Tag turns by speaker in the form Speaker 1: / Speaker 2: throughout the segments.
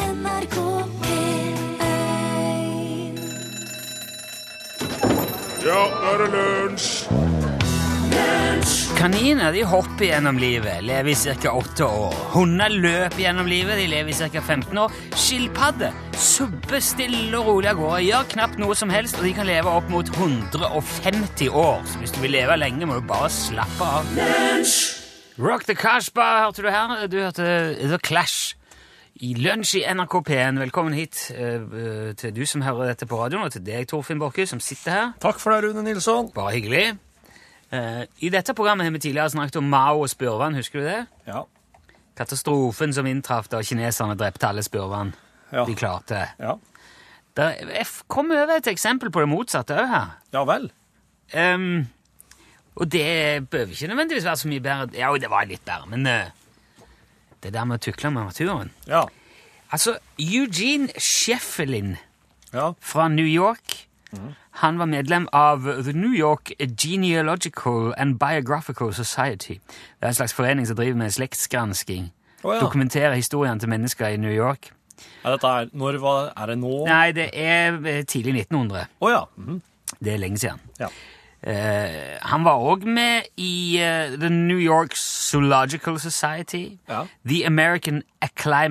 Speaker 1: NRK P1
Speaker 2: Ja, nå er det lunsj!
Speaker 3: Kaniner de hopper gjennom livet, lever i ca. 8 år. Hunder løper gjennom livet, de lever i ca. 15 år. Skilpadder subber stille og rolig av gårde, gjør knapt noe som helst, og de kan leve opp mot 150 år. Så hvis du vil leve lenge, må du bare slappe av. Rock the Casbah hørte du her. Du hørte The Clash. I Lunsj i NRK P1, velkommen hit eh, eh, til du som hører dette på radioen, og til deg, Torfinn Borkhus, som sitter her.
Speaker 4: Takk for det, Rune Nilsson.
Speaker 3: Bare hyggelig. Eh, I dette programmet har vi tidligere snakket om Mao og Spurvan, husker du det?
Speaker 4: Ja.
Speaker 3: Katastrofen som inntraff da kineserne drepte alle Spurvan.
Speaker 4: Ja.
Speaker 3: De klarte.
Speaker 4: Ja,
Speaker 3: Der, jeg f- kom over et eksempel på det motsatte òg her.
Speaker 4: ja vel.
Speaker 3: Ehm, og det bør ikke nødvendigvis være så mye bedre. Ja, jo, det var litt bedre, men eh, det der med å tukle med naturen
Speaker 4: Ja.
Speaker 3: Altså, Eugene Sheffelin
Speaker 4: Ja. Mhm.
Speaker 3: fra New York. Han var medlem av The New York Genealogical and Biographical Society. Det er en slags forening som driver med slektsgransking.
Speaker 4: Å, ja.
Speaker 3: Dokumenterer historien til mennesker i New York.
Speaker 4: Er dette her Når var Er det nå? Å
Speaker 3: Nei, det er eh, tidlig 1900.
Speaker 4: ja. Mhm.
Speaker 3: Det er lenge siden.
Speaker 4: ja.
Speaker 3: Eh, han var òg med i eh, The New York Zoological Society.
Speaker 4: Ja.
Speaker 3: The American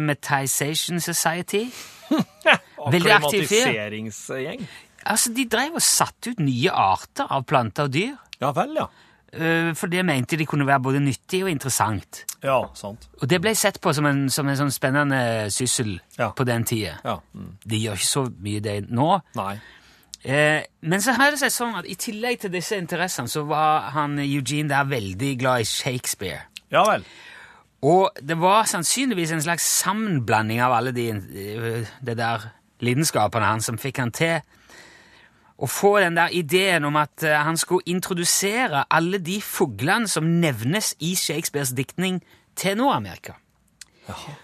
Speaker 3: Acclimatization Society. Veldig aktiv fyr.
Speaker 4: Akklimatiseringsgjeng.
Speaker 3: Altså, De drev og satte ut nye arter av planter og dyr.
Speaker 4: Ja vel, ja.
Speaker 3: Eh, for det mente de kunne være både nyttig og interessant.
Speaker 4: Ja, sant.
Speaker 3: Og det ble sett på som en, som en sånn spennende syssel
Speaker 4: Ja.
Speaker 3: på den tida.
Speaker 4: Ja. Mm.
Speaker 3: De gjør ikke så mye det nå.
Speaker 4: Nei.
Speaker 3: Eh, men så har det seg sånn at i tillegg til disse interessene så var han eh, Eugene der veldig glad i Shakespeare.
Speaker 4: Ja vel.
Speaker 3: Og det var sannsynligvis en slags sammenblanding av alle de, eh, det der lidenskapene hans som fikk han til å få den der ideen om at eh, han skulle introdusere alle de fuglene som nevnes i Shakespeares diktning til Nord-Amerika.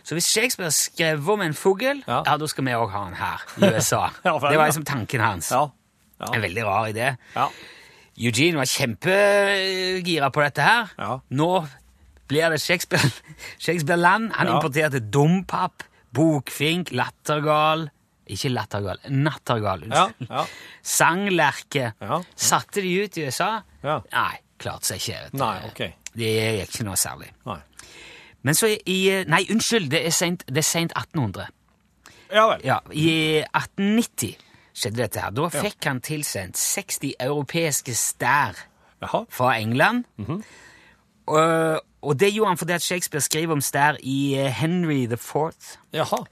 Speaker 3: Så hvis Shakespeare skrev om en fugl, ja.
Speaker 4: Ja.
Speaker 3: da skal vi òg ha den her i USA.
Speaker 4: Ja, vel,
Speaker 3: det var
Speaker 4: ja.
Speaker 3: liksom tanken hans.
Speaker 4: Ja.
Speaker 3: En veldig rar idé.
Speaker 4: Ja.
Speaker 3: Eugene var kjempegira på dette her.
Speaker 4: Ja.
Speaker 3: Nå blir det Shakespeare, Shakespeare-land. Han
Speaker 4: Ja.
Speaker 3: importerte dompap, bokfink, lattergal Ikke lattergal, nattergal.
Speaker 4: Ja.
Speaker 3: unnskyld.
Speaker 4: ja.
Speaker 3: Sanglerke.
Speaker 4: Ja.
Speaker 3: Satte de ut i USA?
Speaker 4: Ja.
Speaker 3: Nei, klarte seg ikke. vet du.
Speaker 4: Nei, ok.
Speaker 3: Det gikk ikke noe særlig.
Speaker 4: Nei.
Speaker 3: Men så i eh, Nei, unnskyld, det er sent det er sent 1800.
Speaker 4: Ja vel.
Speaker 3: Ja, I 1890 skjedde dette her. Da fikk han tilsendt 60 europeiske stær
Speaker 4: Jaha. Mhm.
Speaker 3: fra England. og, og det gjorde han fordi at Shakespeare skriver om stær i eh, Henry the Fourth.
Speaker 4: Jaha.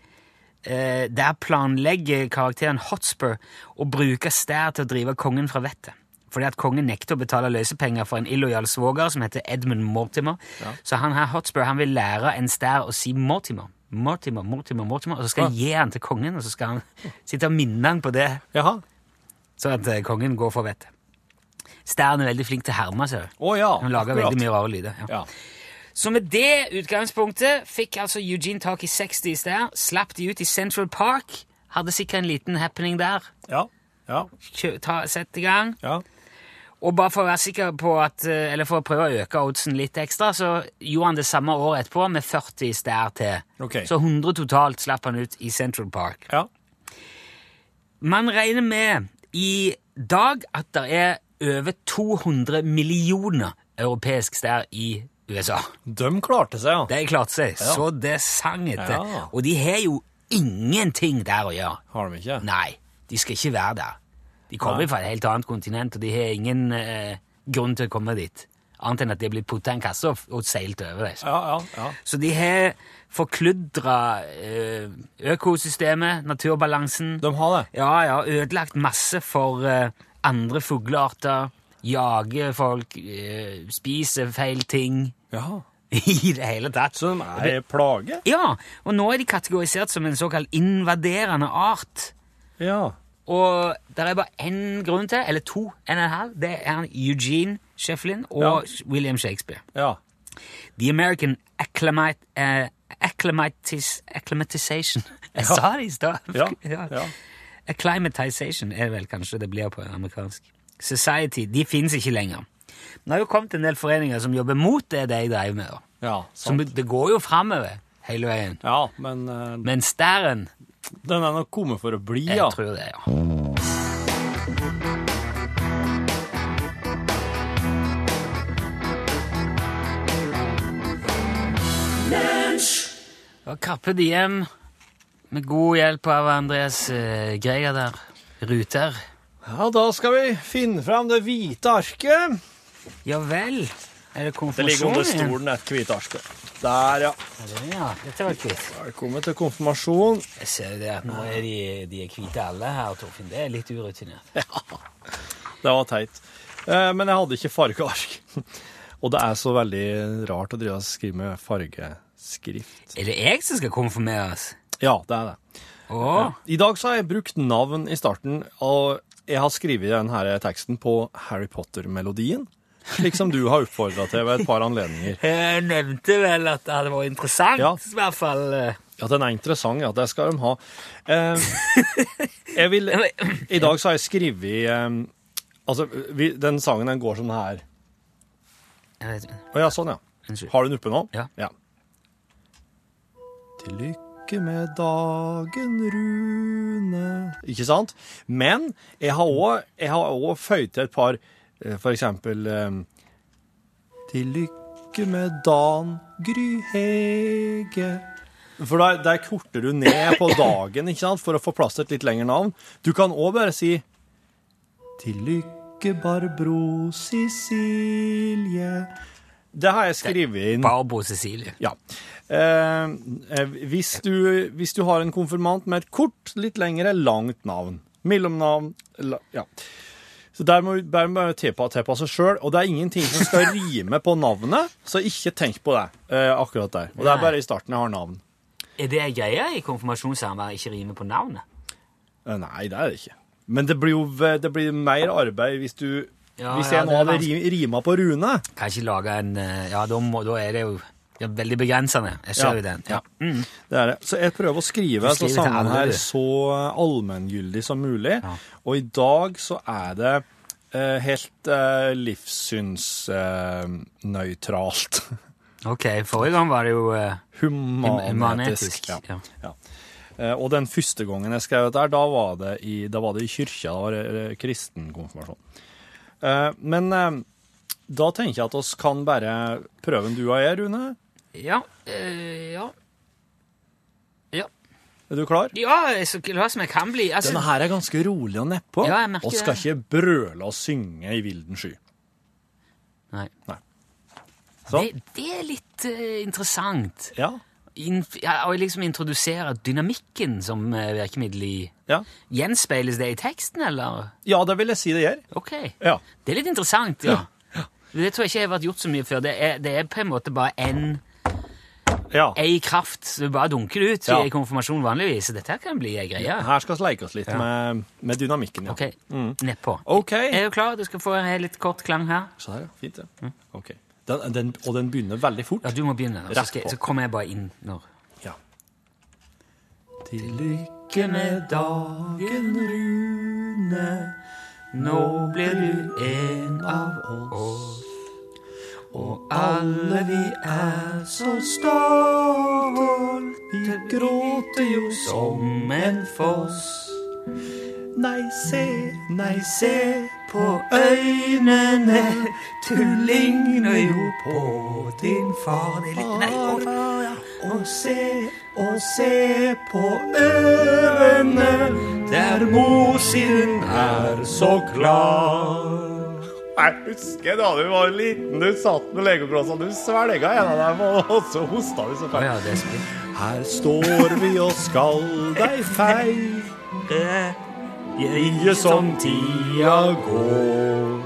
Speaker 3: Eh, der planlegger karakteren Hotspur å bruke stær til å drive kongen fra vettet. Fordi at kongen nekter å betale løsepenger for en illojal svoger som heter Edmund Mortimer. Så han her Hotspur han vil lære en stær å si Mortimer. Mortimer, Mortimer, Mortimer. Og så skal han gi han til kongen, og så skal han sitte og minne han på det,
Speaker 4: Jaha.
Speaker 3: sånn at eh, kongen går fra vettet. Stæren er veldig flink til å herme, ser du.
Speaker 4: Å ja.
Speaker 3: Han lager
Speaker 4: akkurat.
Speaker 3: veldig mye rare lyder. Ja.
Speaker 4: Ja.
Speaker 3: Så med det utgangspunktet fikk altså Eugene tak i 60 stær, slapp de ut i Central Park, hadde sikkert en liten happening der,
Speaker 4: Ja. Ja.
Speaker 3: Kjø ta, sett i gang,
Speaker 4: Ja.
Speaker 3: og bare for å være sikker på at, eh, eller for å prøve å øke oddsen litt ekstra, så gjorde han det samme året etterpå med 40 stær til.
Speaker 4: Ok.
Speaker 3: Så 100 totalt slapp han ut i Central Park.
Speaker 4: Ja.
Speaker 3: Man regner med i dag at det er over 200 millioner europeisk stær i USA.
Speaker 4: De klarte seg, ja.
Speaker 3: De klarte seg,
Speaker 4: Ja.
Speaker 3: så det sang etter.
Speaker 4: Ja.
Speaker 3: Og de har jo ingenting der å gjøre.
Speaker 4: Har de ikke?
Speaker 3: Nei, de skal ikke være der. De kommer
Speaker 4: Nei.
Speaker 3: fra et helt annet kontinent, og de har ingen eh, grunn til å komme dit. Annet enn at de er blitt putta i en kasse og, og seilt over. det.
Speaker 4: Ja, ja. ja.
Speaker 3: Så de har forkludra eh, økosystemet, naturbalansen.
Speaker 4: De har det.
Speaker 3: Ja, ja, ødelagt masse for eh, andre fuglearter. Jager folk, eh, spiser feil ting.
Speaker 4: Ja.
Speaker 3: I det hele tatt.
Speaker 4: Så de er ei plage?
Speaker 3: Ja, og nå er de kategorisert som en såkalt invaderende art.
Speaker 4: Ja.
Speaker 3: Og der er bare én grunn til, eller to, en og en halv. Det er han Eugene Shefflin og William Shakespeare.
Speaker 4: Ja.
Speaker 3: The American acclimate, eh, acclimatis, Acclimatization Jeg sa det i stad!
Speaker 4: Ja, ja.
Speaker 3: Acclimatization er vel kanskje det blir på amerikansk. Society de fins ikke lenger. Men det har jo kommet en del foreninger som jobber mot det de drev med. da.
Speaker 4: Ja,
Speaker 3: Som,
Speaker 4: sant.
Speaker 3: det går jo framover hele veien.
Speaker 4: Ja, men eh,
Speaker 3: Men stæren,
Speaker 5: Den er nok kommet for å bli,
Speaker 3: Jeg
Speaker 5: ja.
Speaker 3: tror det, ja. Og Kappe Diem, med god hjelp av Andreas eh, Greier der, Ruter.
Speaker 5: Ja, da skal vi finne fram det hvite arket.
Speaker 3: Ja vel, er det
Speaker 5: Det ligger under
Speaker 3: konfirmasjon igjen?
Speaker 5: stolen et hvitt ark. Der, ja.
Speaker 3: Ja, dette var kvitt.
Speaker 5: Velkommen til konfirmasjon.
Speaker 3: Jeg ser jo det at nå er de, de er hvite alle her, Torfinn. Det er litt urutinert.
Speaker 5: Det var teit. Eh, Men jeg hadde ikke fargeark. Og det er så veldig rart å drive og skrive med fargeskrift.
Speaker 3: Er det jeg som skal konfirmeres?
Speaker 5: Ja, det er det. Eh,
Speaker 3: Å,
Speaker 5: I dag så har jeg brukt navn i starten, og jeg har skrevet denne teksten på Harry Potter-melodien. Slik som du har oppfordra til ved et par anledninger.
Speaker 3: jeg nevnte vel at det hadde vært interessant,
Speaker 5: Ja.
Speaker 3: i hvert fall. eh.
Speaker 5: Ja, den er interessant, ja. Det skal de ha. Eh, jeg vil I dag så har jeg skrevet eh, Altså, vi, den sangen den går sånn her.
Speaker 3: Jeg vet,
Speaker 5: Å ja, sånn, ja.
Speaker 3: unnskyld.
Speaker 5: Har du den oppe nå?
Speaker 3: Ja.
Speaker 5: Til lykke med dagen, Rune. Ikke sant? Men jeg har også- jeg har òg føyd til et par, eh, for eksempel eh, Til lykke med dagen, Gry Hege. For der, der korter du ned på dagen ikke sant? for å få plass til et litt lengre navn. Du kan òg bare si Til lykke, Barbro Cecilie. Det har jeg skrevet inn.
Speaker 3: Barbro Cecilie.
Speaker 5: Ja. Eh, eh, hvis, du, hvis du har en konfirmant med et kort, litt lengre, langt navn. Mellomnavn la, Ja. Så der må der må du tilpa- tilpasse sjøl. Og det er ingenting som skal rime på navnet, så ikke tenk på det eh, akkurat der. Og det er bare i starten jeg har navn.
Speaker 3: Er det greia i konfirmasjonssamvær ikke rimer på navnet?
Speaker 5: Eh, Nei, det er det ikke. Men det blir jo ve- det blir mer arbeid hvis du
Speaker 3: Ja,
Speaker 5: Hvis
Speaker 3: ja,
Speaker 5: jeg
Speaker 3: det
Speaker 5: nå
Speaker 3: er
Speaker 5: hadde
Speaker 3: vanskelig.
Speaker 5: ri- rima på Rune
Speaker 3: Kan ikke lage en eh, Ja, da, må, da er det jo ja, veldig begrensende. Jeg ser jo den. Ja. Mm.
Speaker 5: Det er det. Så jeg prøver å skrive
Speaker 3: Du skriver
Speaker 5: så
Speaker 3: til
Speaker 5: sangen
Speaker 3: alle,
Speaker 5: her
Speaker 3: du.
Speaker 5: så allmenngyldig som mulig.
Speaker 3: Ja.
Speaker 5: Og i dag så er det eh, helt eh, livssynsnøytralt.
Speaker 3: Ok, forrige gang var det jo eh,
Speaker 5: Humanetisk.
Speaker 3: humanetisk.
Speaker 5: Ja.
Speaker 3: Ja.
Speaker 5: Eh, Og den første gangen jeg skrev dette, her, da var det i, da var det i kyrkja. Da var det eh, kristen konfirmasjon. Eh, Men eh, da tenker jeg at oss kan bare prøve en du og jeg, Rune.
Speaker 3: Ja. eh, ja. ja.
Speaker 5: Er du klar?
Speaker 3: Ja, så glad som jeg kan bli. Altså,
Speaker 5: Denne her er ganske rolig og nedpå.
Speaker 3: Ja, jeg merker
Speaker 5: og skal
Speaker 3: det.
Speaker 5: ikke brøle og synge i vilden sky.
Speaker 3: Nei.
Speaker 5: Nei. Sånn.
Speaker 3: Det, det er litt eh, interessant.
Speaker 5: Ja.
Speaker 3: Inf ja, og liksom introdusere dynamikken som eh, virkemiddel i
Speaker 5: Ja.
Speaker 3: Gjenspeiles det i teksten, eller?
Speaker 5: ja, det vil jeg si det gjør.
Speaker 3: Ok.
Speaker 5: Ja.
Speaker 3: Det er litt interessant, ja. Det tror jeg ikke har vært gjort så mye før. Det er, det er på en måte bare en,
Speaker 5: ja.
Speaker 3: ei kraft. så Du bare dunker det ut
Speaker 5: Ja.
Speaker 3: i konfirmasjon vanligvis. Så dette her kan bli ei greie.
Speaker 5: Her skal vi leke oss litt med, med dynamikken. Ja. Mm.
Speaker 3: Ok, nedpå.
Speaker 5: Ok.
Speaker 3: Er du klar? Du skal få en litt kort klang her.
Speaker 5: Så her, ja. Fint, ja. Ok. Den, den, og den begynner veldig fort.
Speaker 3: Mm. Ja, du må begynne. og Så,
Speaker 5: Rett
Speaker 3: skal,
Speaker 5: på.
Speaker 3: så kommer jeg bare inn når
Speaker 5: Ja. Til lykke med dagen, Rune.
Speaker 3: Nå blir du en av oss, og alle vi er
Speaker 5: så stolt. Vi gråter jo
Speaker 3: som en foss.
Speaker 5: Nei, se, nei, se
Speaker 3: På øynene, du ligner jo på din far. Det er litt, nei, å,
Speaker 5: Og se, og se på ørene Der mor sin er så klar
Speaker 6: Jeg husker da du var liten, du satt med legoplassa, du svelga en av dem, og- og så hosta du så
Speaker 3: Å
Speaker 6: fælt.
Speaker 3: ja, det er så fint.
Speaker 5: Her står vi og skal deg feire
Speaker 3: Jeg
Speaker 5: Som tida går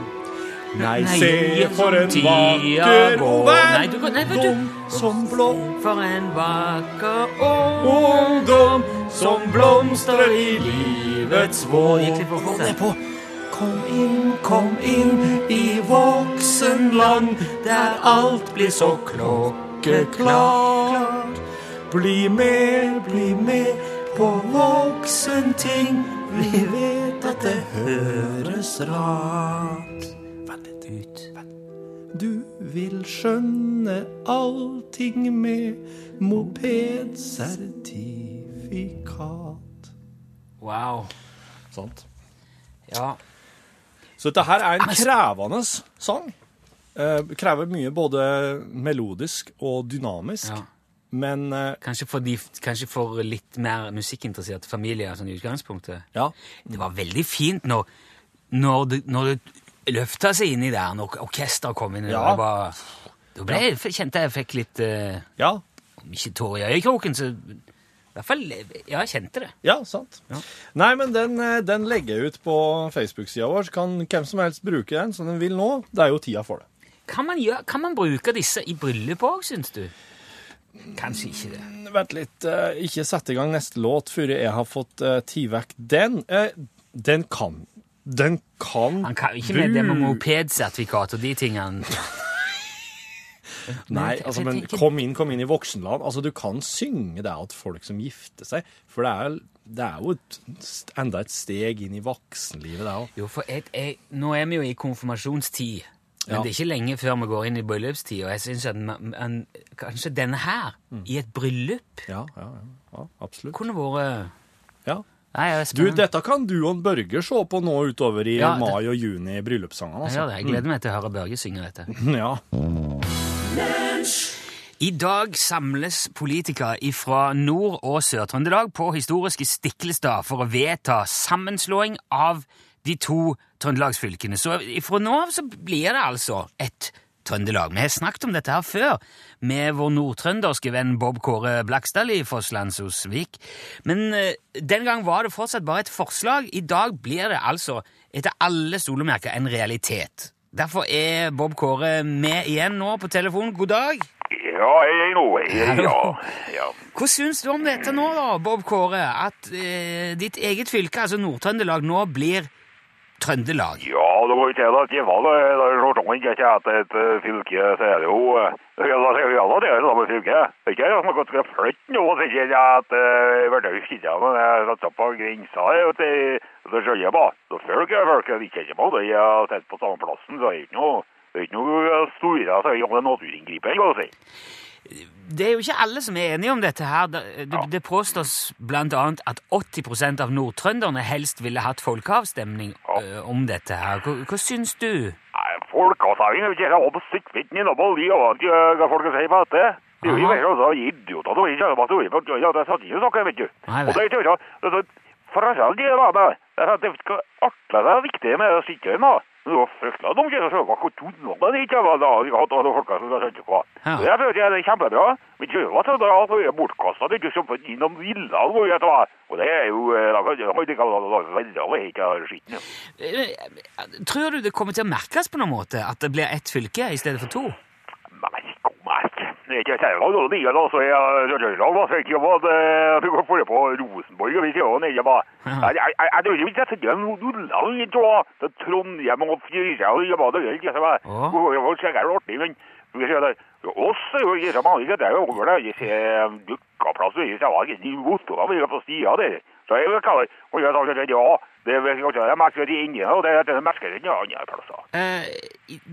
Speaker 5: Nei, se for en vakker
Speaker 3: Nei, du, kan- nei, vet
Speaker 5: verden
Speaker 3: du,
Speaker 5: Som blå
Speaker 3: for en vakker år.
Speaker 5: ungdom Som blomstrer i livets vår
Speaker 3: Gikk litt for fort,
Speaker 5: Gå
Speaker 3: det.
Speaker 5: ned på. Kom inn, kom inn i voksenland Der alt blir så klokkeklart Bli med, bli med på voksenting Vi vet at det høres rart Vent litt ut Du vil skjønne allting med mopedsertifikat
Speaker 3: Wow.
Speaker 4: Sant?
Speaker 3: Ja.
Speaker 4: Så dette her er en
Speaker 3: Altså-
Speaker 4: krevende sang. Eh, krever mye både melodisk og dynamisk.
Speaker 3: Ja.
Speaker 4: Men eh,
Speaker 3: Kanskje for, de, kanskje for litt mer musikkinteresserte familier sånn i utgangspunktet.
Speaker 4: ja.
Speaker 3: Det var veldig fint når, når, det, når det løfta seg inni der, når orkesteret kom inn. og
Speaker 4: Ja.
Speaker 3: det var- Da ble, jeg- kjente jeg jeg fikk litt eh,
Speaker 4: ja.
Speaker 3: Om ikke tårer i øyekroken, så i hvert fall eh, Ja, jeg kjente det.
Speaker 4: Ja, sant.
Speaker 3: Ja.
Speaker 4: Nei, men den, eh, den legger jeg ut på Facebook-sida vår, så kan hvem som helst bruke den som den vil nå. Det er jo tida for det.
Speaker 3: Kan man, gjøre, kan man bruke disse i bryllup òg, syns du? Kanskje ikke det.
Speaker 4: Vent litt, eh, ikke sette i gang neste låt før jeg har fått eh, tid vekk den. Eh, den kan Den kan
Speaker 3: Han kan ikke med det med mopedsertifikat og de tingene.
Speaker 4: Nei,
Speaker 3: Men-
Speaker 4: altså,
Speaker 3: jeg
Speaker 4: men
Speaker 3: tenker-
Speaker 4: kom inn, kom inn i voksenland. Altså, du kan synge det at folk som gifter seg, for det er, det er jo et, enda et steg inn i voksenlivet, det òg.
Speaker 3: Jo, for jeg, jeg, nå er vi jo i konfirmasjonstid, men
Speaker 4: Ja.
Speaker 3: det er ikke lenge før vi går inn i bryllupstid, og jeg syns at man, man, kanskje denne her, i et bryllup,
Speaker 4: Mm. Ja, ja, ja, ja, absolutt.
Speaker 3: kunne vært
Speaker 4: Ja.
Speaker 3: Nei, jeg er
Speaker 4: Du,
Speaker 3: spennende.
Speaker 4: dette kan du og Børge se på nå utover i
Speaker 3: Ja, det-
Speaker 4: mai og juni i bryllupssangene,
Speaker 3: Jeg gjør
Speaker 4: altså. Mm.
Speaker 3: det. Jeg gleder meg til å høre Børge synge dette.
Speaker 4: Ja.
Speaker 3: I dag samles politikere fra Nord- og Sør-Trøndelag på historiske Stiklestad for å vedta sammenslåing av de to trøndelagsfylkene. Så fra nå av så blir det altså et Trøndelag. Vi har snakket om dette her før med vår nordtrønderske venn Bob Kåre Blakstad i Fosslandsosvik. Men eh, den gang var det fortsatt bare et forslag. I dag blir det altså etter alle solemerker en realitet. Derfor er Bob Kåre med igjen nå på telefon. God dag!
Speaker 1: Ja, jeg er nå. Jeg, er- ja, ja.
Speaker 3: Hva syns du om dette nå, da, Bob Kåre? At eh, ditt eget fylke, altså Nord-Trøndelag, nå blir Trøndelag?
Speaker 1: ja, det går jo til at Givald har slått om sånn ikke etter et eh, fylke, så er det jo eh, Ja, da sier vi alle det er det samme fylke. Det er ikke jeg som har gått til å flytte nå, så ikke jeg at eh, jeg ble jo skidda, men jeg satt på grensa her, og det- det skjønner jeg bare. Så folk er folk, jeg liker ikke meg, det jeg har sett på samme plassen, så er det ikke noe det er ikke noe store altså, om det er naturinngripende, kan du si.
Speaker 3: Det er jo ikke alle som er enige om dette her. Det, det, det påstås blant annet at 80 av nordtrønderne helst ville hatt folkeavstemning eh, om dette her. Hva, hva syns du?
Speaker 1: Nei, folk har sagt, jeg vet ikke, jeg har på siktvitt min, og de vet ikke eh, hva folk sier på dette. Det er jo
Speaker 3: Aha.
Speaker 1: ikke altså, idioter, det er ikke bare det, for ja, det er satt ikke saker, vet du.
Speaker 3: Nei, vel.
Speaker 1: Og det er ikke, det er sånn, for all del, det var det, det er sånn, det skal artle det viktige med det sikkert, da. Men Det var fryktelig dumt, jeg så hva trodde det ikke, hva da, vi har hatt alle folka som har skjønt hva.
Speaker 3: Ja.
Speaker 1: Så jeg følte jeg det er kjempebra, men ikke hva til det, altså, jeg er bortkastet, det er ikke som for innom villa, hvor jeg tar, og det er jo, eh, da kan jeg ikke ha veldig, og jeg ikke har skitten, ja.
Speaker 3: Eh, Tror du det kommer til å merkes på noen måte at det blir ett fylke i stedet for to?
Speaker 1: Merk og merk. Det er ikke Sauland og Dian, altså. Jeg Rødland var sikker på at eh, at du kan få det på Rosenborg. og vi sier jo nede på- Jeg jeg- jeg- jeg tror ikke jeg setter en Nordland i tråd til Trondheim og Fjøra og Jabba. Det er ikke så mye.
Speaker 3: Ja.
Speaker 1: Hvor- hvor- hvor sikkert er det artig, men vi sier det. Oss er jo ikke så mange, det er jo over der. Jeg ser dukkaplass, og jeg ser hva det er, de motorene vi er på stia der. Så jeg vil kalle det, og jeg sa til det, ja, det er vel kanskje det merker de inne, og det er det merker de andre plasser.
Speaker 3: Eh,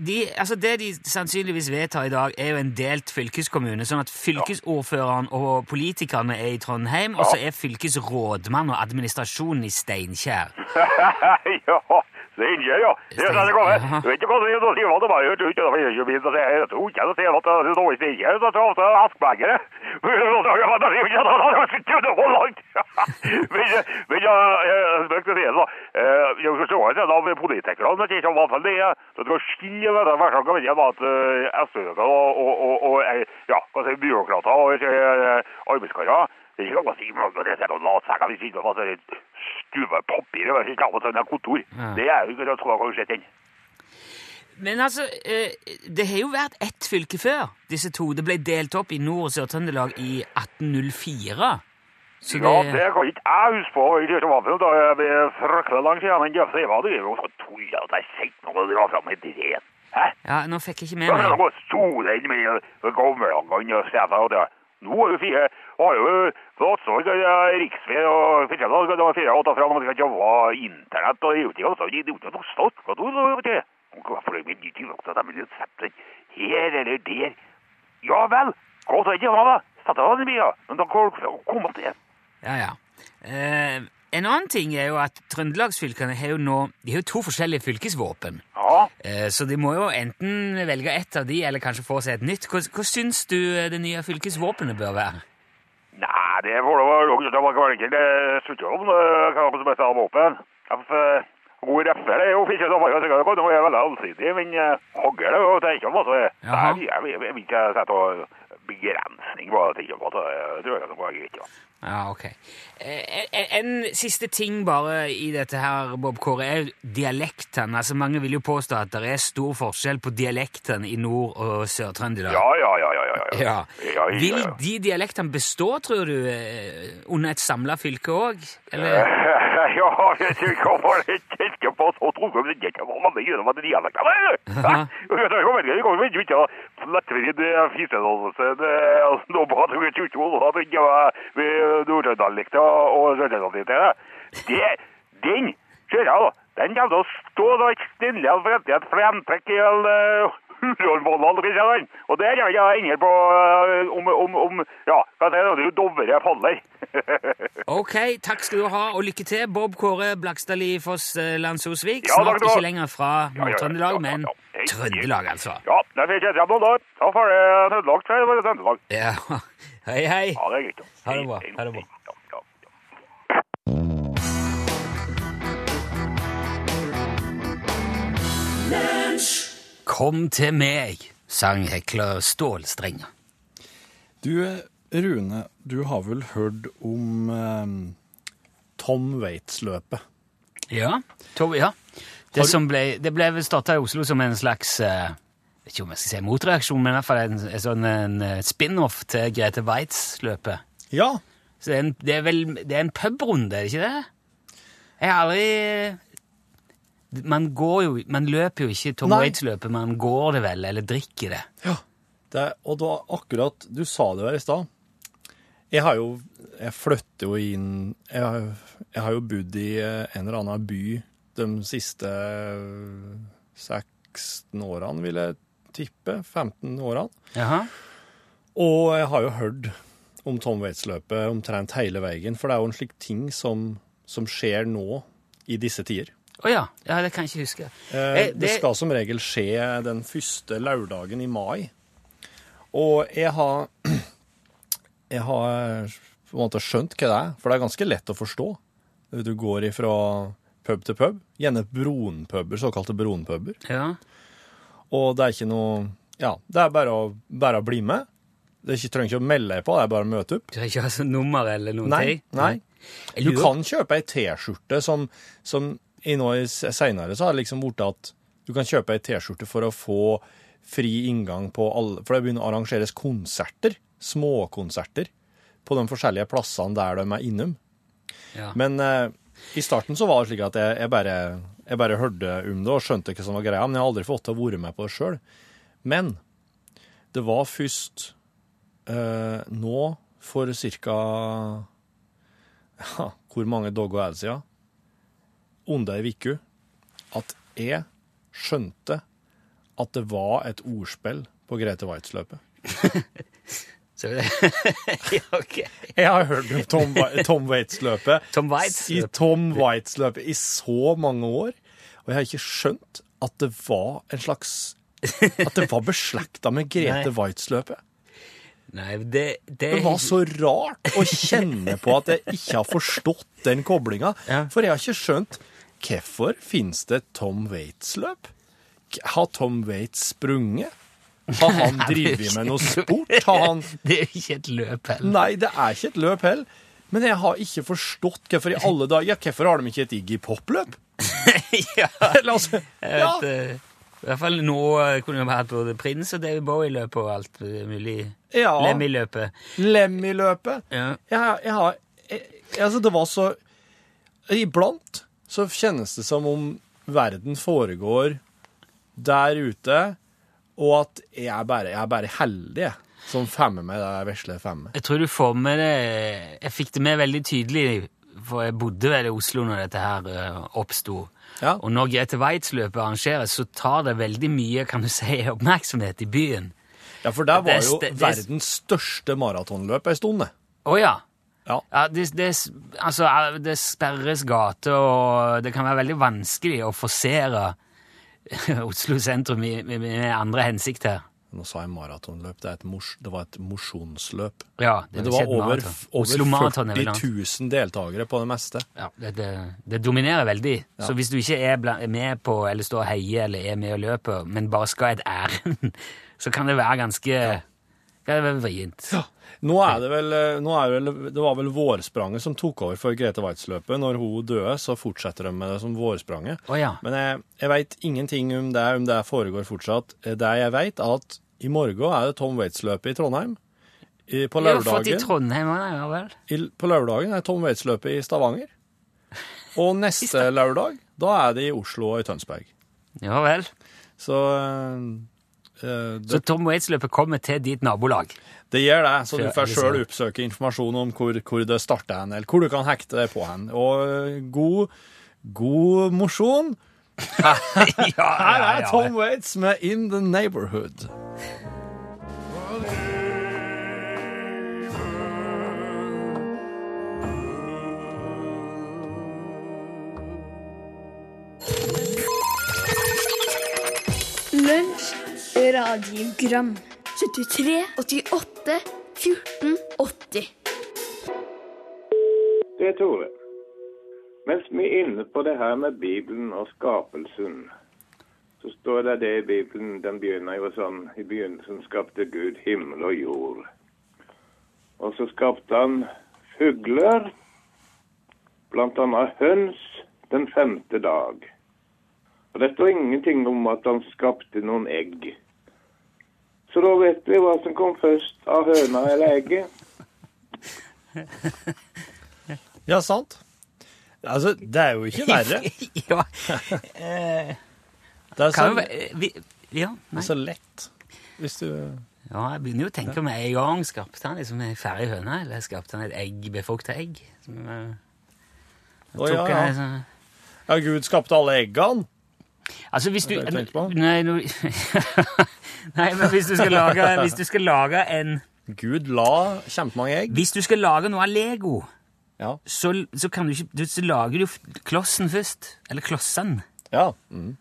Speaker 3: de, altså det de sannsynligvis vedtar i dag, er jo en delt fylkeskommune. Sånn at fylkesordføreren og politikerne er i Trondheim, og så er fylkesrådmannen og administrasjonen i Steinkjer.
Speaker 1: ja, Steinkjer, ja. Det er det det kommer.
Speaker 3: Ja.
Speaker 1: Du vet ikke hva det er, da sier man det bare hørt ut. Det er jo min, det er jo to kjenne til at det står i Steinkjer, så tror jeg ofte askbengere. Men det er jo det er jo ikke det, det er jo ikke det var langt. Men, eh, men ja, jeg spøkte til det da. Eh, Jeg forstår ikke det av politikerne, men det er ikke i hvert fall det. eh, Så du kan skille det der hver gang igjen at eh, SV-ene og, og, og, og, eh, ja, hva sier byråkrater og eh, arbeidskarer, det er ikke noe å si, men det er noen latsaker vi sitter med, det er stuve papir over sitt gammelt sånn kontor. Det er jo ikke det tror jeg har skjedd inn.
Speaker 3: Men altså, eh, det har jo vært ett fylke før, disse to. Det ble delt opp i Nord- og Sør-Trøndelag i 1804. Så
Speaker 1: Ja, det kan ikke jeg huske på. Jeg kjørte vapen, da jeg ble fryktelig langt siden, men jeg sier hva det er jo så tull at jeg sitter noe og drar frem i dren. Hæ?
Speaker 3: ja, Nå fikk jeg ikke
Speaker 1: Det
Speaker 3: med
Speaker 1: er
Speaker 3: meg
Speaker 1: noe solen med gammelangene og sjefer og det. Nå er jo fire, har jo Platsvåg, Riksvei og forskjellig, det var fire og ta frem, og det kan ikke være internett, og det er jo ikke altså, det er jo ikke noe statskontor, det er jo ikke det. Hvorfor er det min nye ting også, at de vil sette den her eller der? Ja vel, gå til det, hva da? Sette den i bilen, men da kan du komme til det.
Speaker 3: Ja, ja. Eh, En annen ting er jo at trøndelagsfylkene har jo nå de har jo to forskjellige fylkesvåpen.
Speaker 1: Ja.
Speaker 3: Eh, Så de må jo enten velge ett av de, eller kanskje få seg et nytt. Hva, hva syns du eh, det nye fylkesvåpenet bør være?
Speaker 1: Nei, det får det være lov til. Man kan ikke eh, slutte om det, hva som helst av våpen. Ja, for, eh, God reffer er jo ikke så mange sikkert. Det er veldig allsidig, men eh, hagl er jo tenker om, altså.
Speaker 3: Jaha.
Speaker 1: Jeg, jeg, jeg vil ikke sette noe begrensning på det. tenker jeg på, altså. Jeg tror jeg kan være greit, ja.
Speaker 3: Ja, ok. Eh, En, en siste ting bare i dette her, Bob Kåre, er jo dialektene. Altså, mange vil jo påstå at det er stor forskjell på dialektene i Nord- og Sør-Trøndelag.
Speaker 1: Ja, ja, ja, ja, ja, ja.
Speaker 3: Ja.
Speaker 1: ja, ja,
Speaker 3: Vil
Speaker 1: ja.
Speaker 3: de dialektene bestå, tror du, eh, under et samla fylke òg?
Speaker 1: Eh,
Speaker 3: Eller
Speaker 1: Ja, hvis du kommer litt tilke på så tror jeg det ikke var mange gjennom at de hadde klart det. Hæ? Jeg kommer ikke, jeg kommer ikke ut av flettfrid fisedannelsen, nå bare tog jeg ut og hadde ikke vært ved Nord-Trøndalikta og Røndalikta. Det, den, ser jeg da, den kommer til å stå da ikke stille og fremtid et fremtrekk i eh, hele Hurolmålen, hvis jeg kan. Og der er jeg ender på eh, om, om, om, ja, hva sier jeg, det er jo dovere faller.
Speaker 3: Ok, takk skal du ha, og lykke til, Bob Kåre Blakstadli Foss eh, Landsosvik.
Speaker 1: Ja, takk
Speaker 3: Snart
Speaker 1: skal du ha.
Speaker 3: ikke lenger fra
Speaker 1: ja, ja, ja,
Speaker 3: Nord-Trøndelag,
Speaker 1: ja,
Speaker 3: men
Speaker 1: ja. Hei,
Speaker 3: Trøndelag, altså.
Speaker 1: Ja, det fikk jeg frem nå da. Da får det Trøndelag, tror jeg. Det var Trøndelag.
Speaker 3: Ja. Hei, hei.
Speaker 1: Ja, det er greit. ja.
Speaker 3: Ha det bra,
Speaker 1: Hei,
Speaker 3: ha det bra.
Speaker 1: hei, ja, ja, ja.
Speaker 3: Kom til meg, sang hekler Stålstrenga.
Speaker 5: Du, Rune, du har vel hørt om eh, Tom Waits-løpet?
Speaker 3: Ja, Tove, ja. Det,
Speaker 5: Har du-
Speaker 3: som ble, det ble vel starta i Oslo som en slags eh, vet ikke om jeg skal si motreaksjon, men i hvert fall en, en, sånn, en eh, spin-off til Grete Waitz-løpet.
Speaker 5: Ja.
Speaker 3: Så det er, en, det er vel det er en pubrunde, er det ikke det? Jeg har aldri Man går jo Man løper jo ikke Tom
Speaker 5: Nei.
Speaker 3: Waits-løpet, man går det vel, eller drikker det.
Speaker 5: Det, og da akkurat Du sa det der i stad. Jeg har jo Jeg flytter jo inn jeg, har- jeg har jo bodd i eh, en eller annen by de siste eh, 16 årene, vil jeg tippe. 15 årene.
Speaker 3: Jaha.
Speaker 5: Og jeg har jo hørt om Tom Waits-løpet omtrent hele veien, for det er jo en slik ting som, som skjer nå i disse tider.
Speaker 3: Å ja. ja. Det kan jeg ikke huske.
Speaker 5: Eh,
Speaker 3: Eh,
Speaker 5: det skal som regel skje den første lørdagen i mai. Og jeg har Jeg har eh, på en måte skjønt hva det er, for det er ganske lett å forstå. Du går ifra pub til pub, gjerne bronpuber, såkalte bronpuber.
Speaker 3: Ja.
Speaker 5: Og det er ikke noe Ja, det er bare å, bare å bli med. Det er ikke, trenger ikke å melde deg på, det er bare å møte opp.
Speaker 3: Du har ikke hatt sånn nummer eller noen
Speaker 5: Nei,
Speaker 3: ting?
Speaker 5: nei.
Speaker 3: Jeg
Speaker 5: Du
Speaker 3: lurer-
Speaker 5: kan kjøpe ei T-skjorte som, som i nå i s- senere så har det liksom blitt at du kan kjøpe ei T-skjorte for å få fri inngang på alle For det begynner å arrangeres konserter, småkonserter, på de forskjellige plassene der de er innom.
Speaker 3: Ja.
Speaker 5: Men eh, i starten så var det slik at jeg, jeg, bare, jeg bare hørte om det og skjønte hva som var greia, men jeg har aldri fått til å være med på det sjøl. Men det var først eh, nå for ca. Ja, hvor mange dager er det siden? Under ei uke. At jeg skjønte at det var et ordspill på Grete Waitz-løpet.
Speaker 3: Så det, ja, ok.
Speaker 5: Jeg har hørt om Tom, Wa- Tom Waits-løpet
Speaker 3: Tom Waits
Speaker 5: i
Speaker 3: løp.
Speaker 5: Tom Waits-løpet i så mange år, og jeg har ikke skjønt at det var en slags At det var beslekta med Grete
Speaker 3: Nei.
Speaker 5: Waitz-løpet.
Speaker 3: Nei, det, det,
Speaker 5: Det var så rart å kjenne på at jeg ikke har forstått den koblinga.
Speaker 3: Ja.
Speaker 5: For jeg har ikke skjønt hvorfor finnes det Tom Waits-løp? Har Tom Waits sprunget? Har han drevet med noe sport? Har han
Speaker 3: det er jo ikke et løp heller.
Speaker 5: Nei, det er ikke et løp heller. Men jeg har ikke forstått hvorfor i alle dager Ja, hvorfor har de ikke et Iggy Pop-løp?
Speaker 3: ja,
Speaker 5: Eller altså
Speaker 3: jeg
Speaker 5: Ja,
Speaker 3: vet, eh, I hvert fall nå eh, kunne vi hatt både Prins og David Bowie-løpet og alt eh, mulig.
Speaker 5: Ja.
Speaker 3: Lemmy-løpet.
Speaker 5: Lemmy-løpet.
Speaker 3: Ja.
Speaker 5: Jeg, har- jeg har jeg, Altså, det var så Iblant så kjennes det som om verden foregår der ute, og at jeg er bare, jeg er bare heldig, jeg, som femmer med det vesle femmet.
Speaker 3: Jeg tror du får med det Jeg fikk det med veldig tydelig, for jeg bodde vel i Oslo når dette her eh, oppsto.
Speaker 5: Ja.
Speaker 3: Og når Grete Waitz-løpet arrangeres, så tar det veldig mye kan du si, oppmerksomhet i byen.
Speaker 5: Ja, for der var
Speaker 3: Det-
Speaker 5: jo
Speaker 3: det- det-
Speaker 5: verdens største maratonløp ei stund, det.
Speaker 3: Å ja.
Speaker 5: Ja.
Speaker 3: det, det, altså, eh, det sperres gater, og det kan være veldig vanskelig å forsere Oslo sentrum i- med, med andre hensikter.
Speaker 5: Nå sa jeg maratonløp. Det, er et mos det var et mosjonsløp.
Speaker 3: Ja, det,
Speaker 5: Men
Speaker 3: vil
Speaker 5: det
Speaker 3: si
Speaker 5: var
Speaker 3: et
Speaker 5: over,
Speaker 3: maraton. Oslo
Speaker 5: over
Speaker 3: Maraton er
Speaker 5: 40
Speaker 3: vel langt.
Speaker 5: 000 deltakere på det meste.
Speaker 3: Ja, det, det, det dominerer veldig. Så hvis du ikke er bla- er med på, eller står og heier, eller er med og løper, men bare skal et ærend, så kan det være ganske kan det være vrient.
Speaker 5: Nå er det vel, eh, nå er det, vel det var vel vårspranget som tok over for Grete Waitz-løpet. Når hun døde, så fortsetter de med det som vårspranget.
Speaker 3: Å ja.
Speaker 5: Men jeg, jeg veit ingenting om det, om det foregår fortsatt. Eh, Det jeg veit, er at i morgen er det Tom Waits-løpet i Trondheim. I, på,
Speaker 3: Vi har fått i
Speaker 5: lørdagen,
Speaker 3: Trondheim også, ja vel.
Speaker 5: i, på lørdagen er Tom Waits-løpet i Stavanger. Og neste lørdag, da er det i Oslo og i Tønsberg.
Speaker 3: Ja vel.
Speaker 5: Så eh, eh, det,
Speaker 3: Så Tom Waits-løpet kommer til ditt nabolag.
Speaker 5: Det gjør det, så du
Speaker 3: Før-
Speaker 5: får
Speaker 3: liksom.
Speaker 5: sjøl oppsøke informasjon om hvor, hvor det starter hen, eller hvor du kan hekte det på hen. Og eh, god, god mosjon.
Speaker 3: ja, ja,
Speaker 5: Her
Speaker 3: ja,
Speaker 5: er Tom Waits med In The Neighborhood.
Speaker 7: Lunsj, radiogram 73, 88, 14, 80
Speaker 4: Det er Tore. Mens vi er inne på det her med Bibelen og skapelsen, så står det det i Bibelen Den begynner jo sånn I begynnelsen skapte Gud himmel og jord. Og så skapte han fugler, blant annet høns, den femte dag. Og det står ingenting om at han skapte noen egg. Så da vet vi hva som kom først av høna eller egget.
Speaker 5: Ja, sant? Altså, det er jo ikke verre.
Speaker 3: ja.
Speaker 5: Eh, Det er så,
Speaker 3: Kan jo være eh, vi, Ja,
Speaker 5: det
Speaker 3: nei.
Speaker 5: er så lett. Hvis du
Speaker 3: Ja, jeg begynner jo å tenke med en gang. Skapte han liksom en ferdig høne, eller skapte han et egg, befukta egg? Som, eh,
Speaker 5: Å,
Speaker 3: tok
Speaker 5: ja,
Speaker 3: han
Speaker 5: ja.
Speaker 3: liksom-
Speaker 5: ja, Gud skapte alle eggene.
Speaker 3: Altså, hvis du
Speaker 5: Er det det du tenker på?
Speaker 3: Nei, nå- nei, men hvis du skal lage, hvis du skal lage en
Speaker 5: Gud la kjempemange egg.
Speaker 3: Hvis du skal lage noe av Lego,
Speaker 5: Ja.
Speaker 3: så, så kan du ikke du, Så lager du f- klossen først. Eller klossen.
Speaker 5: ja. Mm.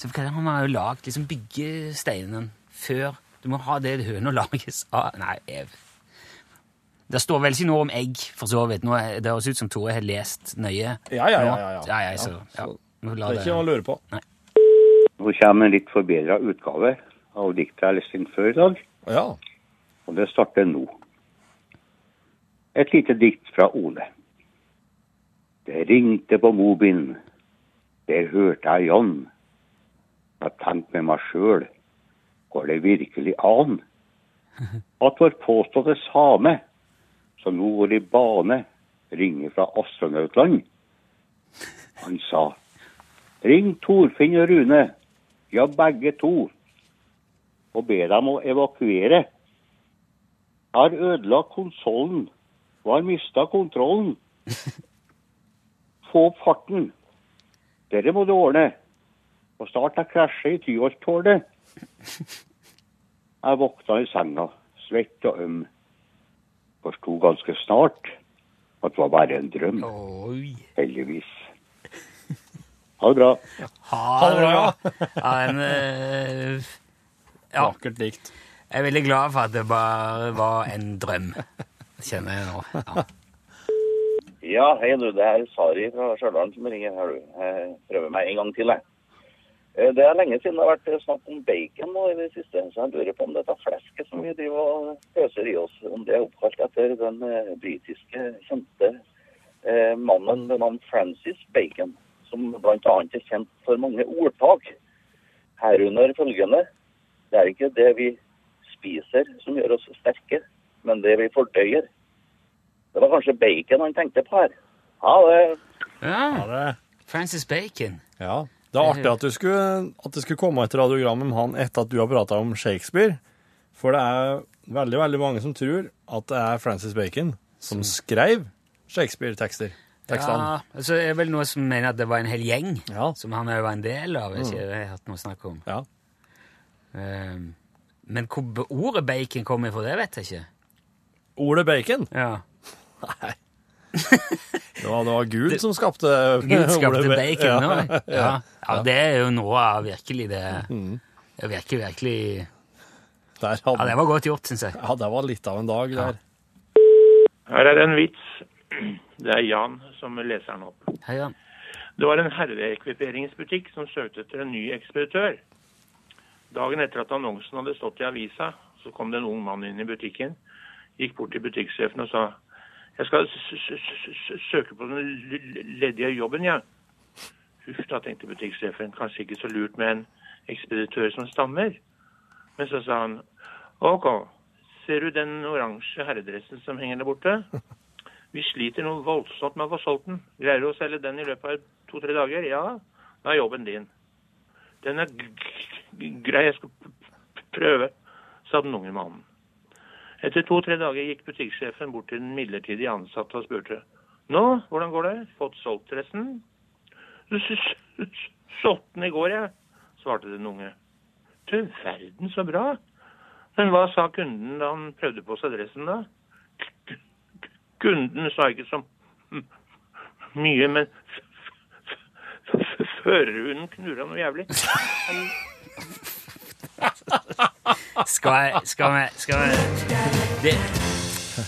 Speaker 3: Så kan man har jo lagd liksom byggesteinen før Du må ha det høna lages av Nei, ev. Det står vel ikke noe om egg, for så vidt. Nå, er- det høres ut som Tore har lest nøye.
Speaker 5: Ja, ja, ja,
Speaker 3: nå.
Speaker 5: ja, ja.
Speaker 3: ja, ja, så, ja.
Speaker 5: så
Speaker 3: Må
Speaker 5: Det
Speaker 3: la
Speaker 5: er
Speaker 3: det
Speaker 5: ikke noe å lure på.
Speaker 8: Nå kommer en litt forbedra utgave av diktet jeg leste inn før i dag,
Speaker 5: Ja.
Speaker 8: og det starter nå. Et lite dikt fra Ole. Det ringte på mobilen. Der hørte jeg John. Jeg tenkte med meg sjøl, går det virkelig an at vår påståtte same, som nå går i bane, ringer fra astronautland? Han sa, ring Torfinn og Rune. Ja, begge to. Og be dem å evakuere. Jeg har ødelagt konsollen og har mista kontrollen. Få opp farten. Dere må du ordne. Og snart jeg krasjer i Tyholttårnet. Jeg våkna i senga, svett og øm. Forsto ganske snart at det var bare en drøm,
Speaker 3: Oi.
Speaker 8: heldigvis. Ha det bra.
Speaker 3: Ha
Speaker 5: det bra.
Speaker 3: Ja, en, eh, ja,
Speaker 5: Vakkert dikt.
Speaker 3: jeg er veldig glad for at det bare var en drøm. Kjenner jeg nå. Ja.
Speaker 9: Ja, hei du, det er Sari fra Stjørdal som ringer her, du. Jeg prøver meg en gang til, jeg. Eh, Det er lenge siden det har vært eh, snakk om bacon nå i det siste, så jeg lurer på om dette flesket som vi driver og pøser i oss, om det er oppkalt etter den eh, britiske kjente eh, mannen ved navn Francis Bacon, som blant annet er kjent for mange ordtak. Herunder følgende Det er ikke det vi spiser som gjør oss sterke, men det vi fordøyer. Det var kanskje bacon han tenkte på her. Ha det.
Speaker 3: Ja,
Speaker 5: Ja, det
Speaker 3: Francis Bacon.
Speaker 5: Ja. Det er
Speaker 3: Eh,
Speaker 5: artig at du skulle, at det skulle komme et radiogram om han etter at du har prata om Shakespeare. For det er veldig veldig mange som tror at det er Francis Bacon som skrev Shakespeare-tekster. Tekstene.
Speaker 3: Ja, altså, det er vel noe som mener at det var en hel gjeng
Speaker 5: Ja. Mm.
Speaker 3: som han òg var en del av. Ikke, det har jeg hatt noe snakk om.
Speaker 5: Ja.
Speaker 3: Ehm, men hvor be- ordet bacon kommer fra, det vet jeg ikke.
Speaker 5: Ordet bacon?
Speaker 3: Ja.
Speaker 5: Nei.
Speaker 4: Det var, det var Gud som skapte
Speaker 3: Gud skapte
Speaker 4: ble-
Speaker 3: bacon nå.
Speaker 4: Ja.
Speaker 3: Ja. Ja. det er jo noe av virkelig det
Speaker 5: Mm.
Speaker 3: Det virker virkelig
Speaker 4: Der
Speaker 3: Ja,
Speaker 4: hadde,
Speaker 3: det var godt gjort, syns jeg.
Speaker 4: ja, det var litt av en dag der.
Speaker 10: Her er det en vits. Det er Jan som leser den opp.
Speaker 3: Hei, Jan.
Speaker 10: Det var en herreekviperingsbutikk som søkte etter en ny ekspeditør. Dagen etter at annonsen hadde stått i avisa, så kom det en ung mann inn i butikken, gikk bort til butikksjefen og sa jeg skal s- s- s- s- søke på den l- l- ledige jobben, jeg. Huff da, tenkte butikksjefen, kanskje ikke så lurt med en ekspeditør som stammer. Men så sa han OK, ser du den oransje herredressen som henger der borte? Vi sliter noe voldsomt med å få solgt den. Greier du å selge den i løpet av to-tre dager? Ja, da er jobben din. Den er g- g- grei, jeg skal p- p- prøve, sa den unge mannen. Etter to-tre dager gikk butikksjefen bort til den midlertidig ansatte og spurte. Nå, hvordan går det? Fått solgt resten? S- s- s- Solgt den i går, jeg, svarte den unge. Til verden, så bra. Men hva sa kunden da han prøvde på seg dressen, da? Kunden sa ikke så mye, men f- f- f- førerhunden knurra noe jævlig.
Speaker 3: Skal jeg Skal vi skal jeg, det,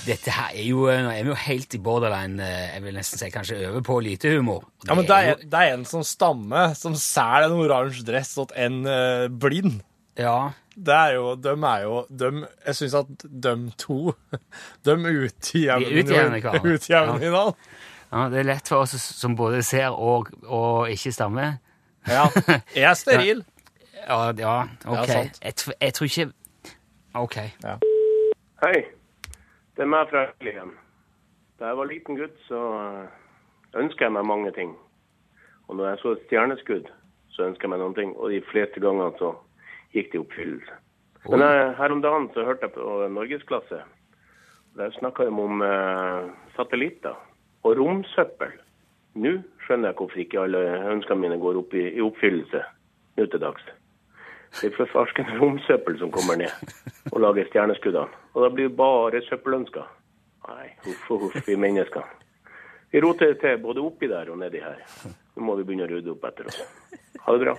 Speaker 3: Dette her er jo eh, Nå er vi jo helt i borderline eh, Jeg vil nesten si kanskje over på lite humor.
Speaker 4: Ja, men det
Speaker 3: jo-
Speaker 4: er, det er en som stammer, som selger en oransje dress til en eh, blind.
Speaker 3: Ja,
Speaker 4: Det er jo, de er jo dem- Jeg syns at de to De utjevner
Speaker 3: De utjevner hverandre.
Speaker 4: utjevner i dag.
Speaker 3: ja, det er lett for oss som både ser og, og ikke stammer.
Speaker 4: Ja. Jeg er steril.
Speaker 3: Ja, ja ok.
Speaker 4: Ja, sant.
Speaker 3: jeg, tr- jeg tror ikke Ok.
Speaker 6: Hei. Det er meg fra Øyelien. Da jeg var liten gutt, så ønska jeg meg mange ting. Og når jeg så et stjerneskudd, så ønska jeg meg noen ting. Og de fleste ganger så gikk det i oppfyllelse. Men eh, her om dagen så hørte jeg på Norgesklasse. Der snakka de om eh, satellitter og romsøppel. Nå skjønner jeg hvorfor ikke alle ønskene mine går opp i, i oppfyllelse nå til dags. Det er forfarsken romsøppel som kommer ned og lager stjerneskuddene. Og da blir det bare søppelønsker. Nei, huff og huff, vi mennesker. Vi roter det til både oppi der og nedi her. Nå må vi begynne å rydde opp etter oss. Ha det bra.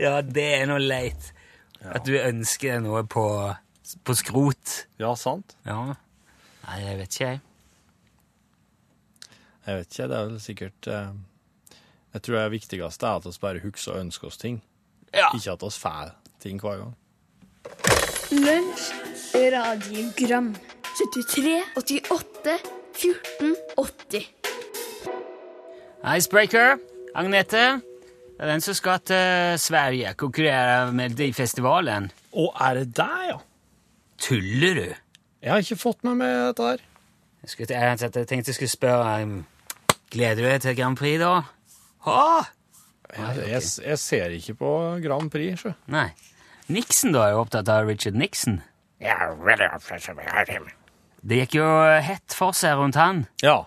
Speaker 3: ja, det er noe leit. At du ønsker deg noe på, på skrot.
Speaker 4: Ja, sant.
Speaker 3: Ja. Nei, jeg vet ikke, jeg.
Speaker 4: Jeg vet ikke, det er vel sikkert eh, Jeg tror det viktigste er at vi bare husker og ønsker oss ting.
Speaker 3: Ja.
Speaker 4: Ikke at vi får ting hver gang.
Speaker 7: Lunsj, radiogram 73, 88, 14, 80
Speaker 3: Icebreaker, Agnete. Det er den som skal til Sverige konkurrere med de festivalen.
Speaker 4: Å, er det deg, ja?
Speaker 3: Tuller du?
Speaker 4: Jeg har ikke fått meg med dette her.
Speaker 3: Jeg, skulle, jeg, jeg tenkte jeg skulle spørre um, Gleder du deg til Grand Prix, da? Åh!
Speaker 4: Jeg, jeg, jeg ser ikke på Grand Prix, sjø.
Speaker 3: Nei. Nixon, da? Er jo opptatt av Richard Nixon. Det gikk jo eh, hett for seg rundt han,
Speaker 4: Ja.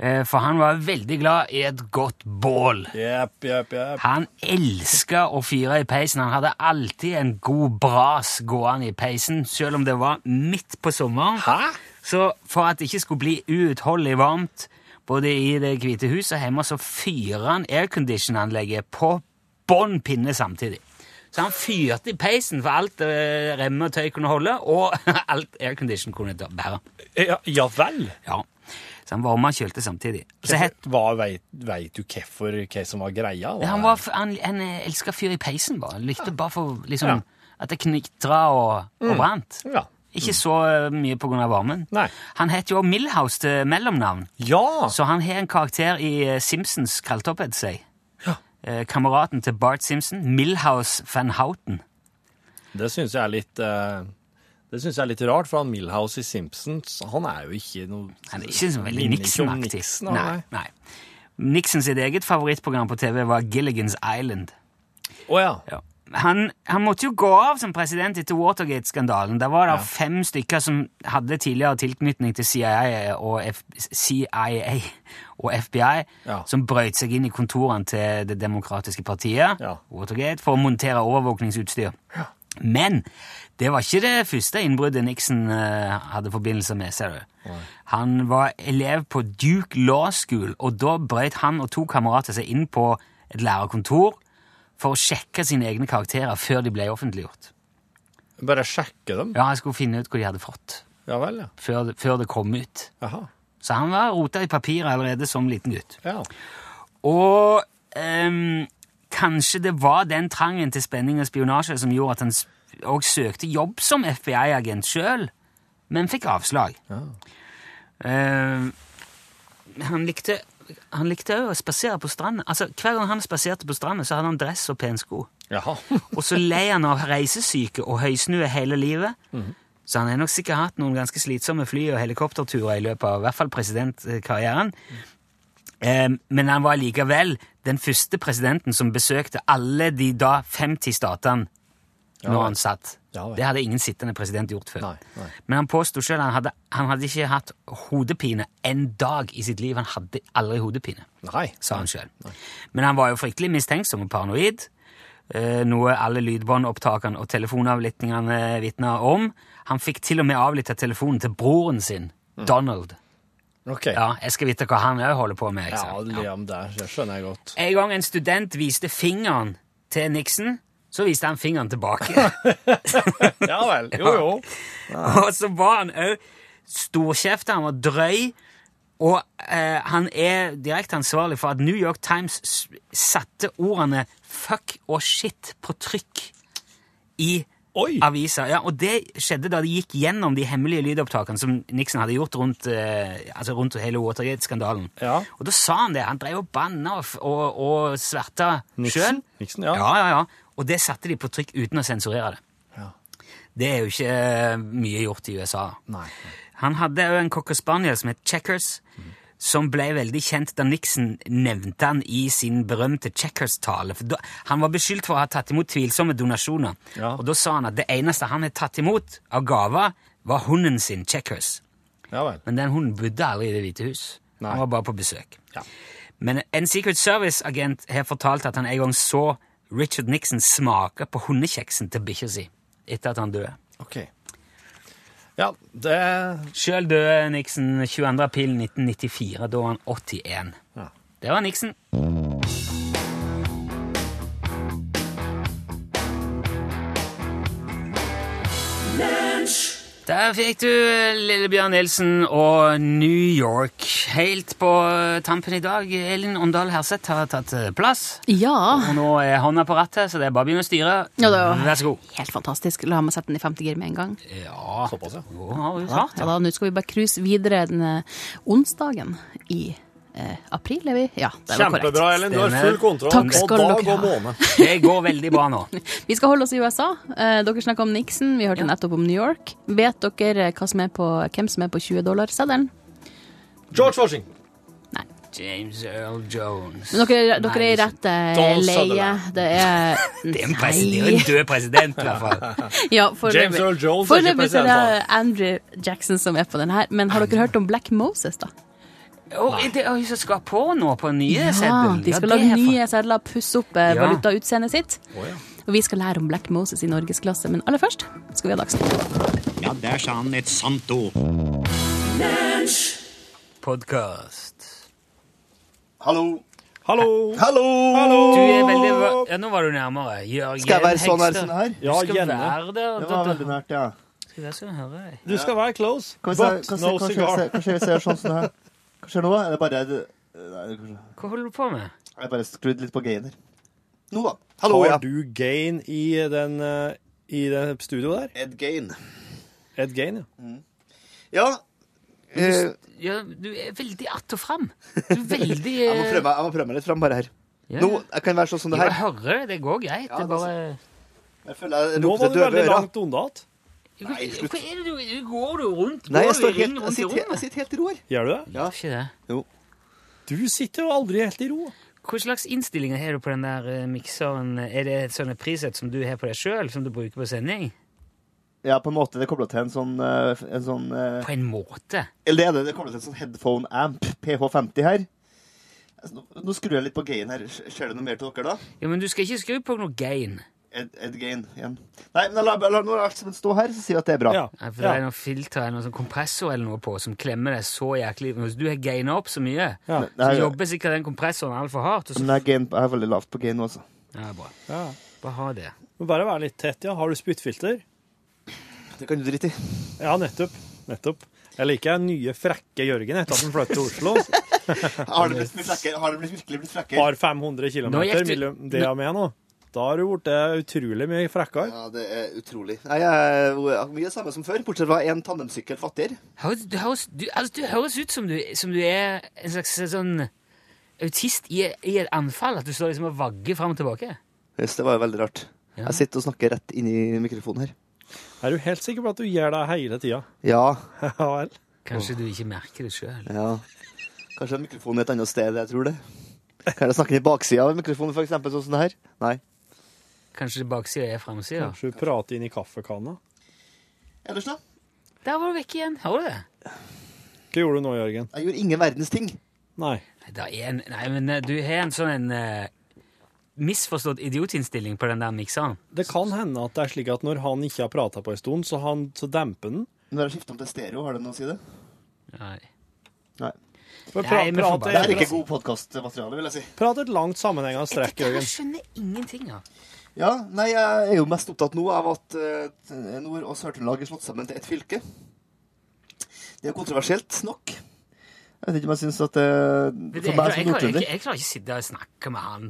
Speaker 3: eh, for han var veldig glad i et godt bål.
Speaker 4: Jepp, jepp, jepp.
Speaker 3: Han elska å fyre i peisen. Han hadde alltid en god bras gående i peisen, selv om det var midt på sommeren.
Speaker 4: Hæ?
Speaker 3: Så for at det ikke skulle bli uutholdelig varmt både i Det hvite huset og hjemme, så fyrer han aircondition-anlegget på bånn pinne samtidig. Så han fyrte i peisen for alt eh, remme og tøy kunne holde, og alt aircondition kunne da bære.
Speaker 4: Ja, ja vel.
Speaker 3: Ja. Så han varma og kjølte samtidig. Så het,
Speaker 4: Hva veit, veit du hvorfor hva som var greia? da?
Speaker 3: han var, f- han, han elska fyr i peisen, bare. Han likte bare for liksom, at det kniktra og, og brant.
Speaker 4: Mm. Ja.
Speaker 3: Ikke så eh, mye på grunn av varmen.
Speaker 4: Nei.
Speaker 3: Han het jo Millhouse til mellomnavn.
Speaker 4: Ja!
Speaker 3: Så han har en karakter i eh, Simpsons kralltoppet seg. Eh, Kameraten til Bart Simpson, Milhouse van Houten.
Speaker 4: Det syns jeg er litt eh, Det synes jeg er litt rart, for han Milhouse i Simpsons, han er jo ikke noe
Speaker 3: Han er ikke så veldig
Speaker 4: Minner ikke om
Speaker 3: Nixon-aktig.
Speaker 4: Nixon,
Speaker 3: nei,
Speaker 4: nei.
Speaker 3: nei. Nixon sitt eget favorittprogram på TV var Gilligan's Island.
Speaker 4: Å ja.
Speaker 3: Ja. Han, han måtte jo gå av som president etter Watergate-skandalen. Der var det fem stykker som hadde tidligere tilknytning til CIA og, F CIA og FBI,
Speaker 4: Ja.
Speaker 3: som brøt seg inn i kontorene til Det demokratiske partiet,
Speaker 4: Ja.
Speaker 3: Watergate, for å montere overvåkningsutstyr. Men det var ikke det første innbruddet Nixon eh, hadde forbindelse med, ser du. Han var elev på Duke Law School, og da brøt han og to kamerater seg inn på et lærerkontor for å sjekke sine egne karakterer før de ble offentliggjort.
Speaker 2: Bare sjekke dem?
Speaker 3: Ja, Han skulle finne ut hva de hadde fått,
Speaker 2: Ja vel, ja.
Speaker 3: før det, før det kom ut.
Speaker 2: Jaha.
Speaker 3: Så han var rota i papiret allerede som liten gutt.
Speaker 2: Ja.
Speaker 3: Og ehm, kanskje det var den trangen til spenning og spionasje som gjorde at han s- også søkte jobb som FBI-agent sjøl, men fikk avslag. Ehm, han likte han likte òg å spasere på stranden. Altså, Hver gang han spaserte på stranden, så hadde han dress og pensko.
Speaker 2: Jaha.
Speaker 3: Og så lei han av reisesyke og høysnue hele livet. Så han har nok sikkert hatt noen ganske slitsomme fly- og helikopterturer i løpet av i hvert fall presidentkarrieren. Eh, Men han var likevel den første presidenten som besøkte alle de da 50 statene når han satt.
Speaker 2: Ja vel.
Speaker 3: Det hadde ingen sittende president gjort før.
Speaker 2: Nei, nei.
Speaker 3: Men han påsto sjøl han hadde, han hadde ikke hatt hodepine en dag i sitt liv. Han hadde aldri hodepine
Speaker 2: Nei.
Speaker 3: sa han sjøl. Men han var jo fryktelig mistenksom og paranoid, eh, noe alle lydbåndopptakene og telefonavlyttingene vitna om. Han fikk til og med avlytta telefonen til broren sin,
Speaker 2: Mm.
Speaker 3: Donald.
Speaker 2: Ok. Ja,
Speaker 3: Ja, jeg skal vite hva han òg holder på med. ikke sant? Ja.
Speaker 2: Liam der. Det skjønner jeg godt.
Speaker 3: En gang en student viste fingeren til Nixon, så viste han fingeren tilbake.
Speaker 2: Ja vel. Jo, jo.
Speaker 3: Og så var han òg storkjeft, han var drøy. Og eh, han er direkte ansvarlig for at New York Times s- satte ordene 'fuck' og 'shit' på trykk i
Speaker 2: Oi.
Speaker 3: avisa. Ja, og det skjedde da de gikk gjennom de hemmelige lydopptakene som Nixon hadde gjort rundt, eh, altså rundt hele Watergate-skandalen.
Speaker 2: Ja.
Speaker 3: Og da sa han det. Han drev og banna og, f- og, og sverta sjøl.
Speaker 2: Nixon, ja.
Speaker 3: Ja, ja, ja. Og det satte de på trykk uten å sensurere det. Det er jo ikke eh, mye gjort i USA.
Speaker 2: Nei.
Speaker 3: Han hadde jo en cocker spaniel som het Checkers, som ble veldig kjent da Nixon nevnte han i sin berømte Checkers-tale. For da, han var beskyldt for å ha tatt imot tvilsomme donasjoner.
Speaker 2: Ja.
Speaker 3: Og da sa han at det eneste han hadde tatt imot av gaver, var hunden sin, Checkers.
Speaker 2: Ja vel.
Speaker 3: Men den hunden bodde aldri i Det hvite hus.
Speaker 2: Nei.
Speaker 3: Han var bare på besøk.
Speaker 2: Ja.
Speaker 3: Men en Secret Service-agent har fortalt at han en gang så Richard Nixon smake på hundekjeksen til bikkja si etter at han døde.
Speaker 2: Ok. Ja, det
Speaker 3: Sjøl døde Nixon 22. april 1994. Da var han 81.
Speaker 2: Ja.
Speaker 3: Det var Nixon. Der fikk du Lillebjørn Nilsen og New York. Helt på eh, tampen i dag. Elin Åndal Herseth har tatt eh, plass.
Speaker 11: Ja.
Speaker 3: Og nå er hånda på rattet, så det er bare å begynne å styre.
Speaker 11: Ah. Ja, det var-
Speaker 3: Vær så god.
Speaker 11: Helt fantastisk. La meg sette den i femte gir med en gang.
Speaker 3: Ja,
Speaker 2: Såpass, ja.
Speaker 3: jo, har du
Speaker 11: Ja,
Speaker 3: klart
Speaker 11: ja
Speaker 3: det.
Speaker 11: da, Nå skal vi bare cruise videre den eh, onsdagen i eh, april, er vi? Ja, det var korrekt.
Speaker 2: Kjempebra, Ellen. Du har full kontroll
Speaker 11: Takk
Speaker 2: på
Speaker 11: skal
Speaker 2: dag
Speaker 11: dere
Speaker 2: og
Speaker 11: ha.
Speaker 2: måned.
Speaker 3: Det går veldig bra nå.
Speaker 11: Vi skal holde oss i USA. Eh, dere snakka om Nixon, vi hørte nettopp om New York. Vet dere eh, hva som er på, hvem som er på 20 dollar-seddelen?
Speaker 2: George Washington.
Speaker 11: Nei.
Speaker 3: James Earl Jones.
Speaker 11: Men dere, dere er i rett eh,
Speaker 2: Donald
Speaker 11: leie.
Speaker 2: Sutherland.
Speaker 11: Det er
Speaker 3: Det er en, president, det er jo en død president, i hvert fall.
Speaker 11: Ja, foreløpig-
Speaker 2: James Earl Jones er ikke
Speaker 11: Foreløpig så er det
Speaker 2: president,
Speaker 11: Andrew Jackson som er på den her. Men har dere hørt om Black Moses, da?
Speaker 3: Og er det er jo som skal på nå, på nye
Speaker 11: Ja,
Speaker 3: seddel.
Speaker 11: de skal
Speaker 3: Ja, det
Speaker 11: lage
Speaker 3: er for-
Speaker 11: nye sedler, pusse opp eh,
Speaker 3: Ja.
Speaker 11: valutautseendet sitt. Og vi skal lære om Black Moses i norgesklasse, men aller først skal vi ha Dagsnytt.
Speaker 12: Ja, der sa han et sant ord.
Speaker 3: Podcast.
Speaker 12: Hallo.
Speaker 2: Hallo.
Speaker 12: Hallo!
Speaker 3: Du er veldig va- Ja, nå var du nærmere. Jørgen
Speaker 12: Skal jeg være sånn her,
Speaker 3: Hegstad.
Speaker 12: sånn her?
Speaker 2: Ja,
Speaker 3: Du skal
Speaker 2: gjerne.
Speaker 3: være der.
Speaker 12: Det
Speaker 3: Da,
Speaker 12: var veldig nært, ja.
Speaker 3: Skal jeg skal høre deg.
Speaker 2: Du skal være close,
Speaker 12: Hva
Speaker 2: but
Speaker 12: skjer hva skjer-
Speaker 2: no
Speaker 12: hva skjer-
Speaker 2: cigar.
Speaker 12: hva skjer hvis jeg gjør sånn sånn her? Hva skjer nå? Er det bare det- Nei, det er kanskje-
Speaker 3: Hva holder du på med?
Speaker 12: Jeg bare skrudd litt på gainer. Nå, da.
Speaker 2: Har du gain i den eh, i det studioet der?
Speaker 12: Ed Gain. Mm.
Speaker 2: Ed Gain, ja.
Speaker 12: Ja. eh,
Speaker 3: Ja, du er veldig att og fram. Du er veldig
Speaker 12: Jeg må prøve meg- jeg må prøve meg litt fram bare her.
Speaker 3: Ja.
Speaker 12: Nå, jeg kan være sånn som det
Speaker 3: Jo, jeg
Speaker 12: her.
Speaker 3: hører det. Det går greit.
Speaker 12: Ja,
Speaker 3: det
Speaker 12: det er
Speaker 3: bare
Speaker 12: Jeg føler jeg
Speaker 2: Nå
Speaker 12: lukter
Speaker 2: var du veldig
Speaker 12: døve ører.
Speaker 2: langt unna igjen.
Speaker 3: Hva er det du Går du rundt?
Speaker 12: Nei, jeg
Speaker 3: Går
Speaker 12: står
Speaker 3: du inn
Speaker 12: helt, jeg
Speaker 3: rundt i
Speaker 12: sitter, he- jeg
Speaker 3: rommet?
Speaker 12: sitter helt i ro her.
Speaker 2: Gjør du det?
Speaker 12: Ja.
Speaker 3: Ikke det.
Speaker 2: Du sitter jo aldri helt i ro.
Speaker 3: Hva slags innstillinger har du på den der eh, mikseren? Er det et sånt preset som du har på deg sjøl, som du bruker på sending?
Speaker 12: Ja, på en måte. Det kobler til en sånn, eh, en sånn eh,
Speaker 3: På en måte.
Speaker 12: Eller er det, det kobler til en sånn headphone amp, PH50 her. Altså, Nå, nå skrur jeg litt på gain her. Ser du noe mer til dere, da?
Speaker 3: Ja, men du skal ikke skru på noe gain.
Speaker 12: Ed, Ed Gein igjen. Nei, men la, la, la, nå la alt sammen stå her, så sier vi at det er bra.
Speaker 3: Nei, for Det er noen filter eller noen sånn kompressor eller noe på som klemmer deg så jæklig Hvis du har gaina opp så mye,
Speaker 12: Ja.
Speaker 3: så jobber sikkert den kompressoren altfor hardt. Og så...
Speaker 12: Men det er gain, jeg er veldig lavt på gain nå, altså.
Speaker 3: Ja, bra. Bare ha det.
Speaker 5: Må bare være litt tett, ja. Har du spyttfilter?
Speaker 12: Det kan du drite i.
Speaker 5: Ja, nettopp. Nettopp. Jeg liker den nye frekke Jørgen etter at han flyttet til Oslo.
Speaker 12: Har det blitt mye frekkere? Har det blitt virkelig blitt frekkere?
Speaker 5: Har 500 km
Speaker 12: Nå gikk du-
Speaker 5: mellom det jeg med nå. Da har du blitt eh, utrolig mye frekkere.
Speaker 12: Ja, det er utrolig. Nei, jeg er mye det samme som før, bortsett fra en tandemsykkel fattigere.
Speaker 3: Høres, du, høres, du, altså, du høres ut som du, som du er en slags sånn autist i, i et anfall. At du står liksom og vagger fram og tilbake.
Speaker 12: Yes, det var jo veldig rart. Jeg sitter og snakker rett inn i mikrofonen her.
Speaker 5: Er du helt sikker på at du gjør det hele tida?
Speaker 12: Ja.
Speaker 5: Ja vel.
Speaker 3: Kanskje du ikke merker det sjøl.
Speaker 12: ja. Kanskje mikrofonen er et annet sted, jeg tror det. Kan jeg snakke i baksida av mikrofonen, for eksempel, sånn som det her? Nei.
Speaker 3: Kanskje baksida er framsida.
Speaker 5: Kanskje du prater inn i kaffekanna.
Speaker 12: Ellers, da?
Speaker 3: Der var du vekke igjen. Hører du det?
Speaker 5: Hva gjorde du nå, Jørgen?
Speaker 12: Jeg gjorde ingen verdens ting.
Speaker 5: Nei.
Speaker 3: Det er en, nei, men eh, du har en sånn en eh, misforstått idiotinnstilling på den der mikseren.
Speaker 5: Det kan hende at det er slik at når han ikke har prata på en stund, så, han, så demper den.
Speaker 12: Når jeg skifter om til stereo, har det noe å si det?
Speaker 3: Nei.
Speaker 12: Nei.
Speaker 5: Bare pra-
Speaker 12: men for
Speaker 5: prate-
Speaker 12: bare- det er ikke god podkastmateriale, vil jeg si.
Speaker 5: Prat et langt sammenhengende strekk, Jørgen.
Speaker 3: skjønner ingenting av.
Speaker 12: Ja, nei, jeg er jo mest opptatt nå av at eh, Nord- og Sør-Trøndelag er slått sammen til ett fylke. Det er jo kontroversielt nok. Jeg vet ikke om jeg syns at eh,
Speaker 3: Men det- Jeg, klarer- jeg,
Speaker 12: For meg som
Speaker 3: klarer ikke-
Speaker 12: nordtrønder
Speaker 3: jeg klarer ikke å sitte og snakke med han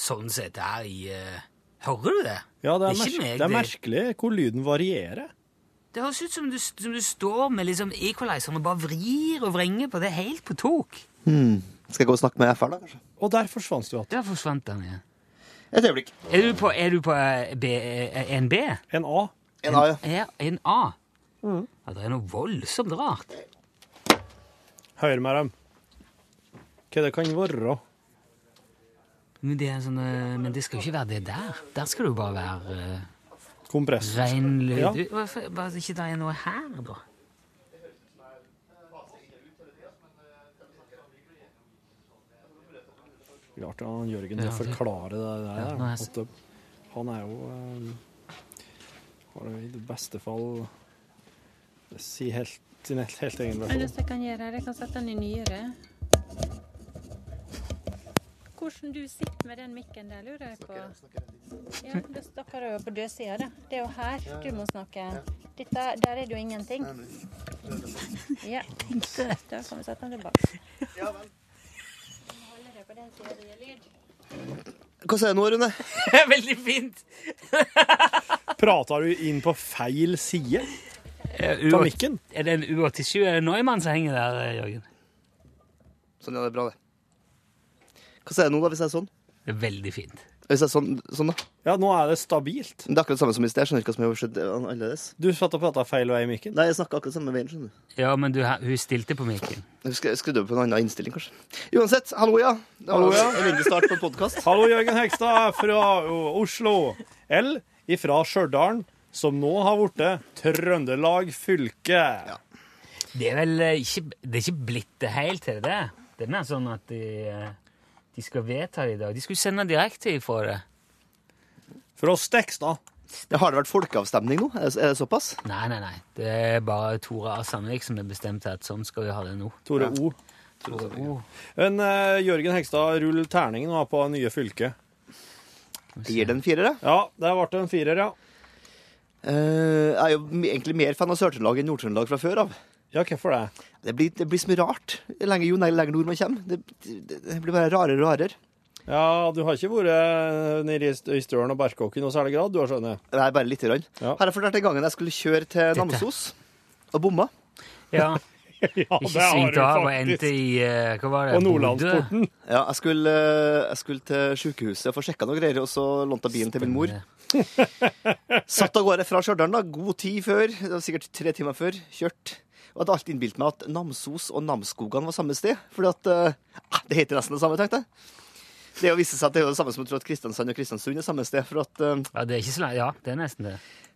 Speaker 3: sånn sett her i eh, Hører du det?
Speaker 5: Ja, det er,
Speaker 3: ikke
Speaker 5: merk-
Speaker 3: meg,
Speaker 5: det er merkelig hvor lyden varierer.
Speaker 3: Det høres ut som du, som du står med liksom equalizeren og bare vrir og vrenger på det helt på tok.
Speaker 12: Hmm. Skal jeg gå og snakke med FR, da, kanskje?
Speaker 5: Og der forsvant du igjen.
Speaker 3: Der forsvant den igjen.
Speaker 12: Et øyeblikk.
Speaker 3: Er du på, er du på eh, B, eh, en B?
Speaker 5: En A.
Speaker 12: En A, ja.
Speaker 3: en A. Ja, det er noe voldsomt rart.
Speaker 5: Hør med dem. Hva det kan være.
Speaker 3: Men det, er sånn, eh, men det skal jo ikke være det der. Der skal det jo bare være eh,
Speaker 5: Kompress.
Speaker 3: Rein lyd.
Speaker 5: Ja.
Speaker 3: Du, Hvorfor bare ikke det er noe her, da?
Speaker 5: Klart han Jørgen
Speaker 3: Ja,
Speaker 5: må
Speaker 3: det-
Speaker 5: forklare det der.
Speaker 3: Ja, nå er jeg s-
Speaker 5: at det- han er jo eh, Har jo i beste fall si helt, sin helt, helt egen versjon.
Speaker 13: Ellers jeg kan gjøre her, jeg kan sette den i nyere. Hvordan du sitter med den mikken der, lurer jeg på. Ja, da snakker jeg jo på dødsida, da. Det er jo her du må snakke. Dette, der er det jo ingenting. Ja. Da kan vi sette den tilbake. Ja vel.
Speaker 12: Hva sier du nå, Rune?
Speaker 3: Veldig fint!
Speaker 5: Prata du inn på feil side? Ta mikken.
Speaker 3: Eh, Er det en U87 Neumann som henger der, eh, Jørgen?
Speaker 12: Sånn, ja, det er bra, det. Hva sier du nå, da, hvis jeg er sånn?
Speaker 3: Det er veldig fint.
Speaker 12: Hvis jeg er sånn, sånn da?
Speaker 5: Ja, nå er det stabilt.
Speaker 12: Det er akkurat det samme som i sted. Jeg skjønner ikke hva som har skjedd annerledes.
Speaker 5: Du satt og prata feil vei i mikken?
Speaker 12: Nei, jeg snakka akkurat samme veien, skjønner du.
Speaker 3: Ja, men du, hun stilte på mikken.
Speaker 12: Jeg skru- skrudde opp på en annen innstilling, kanskje. Uansett, hallo, ja. Det var
Speaker 5: Hallo, ja.
Speaker 12: En ryddig start på en podkast.
Speaker 5: Hallo, Jørgen Hegstad fra O- Oslo. L ifra Stjørdal, som nå har blitt Trøndelag fylke.
Speaker 3: Det er vel eh, ikke, det er ikke blitt det helt til det. Det er mer sånn at de, eh, de skal vedta det i dag. De skulle sende direkte ifra det.
Speaker 5: For oss tekster.
Speaker 12: Har det vært folkeavstemning nå? Er det- Er det såpass?
Speaker 3: Nei, nei, nei. Det er bare Tore A. Sandvik som har bestemt at sånn skal vi ha det nå.
Speaker 5: Tore O.
Speaker 3: Tore O.
Speaker 5: Men eh, Jørgen Hegstad, rull terningen nå på nye fylket.
Speaker 12: Gir det en firer, da?
Speaker 5: Ja, der ble det en firer, ja.
Speaker 12: Eh, jeg er jo m- egentlig mer fan av Sør-Trøndelag enn Nord-Trøndelag fra før av.
Speaker 5: Ja, hvorfor det?
Speaker 12: Det blir, det blir så mye rart lenger, jo lenger nord man kommer. Det, det, det blir bare rarere og rarere.
Speaker 5: Ja, du har ikke vært eh, nede i St- i Støren og Barkåk i noe særlig grad, du har skjønner?
Speaker 12: Nei, bare lite grann. Har jeg fortalt den gangen jeg skulle kjøre til Namsos og bomma?
Speaker 3: Ja.
Speaker 12: det
Speaker 3: ikke
Speaker 12: har
Speaker 3: svingte
Speaker 12: du
Speaker 3: av og
Speaker 12: faktisk.
Speaker 3: endte i eh, Hva var det? Bodø?
Speaker 12: Ja, jeg skulle, eh, jeg skulle til sykehuset og få sjekka noen greier, og så lånte jeg bilen til min mor. Satt av gårde fra Stjørdal, da. God tid før. Det var sikkert tre timer før. Kjørt. Og hadde alltid innbilt meg at Namsos og Namsskogan var samme sted. Fordi at eh, Det heter nesten det samme, tenkte jeg. Det å vise seg at det er jo det samme som å tro at Kristiansand og Kristiansund er samme sted. For at eh,
Speaker 3: Ja, det er ikke så langt. Ja, det er nesten det.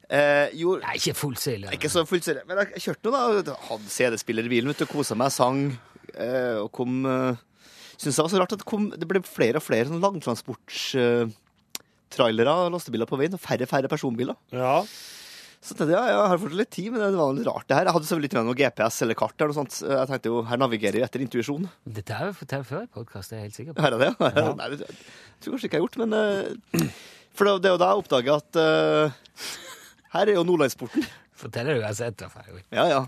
Speaker 12: Eh, jo,
Speaker 3: Nei, ikke fullt så ille.
Speaker 12: Ikke så fullt så ille. Men jeg kjørte nå, da. Hadde CD-spiller i bilen, vet du. Kosa meg, sang. Eh, og kom eh, Syns det var så rart at det, kom, det ble flere og flere sånn langtransports... Eh, trailere og lastebiler på veien, og færre færre personbiler. Så tenkte jeg, ja, jeg har fortsatt litt tid, men det var litt rart det her. Jeg hadde selvfølgelig ikke med noe GPS eller kart eller noe sånt. Jeg tenkte jo, her navigerer jeg etter intuisjon.
Speaker 3: Dette har jeg fortalt før i podkast, det er jeg helt sikker på.
Speaker 12: Her er det, ja. Nei, det jeg tror kanskje ikke jeg har gjort, men eh, For det er jo da jeg oppdaga at eh, her er jo Nordlandsporten.
Speaker 3: Fortell det uansett, da. Feirik.
Speaker 12: Ja, ja.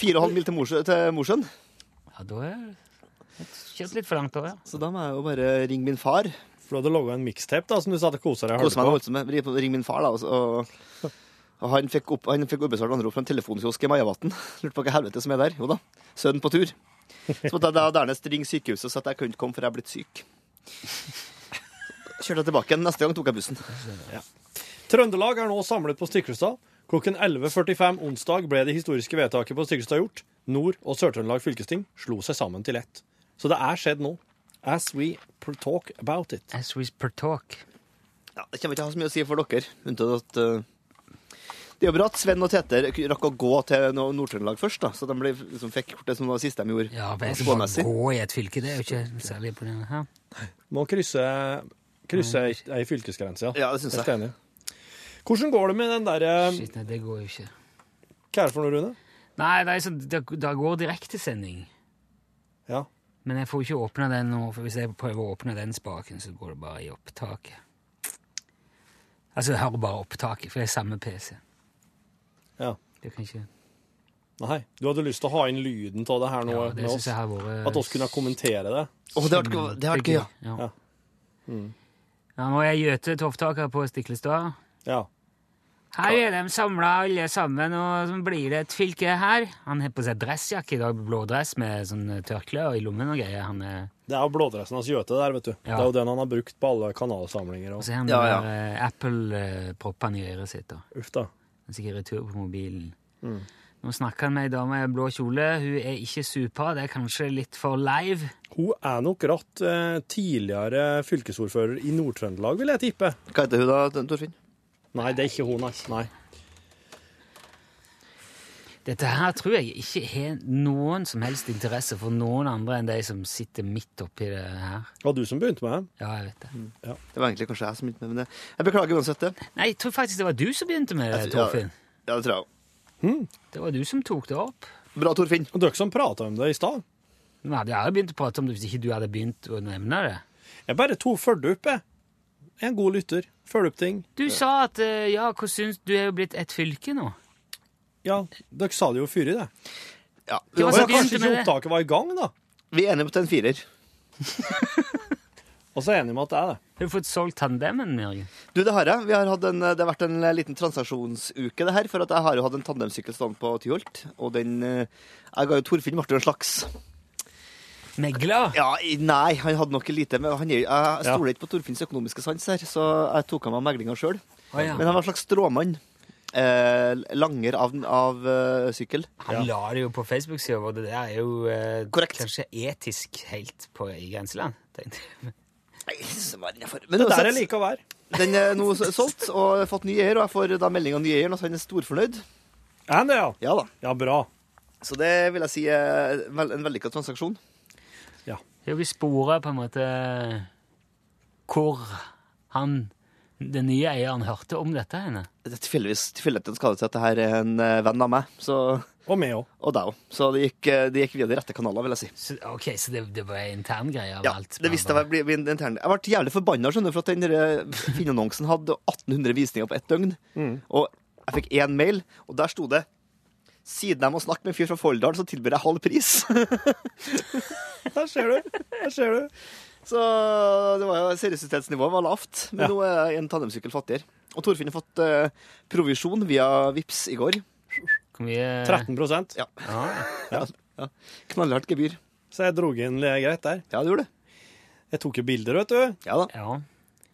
Speaker 12: Fire og en halv mil til Mosjø- til Mosjøen.
Speaker 3: Ja, da er Kjørt litt for langt over, ja.
Speaker 12: Så da må jeg jo bare ringe min far.
Speaker 5: For du hadde laga en mixtape da, som du satt og kosa deg og
Speaker 12: Kose
Speaker 5: hørte
Speaker 12: meg og
Speaker 5: på.
Speaker 12: holdt med. Ring min far, da. og så- Og, og han fikk, opp, han fikk ubesvart anrop fra en telefonkiosk i Majavatn. Lurte på hva helvete som er der. Jo da, sønnen på tur. Så måtte jeg da dernest ringe sykehuset og si at jeg kunne ikke komme, for jeg er blitt syk. Kjørte jeg tilbake igjen. Neste gang tok jeg bussen.
Speaker 5: Ja. Trøndelag er nå samlet på Stiklestad. Klokken 11.45 onsdag ble det historiske vedtaket på Stiklestad gjort. Nord- og Sør-Trøndelag fylkesting slo seg sammen til ett. Så det er skjedd nå. As we per talk about it.
Speaker 3: As we per talk.
Speaker 12: Ja, det kommer ikke til å ha så mye å si for dere, unntatt at eh, det er jo bra at Sven og Teter rakk å gå til no- Nord-Trøndelag først, da, så de ble, liksom, fikk gjort det som var det siste de gjorde.
Speaker 3: Ja, men jeg skal
Speaker 12: Spåmessig.
Speaker 3: bare gå i et fylke, det er jo ikke særlig imponerende. Ja.
Speaker 5: Må krysse, krysse ei fylkesgrense,
Speaker 12: Ja, det synes jeg.
Speaker 5: Helt enig. Hvordan går det med den derre
Speaker 3: Shit, nei, det går jo ikke.
Speaker 5: Hva er det for noe, Rune?
Speaker 3: Nei, det, er så, det, det går direktesending.
Speaker 5: Ja.
Speaker 3: Men jeg får ikke åpna den nå, for hvis jeg prøver å åpne den spaken, så går det bare i opptaket. Altså, jeg hører bare opptaket, for det er samme PC.
Speaker 5: Ja.
Speaker 3: Det kan ikke...
Speaker 5: Nei. Du hadde lyst til å ha inn lyden av det her nå
Speaker 3: Ja, det
Speaker 5: med
Speaker 3: synes
Speaker 5: oss?
Speaker 3: jeg har vært-
Speaker 5: At oss kunne kommentere det?
Speaker 12: Å, det hadde vært- det hadde vært gøy, ja.
Speaker 3: Ja.
Speaker 5: Mm.
Speaker 3: Ja, nå er Gjøte Toftaker på Stiklestad.
Speaker 5: Ja.
Speaker 3: Her er de samla alle sammen, og så blir det et fylke her. Han har på seg dressjakke i dag, blå dress med sånn tørkle og i lommen og greier. Han eh, er
Speaker 5: Det er jo blådressen hans Gjøte der, vet du. Det er jo den han har brukt på alle kanalsamlinger. Og...
Speaker 3: Og så har han de der, eh, Apple-proppene i øret sitt. da.
Speaker 5: Uff da.
Speaker 3: Han er sikkert retur på mobilen.
Speaker 5: Mm.
Speaker 3: Nå snakker han med ei dame i blå kjole. Hun er ikke super, det er kanskje litt for live.
Speaker 5: Hun er nok ratt eh, tidligere fylkesordfører i Nord-Trøndelag, vil jeg tippe.
Speaker 12: Hva heter hun da, Torfinn?
Speaker 5: Nei, det er ikke hun, nei. nei.
Speaker 3: Dette her tror jeg ikke har noen som helst interesse for noen andre enn de som sitter midt oppi det her.
Speaker 5: Det var du som begynte med det. Mm.
Speaker 3: Ja, jeg vet det.
Speaker 12: Det var egentlig kanskje jeg som begynte med det. Jeg beklager uansett det.
Speaker 3: Nei, jeg tror faktisk det var du som begynte med det,
Speaker 12: Jeg tror-
Speaker 3: Torfinn.
Speaker 12: Altså, Ja, det tror jeg òg.
Speaker 3: Det var du som tok det opp.
Speaker 12: Bra, Torfinn.
Speaker 5: Og dere som prata om det i stad.
Speaker 3: Vi hadde jeg begynt å prate om det hvis ikke du hadde begynt å nevne det.
Speaker 5: Jeg bare to følger opp, jeg. Jeg er en god lytter. Følger opp ting.
Speaker 3: Du sa at eh, ja, hva syns du er jo blitt et fylke nå?
Speaker 5: Ja, dere sa det jo før i det.
Speaker 12: Ja,
Speaker 5: Men
Speaker 3: var så
Speaker 5: kanskje
Speaker 3: begynte med
Speaker 5: ikke
Speaker 3: det.
Speaker 5: opptaket var i gang, da.
Speaker 12: Vi er enige om at det er en firer.
Speaker 5: Og så er jeg enig med at det er det.
Speaker 3: Har du fått solgt tandemen, Jørgen?
Speaker 12: Du, det har jeg. Vi har hatt en, eh, det har vært en liten transaksjonsuke, det her. For at jeg har jo hatt en tandemsykkel stående på Tyholt. Og den eh, Jeg ga jo Torfinn Martin en slags.
Speaker 3: Megla?
Speaker 12: Ja, i- nei, han hadde nok lite. Men han, er jo- jeg stoler ikke på Torfinns økonomiske sans her, så jeg tok av meg meglinga sjøl.
Speaker 3: Å, ja.
Speaker 12: Men han var en slags stråmann. Eh, langer av, av eh, sykkel.
Speaker 3: Han la det jo på Facebook-sida vår. Det der er jo eh, kanskje etisk helt på i grenseland. tenkte jeg.
Speaker 12: Men
Speaker 5: Det der
Speaker 12: uansett-
Speaker 5: er like å være.
Speaker 12: Den er nå s- solgt, og jeg har fått ny eier, og jeg får da melding av ny eier, at han er storfornøyd.
Speaker 5: Er han det, ja?
Speaker 12: Ja da.
Speaker 5: Ja, bra.
Speaker 12: Så det vil jeg si er vel- en vellykka transaksjon.
Speaker 3: Ja, vi sporer på en måte hvor han, den nye eieren, hørte om dette henne.
Speaker 12: Det er tilfeldigvis tilfeldigheten skal det til at det her er en eh, venn av meg, så,
Speaker 5: Og meg òg.
Speaker 12: og deg òg. Så det gikk, eh, det gikk via de rette kanalene, vil jeg si.
Speaker 3: Så, ok, så det, det var interngreier?
Speaker 12: Ja, det visste jeg ble, ble intern. Jeg ble jævlig forbanna, skjønner du, for at den der Finn-annonsen hadde 1800 visninger på ett døgn. Og jeg fikk én mail, og der sto det siden jeg må snakke med en fyr fra Folldalen, så tilbyr jeg halv pris.
Speaker 5: Der ser du. Der ser du.
Speaker 12: Så det var jo seriøsitetsnivået var lavt, men
Speaker 5: Ja.
Speaker 12: nå er en tandemsykkel fattigere. Og Torfinn har fått eh, provisjon via Vips i går.
Speaker 3: Hvor mye
Speaker 5: 13
Speaker 12: Ja.
Speaker 3: Ja,
Speaker 12: Ja. Knallhardt gebyr.
Speaker 5: Så jeg drog inn litt greit der.
Speaker 12: Ja, du gjorde det.
Speaker 5: Jeg tok jo bilder, vet du.
Speaker 12: Ja da.
Speaker 3: ja,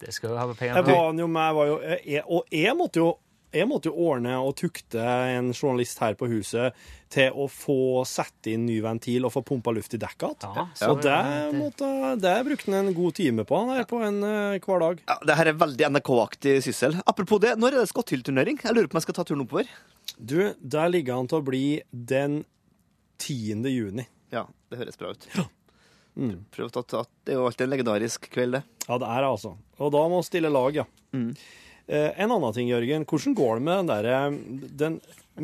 Speaker 3: det skal du ha på
Speaker 5: Jeg
Speaker 3: penger på.
Speaker 5: var jo med, jeg var jo, jeg, og jeg måtte jo jeg måtte jo ordne og tukte en journalist her på huset til å få sette inn ny ventil og få pumpa luft i dekka igjen.
Speaker 3: så-
Speaker 5: og det, måtte, det brukte han en god time på han her på en eh, hver dag.
Speaker 12: Ja, det her er veldig NRK-aktig syssel. Apropos det, når er det skotthyllturnering? Jeg lurer på om jeg skal ta turen oppover.
Speaker 5: Du, der ligger han til å bli den 10. juni. Mm.
Speaker 12: Ja, det høres bra ut. Prøvd at, at Det er jo alltid en legendarisk kveld, det.
Speaker 4: Ja, det er det altså. Og da må vi stille lag, ja.
Speaker 12: Mm.
Speaker 4: Eh, en annen ting, Jørgen. Hvordan går det med den,
Speaker 5: eh,
Speaker 4: der, den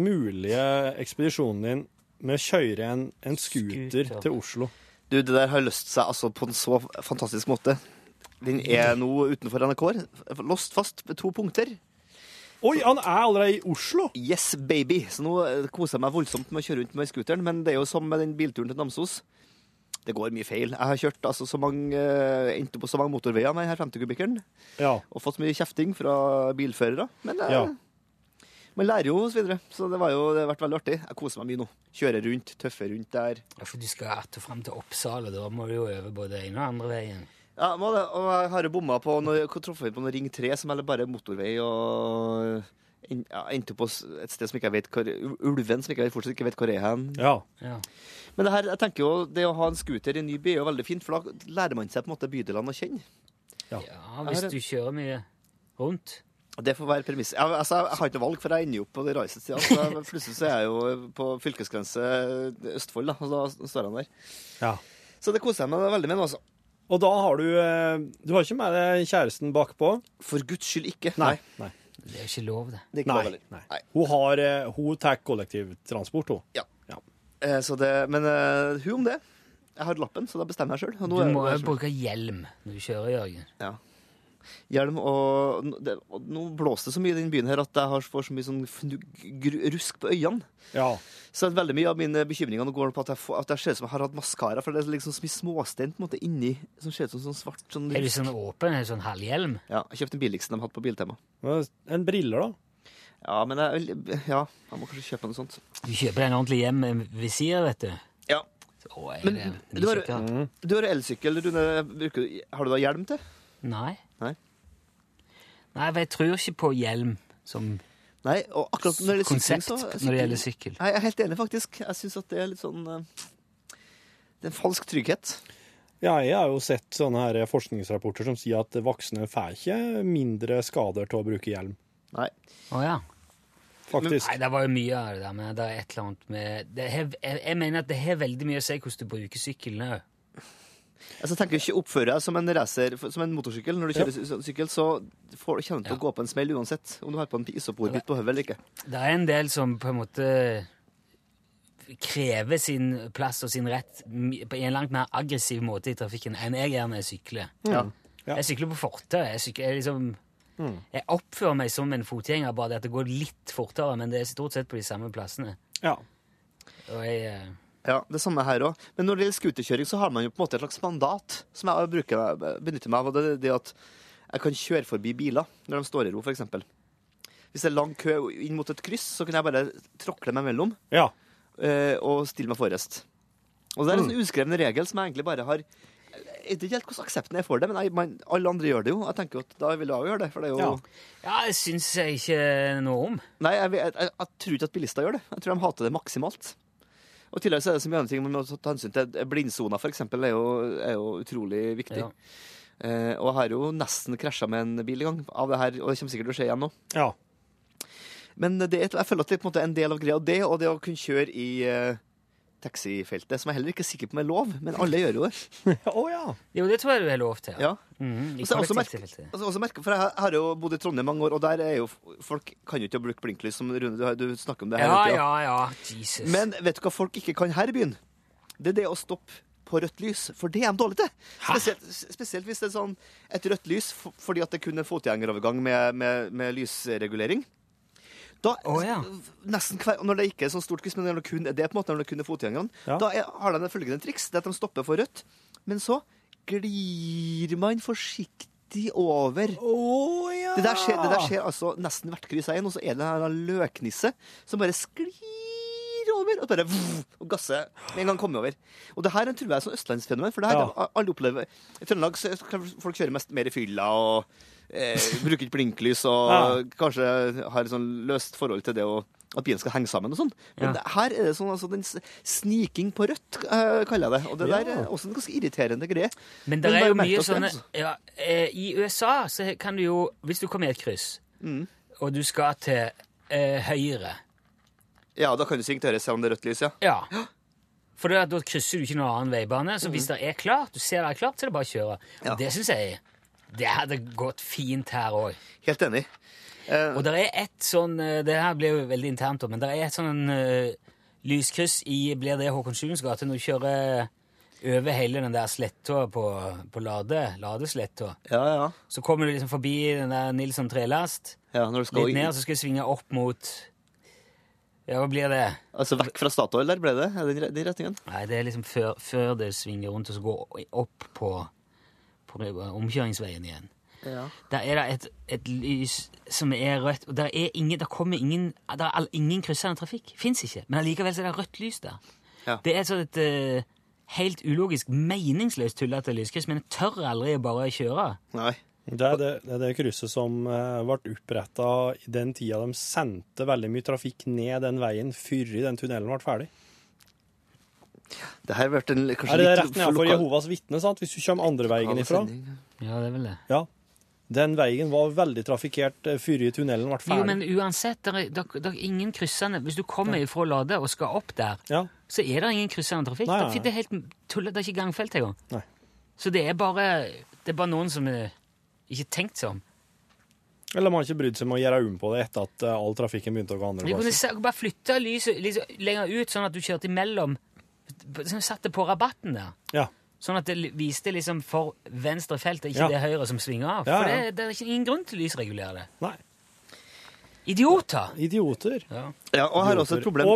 Speaker 4: mulige ekspedisjonen din med å kjøre en, en scooter
Speaker 12: Scooter.
Speaker 4: til Oslo?
Speaker 12: Du, det der har løst seg altså på en så fantastisk måte. Den er nå utenfor NRK. Låst fast med to punkter.
Speaker 4: Oi, han er allerede i Oslo?
Speaker 12: Yes, baby. Så nå eh, koser jeg meg voldsomt med å kjøre rundt med scooteren, men det er jo som med den bilturen til Namsos. Det går mye feil. Jeg har kjørt altså, så mange, eh, endt opp på så mange motorveier med denne 50-kubikkeren,
Speaker 4: Ja.
Speaker 12: og fått mye kjefting fra bilførere, men eh,
Speaker 4: Ja.
Speaker 12: man lærer jo osv. Så, videre. så det, var jo, det har vært veldig artig. Jeg koser meg mye nå. Kjører rundt, tøffer rundt der.
Speaker 3: Ja, for du skal att og fram til Oppsal, og da må du jo over både den ene og andre veien.
Speaker 12: Ja, må det. Og jeg har jo bomma på noe, hva traff vi på noe Ring 3 som eller bare motorvei og en- ja, endte på s- et sted som ikke jeg vet hvor Ulven, som ikke jeg fortsatt ikke vet hvor er hen.
Speaker 3: Ja.
Speaker 12: Men det her, jeg tenker jo, det å ha en scooter i en ny by er jo veldig fint, for da lærer man seg på en måte bydelene å kjenne.
Speaker 3: Ja, hvis du kjører mye rundt.
Speaker 12: Det får være premiss. Jeg, altså, jeg har ikke noe valg, for jeg ender jo opp på de rareste stedene. Så jeg- plutselig så er jeg jo på fylkesgrense Østfold, da, og da står han der.
Speaker 4: Ja.
Speaker 12: Så det koser jeg meg veldig med nå, altså.
Speaker 4: Og da har du eh, Du har ikke med deg kjæresten bakpå?
Speaker 12: For guds skyld ikke.
Speaker 4: Nei. Nei.
Speaker 3: Det er jo ikke lov, det.
Speaker 12: Det er ikke lov
Speaker 4: Nei.
Speaker 12: heller.
Speaker 4: Nei. Hun har eh, Hun tar kollektivtransport, hun.
Speaker 12: Ja. Eh, Så det, men eh, hun om det. Jeg har lappen, så da bestemmer jeg sjøl.
Speaker 3: Du må
Speaker 4: eh,
Speaker 3: jo bruke hjelm når du kjører, Jørgen.
Speaker 12: Ja. Hjelm og, n- det, og Nå blåser det så mye i den byen her at jeg har får så mye sånn fnugg- gru- rusk på øynene. Så veldig mye av mine bekymringer nå går på at jeg, får, at jeg ser ut som jeg har hatt maskara, for det er liksom så mye småstein på en måte inni som ser ut som sånn svart sånn
Speaker 3: Er du
Speaker 12: rusk.
Speaker 3: sånn åpen, en sånn halvhjelm?
Speaker 12: Ja, jeg kjøpte den billigste de hadde på Biltema.
Speaker 4: En briller, da?
Speaker 12: Ja, men jeg, ja, jeg må kanskje kjøpe noe sånt.
Speaker 3: Du kjøper deg en ordentlig hjelm med visir, vet du.
Speaker 12: Ja.
Speaker 3: Å, er
Speaker 12: Men
Speaker 3: det
Speaker 12: du har,
Speaker 4: Mm.
Speaker 12: du har elsykkel, Rune. Bruker, du- har du da hjelm til?
Speaker 3: Nei.
Speaker 12: Nei.
Speaker 3: Nei, for jeg tror ikke på hjelm som
Speaker 12: Nei, og akkurat når det gjelder
Speaker 3: konsept
Speaker 12: sykling, så-
Speaker 3: når det gjelder sykkel.
Speaker 12: Nei, jeg er helt enig, faktisk. Jeg syns at det er litt sånn eh, Det er en falsk trygghet.
Speaker 4: Ja, jeg har jo sett sånne her forskningsrapporter som sier at voksne får ikke mindre skader til å bruke hjelm.
Speaker 12: Nei.
Speaker 3: Å ja.
Speaker 4: Faktisk.
Speaker 3: Nei, det var jo mye av det der, men det er et eller annet med det har, jeg, jeg mener at det har veldig mye å si hvordan du bruker sykkelen òg.
Speaker 12: Altså, tenker ikke Oppfør deg som en racer, som en motorsykkel når du
Speaker 3: Ja.
Speaker 12: kjører sy- sykkel, så får, kommer du til å gå på en smell uansett om du har på en isoporbit på hodet eller ikke.
Speaker 3: Det er en del som på en måte krever sin plass og sin rett m- på en langt mer aggressiv måte i trafikken enn jeg gjør når jeg sykler.
Speaker 4: Ja.
Speaker 3: Jeg sykler på fortau. Jeg, sykler- jeg, liksom, jeg oppfører meg som en fotgjenger, bare det at det går litt fortere, men det er stort sett på de samme plassene.
Speaker 4: Ja.
Speaker 3: Og jeg, eh,
Speaker 12: Ja, det samme her òg. Men når det gjelder scooterkjøring, så har man jo på en måte et slags mandat som jeg bruker, benytter meg av. og Det er det at jeg kan kjøre forbi biler når de står i ro, f.eks. Hvis det er lang kø inn mot et kryss, så kan jeg bare tråkle meg mellom eh, og stille meg forrest. Og det er en sånn uskreven regel som jeg egentlig bare har Jeg vet ikke helt hvordan aksepten er for det, men jeg, man, alle andre gjør det jo. Jeg tenker jo at da vil jeg òg gjøre det. For det er jo
Speaker 3: Ja. ja, det syns jeg ikke noe om.
Speaker 12: Nei, jeg, jeg, jeg, jeg tror ikke at bilister gjør det. Jeg tror de hater det maksimalt. Og i tillegg så er det så mye andre ting man må ta hensyn til. Eh, Blindsona, for eksempel, er jo, er jo utrolig viktig.
Speaker 3: Ja.
Speaker 12: Eh, og jeg har jo nesten krasja med en bil i gang av det her, og det kommer sikkert til å skje igjen nå.
Speaker 4: Ja.
Speaker 12: Men det, er et- jeg føler at det er på en måte en del av greia, og det, og det å kunne kjøre i eh, taxifeltet, som jeg heller ikke er sikker på om er lov, men alle gjør jo det.
Speaker 4: Å ja.
Speaker 3: Jo, det tror jeg du er lov til.
Speaker 12: Ja.
Speaker 3: Mhm, i
Speaker 12: Og så er jeg også
Speaker 3: kollektivfeltet.
Speaker 12: Altså, også merke, for jeg har- har jo bodd i Trondheim mange år, og der er jo folk kan jo ikke bruke blinklys, som Rune, du, har- du snakker om det her.
Speaker 3: Ja,
Speaker 12: hele tiden.
Speaker 3: ja, ja. Jesus.
Speaker 12: Men vet du hva folk ikke kan her i byen? Det er det å stoppe på rødt lys, for det er de dårlige til. Spesielt, spesielt hvis det er sånn et rødt lys f- fordi at det kun er fotgjengerovergang med, med, med lysregulering. Da, nesten hver, når det ikke er sånn stort kryss, men når det kun er det på en måte, når det kun er fotgjengerne, da er, har de det følgende triks. Det er at de stopper for rødt, men så glir man forsiktig over. det, der skjer, det der skjer altså nesten hvert kryss jeg er i, og så er det en løknisse som bare sklir glir over, og bare vuv, og gasser med en gang kommer over. Og det her tror jeg er sånn østlandsfenomen, for det her
Speaker 4: Ja.
Speaker 12: det alle opplever. I Trøndelag så kan folk kjøre mest mer i fylla og eh, bruker ikke blinklys og kanskje har et sånn løst forhold til det å at bilen skal henge sammen og sånn. Men
Speaker 4: Ja.
Speaker 12: det, her er det sånn altså, den s- sniking på rødt, eh, kaller jeg det. Og det der
Speaker 3: Ja.
Speaker 12: er også en ganske irriterende greie.
Speaker 3: Men det
Speaker 12: bare
Speaker 3: er jo
Speaker 12: merk
Speaker 3: mye
Speaker 12: oss det,
Speaker 3: sånne
Speaker 12: altså.
Speaker 3: ja, eh, I USA så kan du jo Hvis du kommer i et kryss,
Speaker 12: Mm.
Speaker 3: og du skal til eh, høyre
Speaker 12: Ja, da kan du synge til høyre selv om det er rødt lys, ja.
Speaker 3: Ja. For det, at da krysser du ikke noen annen veibane. Så
Speaker 12: Mhm.
Speaker 3: hvis det er klart, du ser det er klart, så er det bare å kjøre. Og det syns jeg det hadde gått fint her òg.
Speaker 12: Helt enig. Eh,
Speaker 3: og det er ett sånn eh, Det her blir jo veldig internt, da, men det er et sånn eh, lyskryss i Blir det Håkonshulms gate når du kjører over hele den der sletta på, på Lade, Ladesletta. Så kommer du liksom forbi den der Nilsson trelast.
Speaker 12: Ja, når du skal
Speaker 3: Litt
Speaker 12: inn-
Speaker 3: ned, så skal du svinge opp mot Ja, hva blir det?
Speaker 12: Altså vekk fra Statoil der ble det? Er det den- den retningen?
Speaker 3: Nei, det er liksom før, før det svinger rundt og så går i- opp på, på omkjøringsveien igjen.
Speaker 12: Ja.
Speaker 3: Der er det et, et lys som er rødt, og der, er ingen, der kommer ingen, der er all- ingen kryssende trafikk. Fins ikke. Men allikevel så er det rødt lys der. Det er sånn et eh, helt ulogisk, meningsløst tullete lyskryss, men jeg tør aldri bare å kjøre.
Speaker 12: Nei.
Speaker 5: Det er det, det, er det krysset som eh, ble oppretta i den tida de sendte veldig mye trafikk ned den veien før den tunnelen ble ferdig.
Speaker 12: Det her ble en kanskje
Speaker 5: er det
Speaker 12: litt
Speaker 5: rett nedenfor
Speaker 12: lokal-
Speaker 5: Jehovas vitne, sant? hvis du kommer andre veien
Speaker 12: Lokal
Speaker 5: ifra?
Speaker 12: sending,
Speaker 3: Ja, det er vel det.
Speaker 5: Ja. Den veien var veldig trafikkert eh, før tunnelen ble ferdig.
Speaker 3: Jo, men uansett, der er, der, der er ingen kryssende Hvis du kommer ifra Lade og skal opp der, så er det ingen kryssende trafikk. Det,
Speaker 5: Nei, nei.
Speaker 3: det er helt tullet, det er ikke gangfelt
Speaker 5: Nei.
Speaker 3: engang. Så det er bare Det er bare noen som eh, ikke tenkt seg om.
Speaker 5: Eller man har ikke brydd seg med å gjøre om på det etter at eh, all trafikken begynte å gå andre
Speaker 3: Vi kunne
Speaker 5: plasser.
Speaker 3: se- bare flytte lyset liksom, lenger ut, sånn at du kjørte imellom Sånn Satt det på rabatten der.
Speaker 5: Ja.
Speaker 3: Sånn at det li- viste liksom for venstre felt, ikke
Speaker 5: Ja.
Speaker 3: det høyre som svinger av.
Speaker 5: Ja,
Speaker 3: For
Speaker 5: ja.
Speaker 3: det, det er ikke ingen grunn til å lysregulere det.
Speaker 5: Nei.
Speaker 3: Idioter!
Speaker 5: Idioter.
Speaker 3: Ja.
Speaker 12: Ja, og her er også et problem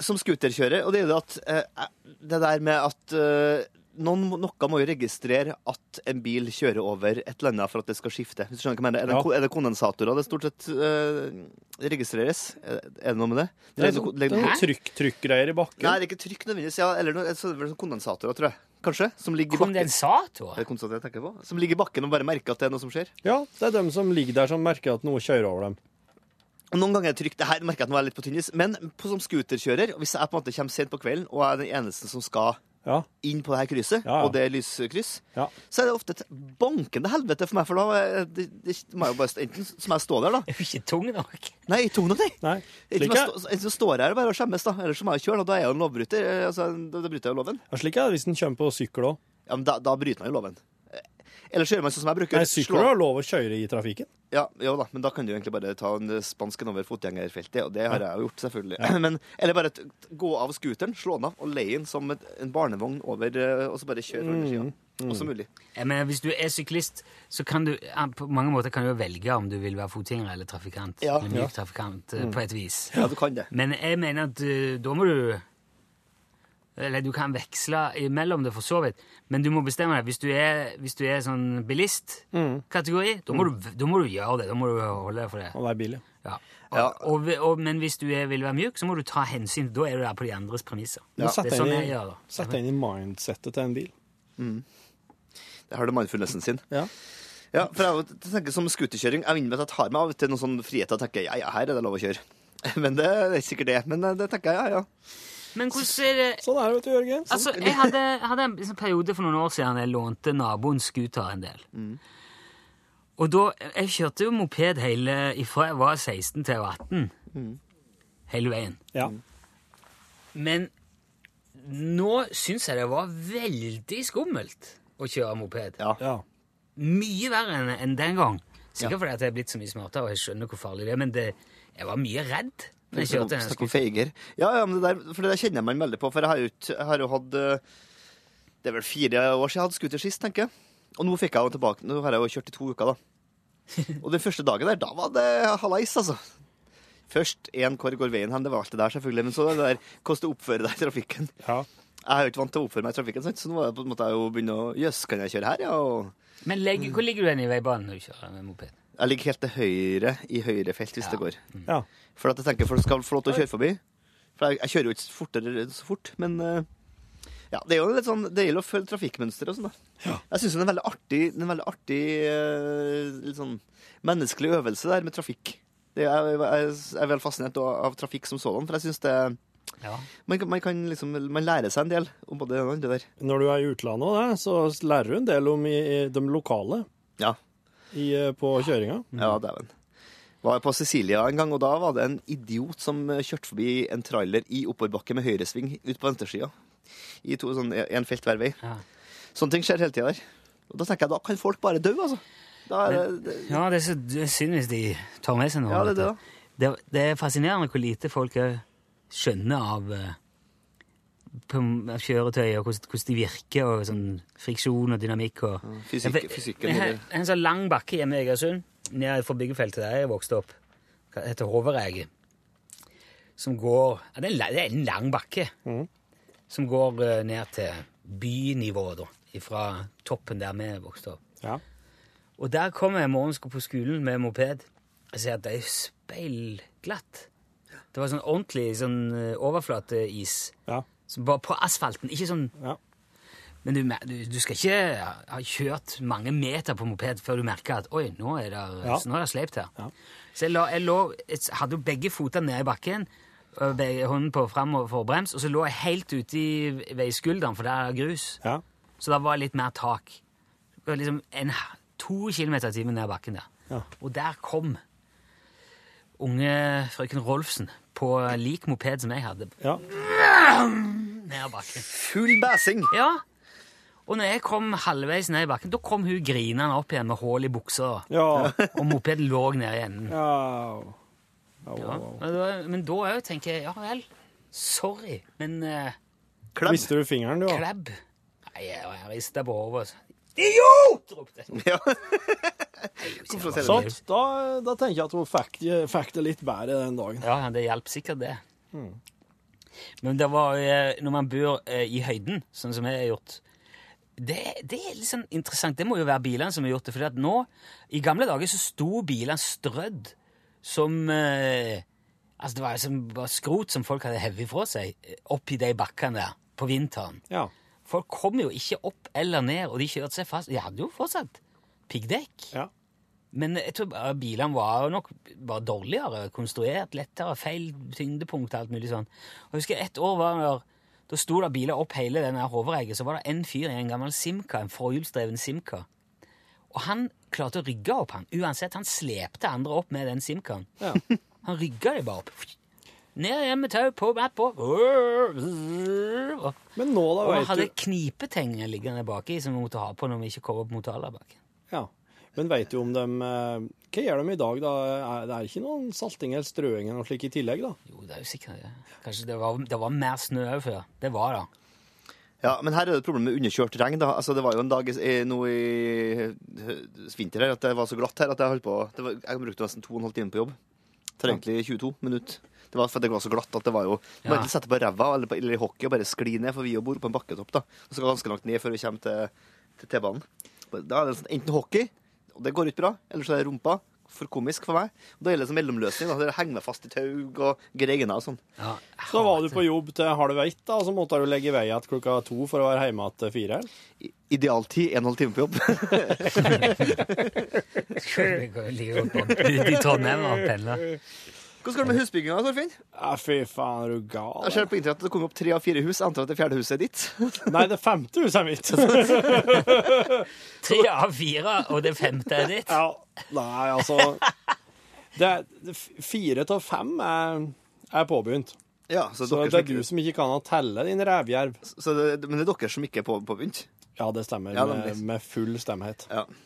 Speaker 12: som skuterkjører, og det er jo det at eh, det der med at eh, noen, må- noe må jo registrere at en bil kjører over et eller annet for at det skal skifte. Hvis du skjønner hva jeg mener. Er det,
Speaker 5: Ja.
Speaker 12: ko- er det kondensatorer det stort sett eh, registreres? Er er det noe med det?
Speaker 5: Det er sånn- det er noe trykk, trykkgreier i bakken.
Speaker 12: Nei, det er ikke trykk nødvendigvis. Ja, eller noe, så er det vel sånn kondensatorer, tror jeg. Kanskje? Som ligger i bakken.
Speaker 3: Kondensatorer?
Speaker 12: Det er kondensatorer jeg tenker på. Som ligger i bakken og bare merker at det er noe som skjer.
Speaker 5: Ja, det er dem som ligger der som merker at noe kjører over dem.
Speaker 12: Og Noen ganger er det trygt. Det her merker jeg at nå er jeg litt på tynn is. Men på, som scooterkjører, hvis jeg på en måte kommer sent på kvelden og er den eneste som skal inn på det her krysset,
Speaker 5: Ja, ja.
Speaker 12: og det er lyskryss,
Speaker 5: Ja.
Speaker 12: så er det ofte et bankende helvete for meg. For da eh, det, det må jeg jo bare stå- enten så må jeg stå der, da.
Speaker 3: Er du ikke tung nok?
Speaker 12: Nei, tung nok, nei.
Speaker 5: nei.
Speaker 12: Enten,
Speaker 5: Slik
Speaker 12: må
Speaker 5: er-
Speaker 12: jeg stå, enten så står jeg her bare og skjemmes, da. Eller så må jeg kjøre, og da er jeg jo en lovbryter. Eh, Altså, da, da bryter jeg jo loven.
Speaker 5: Ja, slik er det hvis en kommer på sykkel òg.
Speaker 12: Ja, men da, da bryter man jo loven. Eh, Eller så gjør man sånn som jeg bruker.
Speaker 5: Nei, sykler
Speaker 12: slå-
Speaker 5: har lov å kjøre i trafikken.
Speaker 12: Ja, jo da, men da kan du egentlig bare ta en spansken over fotgjengerfeltet, og det har
Speaker 5: Ja.
Speaker 12: jeg jo gjort, selvfølgelig.
Speaker 5: Ja.
Speaker 12: Men, eller bare t- gå av scooteren, slå den av og leie den som et, en barnevogn over, eh, og så bare kjøre fra undersida.
Speaker 5: Mm.
Speaker 12: Også mulig.
Speaker 3: Jeg mener, hvis du er syklist, så kan du ja, på mange måter kan du jo velge om du vil være fotgjenger eller trafikant.
Speaker 12: Ja.
Speaker 3: Eller myk
Speaker 12: Ja.
Speaker 3: trafikant, eh,
Speaker 12: Mm.
Speaker 3: på et vis.
Speaker 12: Ja, du kan det.
Speaker 3: Men jeg mener at eh, da må du Eller du kan veksle imellom det, for så vidt. Men du må bestemme deg. Hvis du er, hvis du er sånn bilistkategori, da, må
Speaker 5: Mm.
Speaker 3: du- da må du gjøre det. Da må du holde deg for det.
Speaker 5: Og være billig.
Speaker 3: Ja. Og, og, og, men hvis du er, vil være mjuk, så må du ta hensyn. Da er du der på de andres premisser.
Speaker 5: Ja.
Speaker 3: Det
Speaker 5: Sett
Speaker 3: er
Speaker 5: deg
Speaker 3: sånn
Speaker 5: inn
Speaker 3: jeg
Speaker 5: i,
Speaker 3: gjør det.
Speaker 5: sett deg inn i mindsettet til en bil.
Speaker 12: Der har du mindfulnessen sin.
Speaker 5: Ja.
Speaker 12: Ja, for jeg tenker som scooterkjøring, jeg vinner med at jeg tar meg av til noen sånn frihet, og tenker, ja, ja, her er det lov å kjøre. Men det er sikkert det, men eh, det tenker jeg, ja, ja.
Speaker 3: Men hvordan er det
Speaker 5: Sånn er det, vet du, Jørgen.
Speaker 3: Altså, jeg hadde, hadde en sånn periode for noen år siden jeg lånte naboens scooter en del.
Speaker 5: Mm.
Speaker 3: Og da Jeg kjørte jo moped hele ifra jeg var 16 til jeg var 18. Hele veien.
Speaker 5: Ja.
Speaker 3: Men nå syns jeg det var veldig skummelt å kjøre moped. Mye verre enn enn den gang. Sikkert fordi at jeg er blitt så mye smartere og jeg skjønner hvor farlig det er, men det, jeg var mye redd. når Jeg kjørte den
Speaker 12: Snakk om feiger. Ja, ja, men det der, for det der kjenner man veldig på, for jeg har jo, ikke- jeg har jo hatt eh, Det er vel fire år siden jeg hadde scooter sist, tenker jeg. Og nå fikk jeg jo tilbake, nå har jeg jo kjørt i to uker, da. Og den første dagen der, da var det halais, altså. Først én hvor går veien hen, det var alt det der, selvfølgelig. Men så det der hvordan du oppfører deg i trafikken. Jeg er jo ikke vant til å oppføre meg i trafikken, sant? så nå er jeg på en måte jeg jo begynne å Jøss, kan jeg kjøre her, ja? Og
Speaker 3: Men legg, hvor ligger du hen i veibanen når du kjører med moped?
Speaker 12: jeg ligger helt til høyre i høyre felt hvis det går.
Speaker 5: Ja.
Speaker 12: For at jeg tenker folk skal få lov til å kjøre forbi. For jeg, jeg kjører jo ikke fortere så fort, men eh, ja, det er jo litt sånn, det gjelder å følge trafikkmønsteret og sånn, da. Jeg syns det er en veldig artig, det er en veldig artig eh, litt sånn menneskelig øvelse der med trafikk. Det er, jeg, jeg er veldig fascinert av, av trafikk som sådan, for jeg syns det
Speaker 3: Ja.
Speaker 12: man, kan- man kan liksom Man lærer seg en del om både det ene og det der.
Speaker 5: Når du er i utlandet og det, så lærer du en del om i, i de lokale
Speaker 12: Ja.
Speaker 5: i, eh, på kjøringa.
Speaker 12: Ja, dæven. Var på Sicilia en gang, og da var det en idiot som eh, kjørte forbi en trailer i oppoverbakke med høyresving ut på venstresida. i to, sånn, en felt hver vei. Sånne ting skjer hele tida der. Og da tenker jeg, da kan folk bare dø, altså. Da er det,
Speaker 3: Men-
Speaker 12: det,
Speaker 3: Ja, det er så det er synd hvis de tar med seg noe.
Speaker 12: Ja, det er
Speaker 3: vet du. det, det er fascinerende hvor lite folk eh, skjønner av eh, på m- av kjøretøy, og hvordan, hvordan de virker, og sånn friksjon og dynamikk. Og.
Speaker 12: fysikk-
Speaker 3: Jeg vet-
Speaker 12: fysikken i
Speaker 3: jeg har-
Speaker 12: det.
Speaker 3: jeg har En sånn lang bakke hjemme i Egersund, nede for byggefeltet der jeg vokste opp, Hva heter Hoveræget, som går ja, det, er en, la- det er en lang bakke som går eh, ned til bynivået, da, fra toppen der vi vokste opp. Og der kom jeg i morgen skulle på skolen med moped. Jeg ser at det er speilglatt. Det var sånn ordentlig sånn eh, overflateis. Som bare på asfalten, ikke sånn Men du, mer- du, du skal ikke ha kjørt mange meter på moped før du merker at oi, nå er det,
Speaker 5: Ja.
Speaker 3: nå er det sleipt her. Så jeg, la, jeg lå jeg s- hadde jo begge føtter ned i bakken, og begge hånden på fram og forbrems, og så lå jeg helt ute i veiskulderen, for der er det grus. Så det var litt mer tak. Det var liksom en, h- to kilometer i timen ned bakken der.
Speaker 5: Ja.
Speaker 3: Og der kom unge frøken Rolfsen på lik moped som jeg hadde. Ned bakken.
Speaker 12: Full bæsing!
Speaker 3: Ja. Og når jeg kom halvveis ned i bakken, da kom hun grinende opp igjen med hull i buksa.
Speaker 5: Ja.
Speaker 3: Og mopeden lå nede i enden.
Speaker 5: au,
Speaker 3: Ja. Men da- Men da òg tenker jeg ja vel, sorry, men eh,
Speaker 5: Klebb. Mister du fingeren, du? da?
Speaker 3: Klebb. Nei, jeg rista på hodet. altså.
Speaker 5: Idiot!
Speaker 3: ropte
Speaker 12: jeg.
Speaker 5: Sånn, da, da tenker jeg at hun fikk, fikk det litt bedre den dagen.
Speaker 3: Ja, det hjalp sikkert, det. Men det var eh, når man bor eh, i høyden, sånn som jeg har gjort det, det er litt sånn interessant. Det må jo være bilene som har gjort det. fordi at nå, i gamle dager, så sto bilene strødd som eh, Altså, det var jo som bare skrot som folk hadde hevet fra seg eh, oppi de bakkene der på vinteren. Folk kom jo ikke opp eller ned, og de kjørte seg fast. De hadde jo fortsatt piggdekk. Men jeg tror bare bilene var nok bare dårligere konstruert, lettere, feil tyngdepunkt og alt mulig sånn. Og jeg husker et år var det da sto det biler opp hele den her hoveregget, så var det en fyr i en gammel Simca, en forhjulsdreven Simca. Og han klarte å rygge opp han, uansett. Han slepte andre opp med den Simcaen. Han rygga de bare opp. Ned igjen med tau, på, med på.
Speaker 5: Men nå da,
Speaker 3: Og han
Speaker 5: vet
Speaker 3: hadde
Speaker 5: du-
Speaker 3: knipetenger liggende baki som vi måtte ha på når vi ikke kom opp mot Alabakken.
Speaker 5: Ja. Men veit du om de eh, Hva gjør de i dag, da? Er- Det er ikke noen salting eller strøing eller noe slikt i tillegg, da?
Speaker 3: Jo, det er jo sikkert det. Kanskje det var, det var mer snø òg før. Det var det.
Speaker 12: Ja, men her er det et problem med underkjørt regn. da. Altså, Det var jo en dag i, i- nå i hø- vinter her at det var så glatt her at jeg holdt på det var, Jeg brukte nesten to og en halv time på jobb. Tar egentlig 22 minutter. Det var fordi det var så glatt at det var jo
Speaker 3: Ja.
Speaker 12: Bare sette på ræva eller, på- eller i hockey og bare skli ned, for vi jo bor på en bakketopp, da. Og så ganske langt ned før vi kommer til, til T-banen. Da er det sånn, enten hockey, og det går ikke bra, eller så er det rumpa. For komisk for meg. Og da gjelder det som mellomløsning. da. Det henger meg fast i tau og greiner og sånn.
Speaker 5: Så var du på jobb til halv ett, da, og så måtte du legge i vei igjen klokka to for å være hjemme igjen til fire?
Speaker 12: Idealtid en og en halv time på jobb.
Speaker 3: Det går jo like godt å bo ute i Trondheim og pendle.
Speaker 12: Hvordan går det med husbygginga, Torfinn?
Speaker 5: Ja, fy faen, er du gal?
Speaker 12: Jeg ser på internett at det kommer opp tre av fire hus. Jeg antar at det fjerde huset er ditt.
Speaker 5: Nei, det femte huset er mitt.
Speaker 3: Tre av fire, og det femte er ditt.
Speaker 5: Ja, nei, altså det er, det f- Fire av fem er, er påbegynt.
Speaker 12: Ja,
Speaker 5: så
Speaker 12: så dere
Speaker 5: det er
Speaker 12: som
Speaker 5: du
Speaker 12: ikke-
Speaker 5: som ikke kan å telle, din revjerv.
Speaker 12: men det er dere som ikke er påbegynt?
Speaker 5: Ja, det stemmer.
Speaker 12: Ja,
Speaker 5: med,
Speaker 12: nemlig.
Speaker 5: med full stemhet.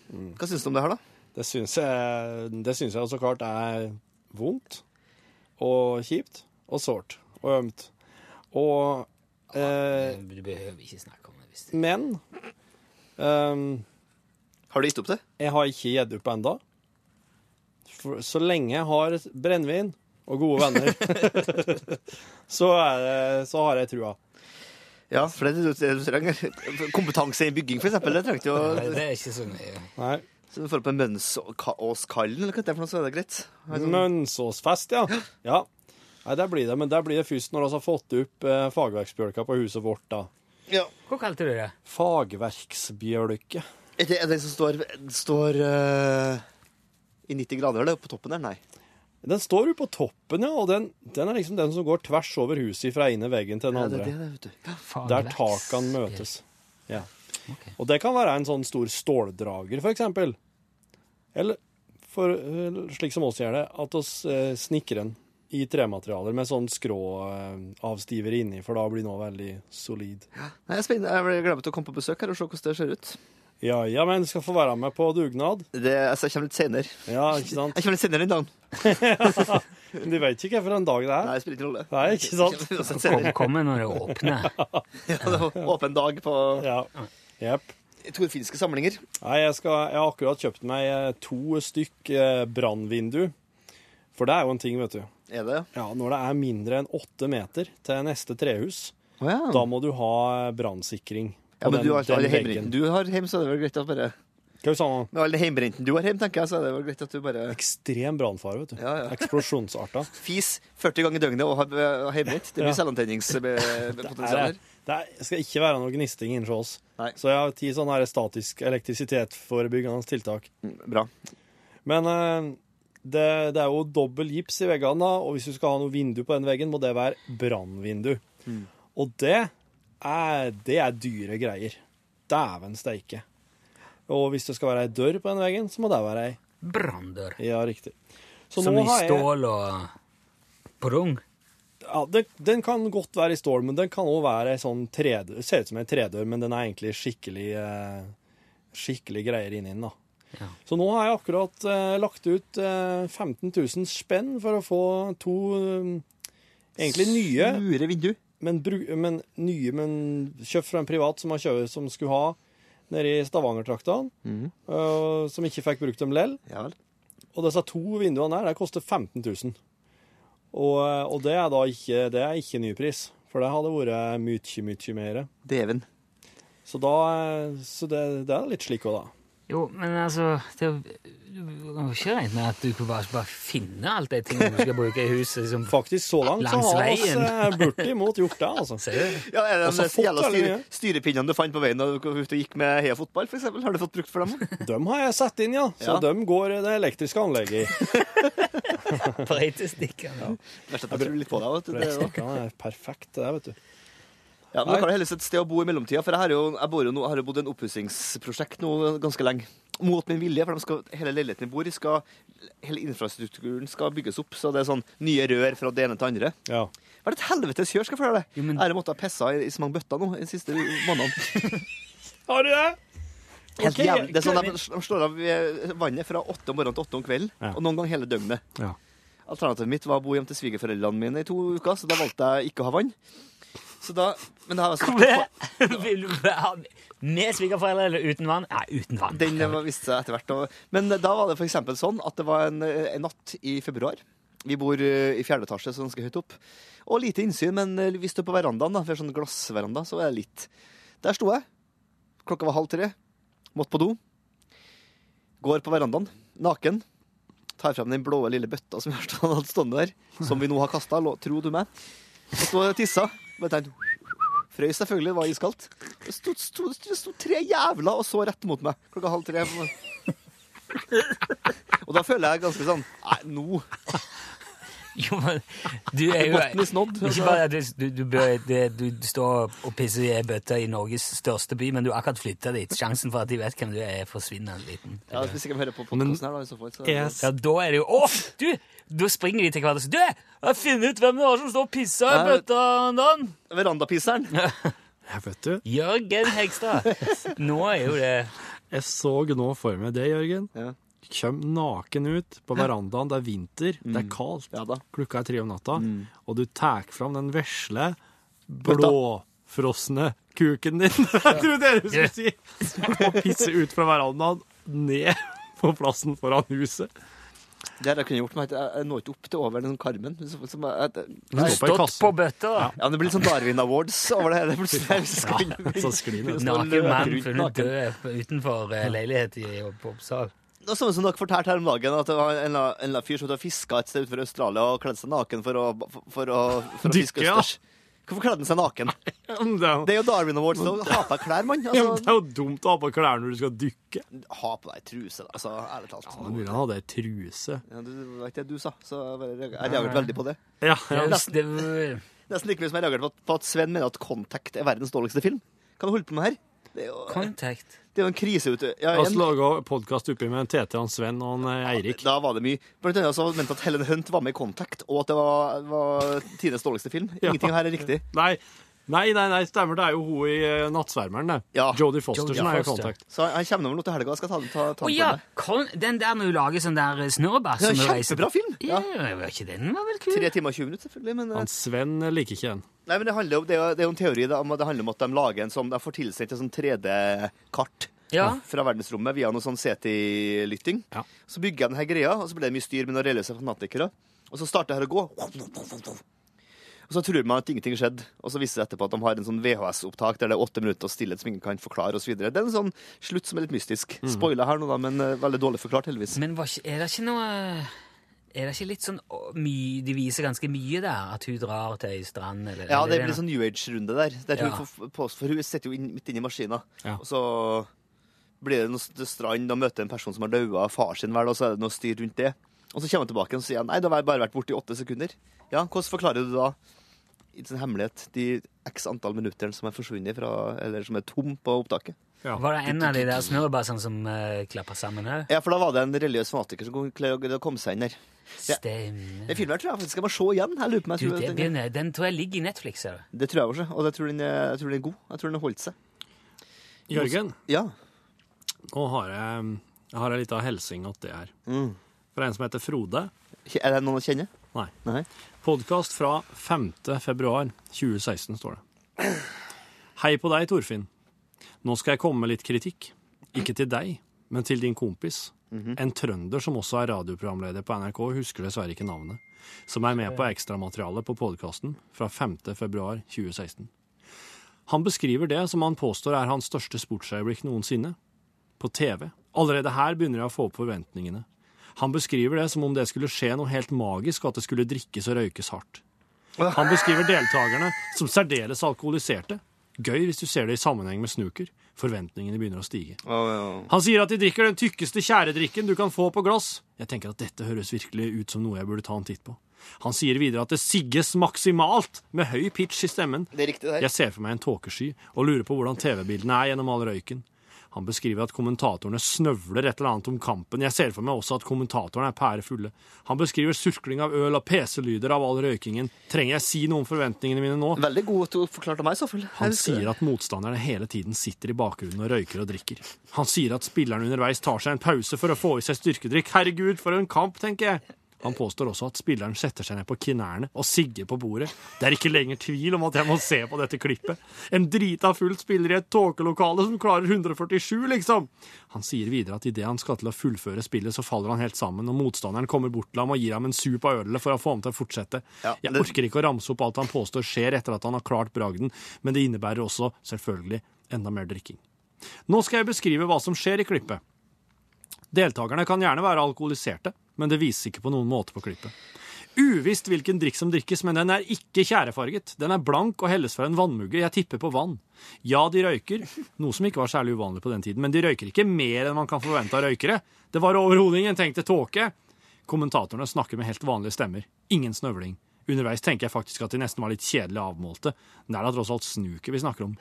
Speaker 5: Mm.
Speaker 12: Hva syns du om det her, da?
Speaker 5: Det syns jeg, det syns jeg jo så klart er vondt og kjipt og sårt og ømt. Og eh,
Speaker 3: Du behøver ikke snakke om det. hvis
Speaker 5: Men ehm,
Speaker 12: Har du gitt opp det?
Speaker 5: Jeg har ikke gitt opp ennå. Så lenge jeg har brennevin og gode venner, så, er det, så har jeg trua.
Speaker 12: Ja, for det er det du trenger. Kompetanse i bygging, for eksempel. Det trengte jo
Speaker 3: Nei, det er ikke så mye.
Speaker 5: Nei.
Speaker 12: Så du får på Mønsåskallen, eller hva det er for noe, så er det greit. Har jeg sånn-
Speaker 5: Mønsåsfest, ja. ja. Nei, det blir det, men det blir det først når vi har fått opp eh, fagverksbjølka på huset vårt, da.
Speaker 3: Hva kalte du det?
Speaker 5: Fagverksbjølke.
Speaker 12: Er det er det den som står, står eh, i 90 grader, eller? På toppen der? Nei.
Speaker 5: Den står jo på toppen, ja, og den, den er liksom den som går tvers over huset fra ene veggen til den
Speaker 12: Ja, det
Speaker 5: andre.
Speaker 12: er det, det, vet du.
Speaker 5: Der takene møtes. Ja. Og det kan være en sånn stor ståldrager, for eksempel. Eller for, eh, slik som oss gjør det, at oss eh, snikker en i trematerialer med sånn skråavstiver inni, for da blir noe veldig solid.
Speaker 12: Nei, jeg er spennende. Jeg gleder meg til å komme på besøk her og se hvordan det ser ut.
Speaker 5: Ja, ja, men du skal få være med på dugnad.
Speaker 12: Det, altså, jeg kommer litt senere.
Speaker 5: Ja, ikke sant?
Speaker 12: Jeg kommer litt senere den dagen.
Speaker 5: Du vet ikke hvilken dag det er.
Speaker 12: Nei, det spiller ingen rolle.
Speaker 5: Nei, ikke sant?
Speaker 12: Jeg kommer senere.
Speaker 3: Kommer når det åpner.
Speaker 12: ja, det var åpen dag på
Speaker 5: ja. Jepp.
Speaker 12: Torfinske samlinger.
Speaker 5: Nei, jeg, skal, jeg har akkurat kjøpt meg eh, to stykk eh, brannvindu. For det er jo en ting, vet du.
Speaker 12: Er det?
Speaker 5: Ja, Når det er mindre enn åtte meter til neste trehus,
Speaker 12: ja.
Speaker 5: da må du ha brannsikring.
Speaker 12: Ja,
Speaker 5: på
Speaker 12: men
Speaker 5: den-
Speaker 12: du har ikke
Speaker 5: den
Speaker 12: alle
Speaker 5: veggen.
Speaker 12: heimbrenten du har hjem, så er det vel greit at bare
Speaker 5: Hva sa du?
Speaker 12: Med alle heimbrenten du har hjem, tenker jeg, så er det vel greit at du bare
Speaker 5: Ekstrem brannfare, vet du.
Speaker 12: Ja, ja.
Speaker 5: Eksplosjonsarta.
Speaker 12: Fis 40 ganger i døgnet og har har heimbrent. Det blir
Speaker 5: Ja.
Speaker 12: eh, selvantenningspotensial
Speaker 5: Nei,
Speaker 12: her.
Speaker 5: Det er, det skal ikke være noe gnisting inni oss. Så jeg har ti sånne her statisk elektrisitetforebyggende tiltak.
Speaker 12: Bra.
Speaker 5: Men eh, det, det er jo dobbel gips i veggene, da, og hvis du skal ha noe vindu på den veggen, må det være brannvindu. Og det er, det er dyre greier. Dæven steike. Og hvis det skal være ei dør på den veggen, så må det være ei
Speaker 3: Branndør.
Speaker 5: Ja, riktig. Så
Speaker 3: Som
Speaker 5: nå
Speaker 3: i
Speaker 5: har jeg-
Speaker 3: stål og prung.
Speaker 5: Ja, den, den kan godt være i stål, men den kan òg være ei sånn tredør. Ser ut som en tredør, men den er egentlig skikkelig, eh, skikkelig greier inni den. da. Så nå har jeg akkurat eh, lagt ut eh, 15 000 spenn for å få to eh, egentlig nye
Speaker 12: Sure vindu.
Speaker 5: Men, bru- men nye, men kjøpt fra en privat som, har kjøpt, som skulle ha nede i Stavanger-traktene,
Speaker 12: Mhm.
Speaker 5: eh, som ikke fikk brukt dem lell. Og disse to vinduene der, det koster 15 000. Og, øh, og det er da ikke, det er ikke ny pris, for det hadde vært mye, mye mer.
Speaker 12: Deven.
Speaker 5: Så, da, øh, så det, det er litt slik også da.
Speaker 3: Jo, men altså det, Du må ikke regne med at du kunne bare, bare finne alt de tingene du skal bruke i huset. Liksom,
Speaker 5: Faktisk så langt
Speaker 3: langs
Speaker 5: så har vi
Speaker 3: veien.
Speaker 5: oss øh, bortimot gjort det, altså.
Speaker 12: Ja, er det
Speaker 5: Altså,
Speaker 12: de
Speaker 5: fått
Speaker 12: jævla
Speaker 5: veldig
Speaker 12: styre,
Speaker 5: mye.
Speaker 12: styrepinnene du fant på veien da du kom ut og gikk med Heia Fotball, for eksempel? Har du fått brukt for dem?
Speaker 5: Dem har jeg satt inn, ja. Så
Speaker 12: Ja.
Speaker 5: dem går det elektriske anlegget i.
Speaker 3: Brøytestikkene.
Speaker 12: Verst at jeg tror litt på deg. Vet du, det, også.
Speaker 5: Brøytestikkene er perfekt, det der, vet du.
Speaker 12: ja, men dere har helst et sted å bo i mellomtida, for jeg har jo, jeg bor jo nå, jeg har jo bodd i en oppussingsprosjekt nå ganske lenge. Mot min vilje, for de skal, hele leiligheten jeg bor i, skal, hele infrastrukturen skal bygges opp. Så det er sånn nye rør fra det ene til det andre.
Speaker 5: Ja.
Speaker 12: Hva er det et helvetes kjør skal jeg fortelle deg? Jeg har måttet ha pissa i, i så mange bøtter nå de siste månedene.
Speaker 5: Har du det?
Speaker 12: Helt
Speaker 5: Ok,
Speaker 12: jævlig. Det er sånn
Speaker 5: Kevin.
Speaker 12: de, de slår av eh, vannet fra åtte om morgenen til åtte om kvelden, og noen gang hele døgnet.
Speaker 5: Ja.
Speaker 12: Alternativet mitt var å bo hjemme til svigerforeldrene mine i to uker, så da valgte jeg ikke å ha vann. Så da, men det har jeg altså-
Speaker 3: Kom
Speaker 12: sagt-
Speaker 3: Vil du være med svigerforeldre eller uten vann? Nei, uten vann.
Speaker 12: Den var- viste seg etter hvert. å- Men eh, da var det for eksempel sånn at det var en, eh, en natt i februar. Vi bor eh, i fjerde etasje, så ganske høyt opp. Og lite innsyn, men eh, vi står på verandaen, da, for sånn glassveranda, så var det litt. Der sto jeg. Klokka var halv tre. Måtte på do. Går på verandaen, naken. Tar frem den blå lille bøtta som jeg har stående- hatt stående der, som vi nå har kasta, tro du meg. Og stod og tissa. Bare tenkte Frøys selvfølgelig, det var iskaldt. Det sto, sto, det sto tre jævla og så rett mot meg klokka halv tre. Og da føler jeg ganske sånn Nei, nå
Speaker 3: Jo, men du er jo
Speaker 12: Botten i snodd, altså.
Speaker 3: Ikke bare at du, du, bør, det, du står og pisser i ei bøtte i Norges største by, men du har akkurat flytta dit. Sjansen for at de vet hvem du er, forsvinner liten.
Speaker 12: Ja, Hvis ikke de hører på podkasten her, da. I så fall, så
Speaker 3: Ja, da er det jo Å, du! Da springer de til hverandre og sier Du, jeg har funnet ut hvem det var som står og pissa i
Speaker 12: Nei, vet-
Speaker 3: bøtta om dagen!
Speaker 12: Verandapisseren.
Speaker 5: Jeg vet du.
Speaker 3: Jørgen Hegstad. Nå er jo det
Speaker 5: Jeg så nå for meg det, Jørgen. Kjem naken ut på verandaen, det er vinter, det er kaldt, klokka er tre om natta, og du tar fram den vesle, blåfrosne kuken din, jeg tror dere skulle si, og pisser ut fra verandaen, ned på plassen foran huset.
Speaker 12: Det her jeg kunne gjort meg, jeg når ikke opp til over den Carmen. Som, som, jeg, jeg,
Speaker 5: Du står på en Stått kasse. på
Speaker 3: bøtta, da.
Speaker 12: Ja, men det blir litt sånn Darwin Awards over det hele. plutselig. Hvis jeg skal
Speaker 5: Ja,
Speaker 12: begynne-
Speaker 5: så sklir det.
Speaker 12: begynne å stå og løpe
Speaker 3: Naken mann
Speaker 12: rundt
Speaker 3: funnet
Speaker 12: naken.
Speaker 3: død utenfor eh, leilighet i på Oppsal.
Speaker 12: Det var samme som dere fortalte her om dagen, at det var en eller annen- en eller annen fyr som hadde fiska et sted utenfor Australia og kledde seg naken for å, for, for å, for å fiske
Speaker 5: Dykke, ja.
Speaker 12: østers. Hvorfor kledde han seg naken? Det er jo Darwin Awards, så ha på deg klær, mann.
Speaker 5: Ja, men
Speaker 12: Altså,
Speaker 5: det er jo dumt å ha på klær når du skal dykke.
Speaker 12: ha på deg truse, da. Altså, ærlig talt.
Speaker 5: Det er mulig han hadde ei truse.
Speaker 12: Ja, du du vet det du sa, så jeg bare- jeg reagerte veldig på det.
Speaker 5: Ja, ja.
Speaker 12: Nesten, nesten like mye som jeg reagerte på, at- på at Sven mener at Contact er verdens dårligste film. Kan du holde på med her? Det er jo,
Speaker 3: Contact.
Speaker 12: Det er jo en krise ute. Ja,
Speaker 5: Vi
Speaker 12: en-
Speaker 5: laga podkast oppi med en TT, han Sven og han Eirik.
Speaker 12: Da var det mye. Blant annet så mente at Helen Hunt var med i Contact, og at det var, var tidenes dårligste film.
Speaker 5: Ja.
Speaker 12: Ingenting her er riktig.
Speaker 5: Nei. nei, nei, nei, stemmer. Det er jo hun i eh, Nattsvermeren, det. Jodie Foster som er i kontakt.
Speaker 12: Så han kommer over noe til helga. Jeg skal ta, ta, ta
Speaker 3: Å
Speaker 12: den
Speaker 3: ja,
Speaker 12: for meg.
Speaker 3: kon den der når du lager sånn der snurrebass.
Speaker 12: Det er
Speaker 3: som
Speaker 12: en
Speaker 3: du reiser-
Speaker 12: kjempebra film.
Speaker 3: Ja, jeg vet ikke, den var vel kul.
Speaker 12: Tre timer og 20 minutter, selvfølgelig. Men, eh,
Speaker 5: Han Sven liker ikke den.
Speaker 12: nei, men det, handler jo, det, er jo, det er jo en teori da, om, at det handler om at de lager en sånn, de får tilsendt et sånn 3D-kart
Speaker 3: Ja.
Speaker 12: fra verdensrommet via noe sånn CT-lytting. Så bygger jeg denne greia, og så blir det mye styr med noen religiøse fanatikere. Og så starter jeg her å gå. Og så tror man at ingenting skjedde, og så viser det etterpå at de har en sånn VHS-opptak der det er åtte minutter stillhet som ingen kan forklare, osv. Det er en sånn slutt som er litt mystisk. Spoiler her nå, da, men eh, veldig dårlig forklart, heldigvis.
Speaker 3: Mhm. Men var ikke, er det ikke noe Er det ikke litt sånn å, my, De viser ganske mye der, at hun drar til ei strand eller
Speaker 12: Ja,
Speaker 3: eller
Speaker 12: det blir sånn New Age-runde der. der
Speaker 3: Ja.
Speaker 12: hun får, på- for hun sitter jo inn, midt inne i maskina,
Speaker 3: Ja.
Speaker 12: og så blir det noe st- strand, og møter en person som har daua av far sin, vel, og så er det noe styr rundt det. Og så kommer han tilbake igjen og sier nei, da har jeg bare vært borte i åtte sekunder. Ja, hvordan forklarer du da i sin hemmelighet de x antall minuttene som er forsvunnet fra, eller som er tom på opptaket?
Speaker 3: Var det en av de der snurrebassene som uh, klappa sammen òg?
Speaker 12: Ja, for da var det en religiøs fanatiker som kom- klarte å komme seg inn der. Ja.
Speaker 3: Stemmer.
Speaker 12: Den filmen her tror jeg faktisk jeg må se igjen. Jeg lurer på om jeg
Speaker 3: Du,
Speaker 12: tror
Speaker 3: det
Speaker 12: at den,
Speaker 3: begynner, den tror jeg ligger i Netflix. Ser du.
Speaker 12: det tror jeg også, og jeg tror, den er, jeg tror den er god. Jeg tror den har holdt seg.
Speaker 5: Jørgen?
Speaker 12: Ja.
Speaker 5: Nå har jeg, jeg har en liten hilsing til det her.
Speaker 12: Mm.
Speaker 5: Fra en som heter Frode.
Speaker 12: Er det noen å kjenne?
Speaker 5: Nei.
Speaker 12: Nei.
Speaker 5: Podkast fra 5. februar 2016, står det. Hei på deg, Torfinn. Nå skal jeg komme med litt kritikk. Ikke til deg, men til din kompis.
Speaker 12: Mhm.
Speaker 5: En trønder som også er radioprogramleder på NRK, husker dessverre ikke navnet. Som er med på ekstramaterialet på podkasten fra 5. februar 2016. Han beskriver det som han påstår er hans største sportsøyeblikk noensinne. På TV. Allerede her begynner jeg å få opp forventningene. Han beskriver det som om det skulle skje noe helt magisk, og at det skulle drikkes og røykes hardt. Han beskriver deltakerne som særdeles alkoholiserte. Gøy hvis du ser det i sammenheng med snuker. Forventningene begynner å stige. Han sier at de drikker den tykkeste tjæredrikken du kan få på glass. Jeg tenker at dette høres virkelig ut som noe jeg burde ta en titt på. Han sier videre at det sigges maksimalt med høy pitch i stemmen.
Speaker 12: Det er riktig, det her.
Speaker 5: Jeg ser for meg en tåkesky og lurer på hvordan TV-bildene er gjennom all røyken. Han beskriver at kommentatorene snøvler et eller annet om kampen. Jeg ser for meg også at kommentatorene er pærefulle. Han beskriver surkling av øl og PC-lyder av all røykingen. Trenger jeg si noe om forventningene mine nå?
Speaker 12: Veldig god til å forklare meg, selvfølgelig.
Speaker 5: Han sier at motstanderne hele tiden sitter i bakgrunnen og røyker og drikker. Han sier at spillerne underveis tar seg en pause for å få i seg styrkedrikk. Herregud, for en kamp, tenker jeg. Han påstår også at spilleren setter seg ned på knærne og sigger på bordet. Det er ikke lenger tvil om at jeg må se på dette klippet. En drita full spiller i et tåkelokale som klarer 147, liksom. Han sier videre at idet han skal til å fullføre spillet, så faller han helt sammen, og motstanderen kommer bort til ham og gir ham en sup av ølet for å få ham til å fortsette.
Speaker 12: Ja,
Speaker 5: Jeg orker ikke å ramse opp alt han påstår skjer etter at han har klart bragden, men det innebærer også, selvfølgelig, enda mer drikking. Nå skal jeg beskrive hva som skjer i klippet. Deltakerne kan gjerne være alkoholiserte, men det vises ikke på noen måte på klippet. Uvisst hvilken drikk som drikkes, men den er ikke tjærefarget. Den er blank og helles fra en vannmugge. Jeg tipper på vann. Ja, de røyker, noe som ikke var særlig uvanlig på den tiden, men de røyker ikke mer enn man kan forvente av røykere. Det var overhodet ingen tenkt til tåke. Kommentatorene snakker med helt vanlige stemmer. Ingen snøvling. Underveis tenker jeg faktisk at de nesten var litt kjedelig avmålte. Men det er da tross alt snuket vi snakker om.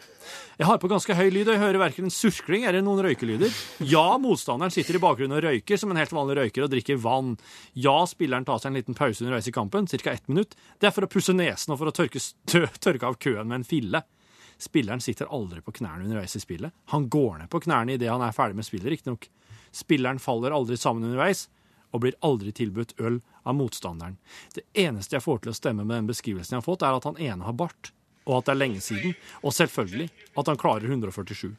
Speaker 5: Jeg har på ganske høy lyd, og jeg hører verken en surkling eller noen røykelyder. Ja, motstanderen sitter i bakgrunnen og røyker som en helt vanlig røyker og drikker vann. Ja, spilleren tar seg en liten pause underveis i kampen, ca. ett minutt. Det er for å pusse nesen og for å tørke, stø, tørke av køen med en fille. Spilleren sitter aldri på knærne underveis i spillet. Han går ned på knærne idet han er ferdig med spillet, riktignok. Spilleren faller aldri sammen underveis, og blir aldri tilbudt øl av motstanderen. Det eneste jeg får til å stemme med den beskrivelsen jeg har fått, er at han ene har bart, og at det er lenge siden, og selvfølgelig at han klarer 147.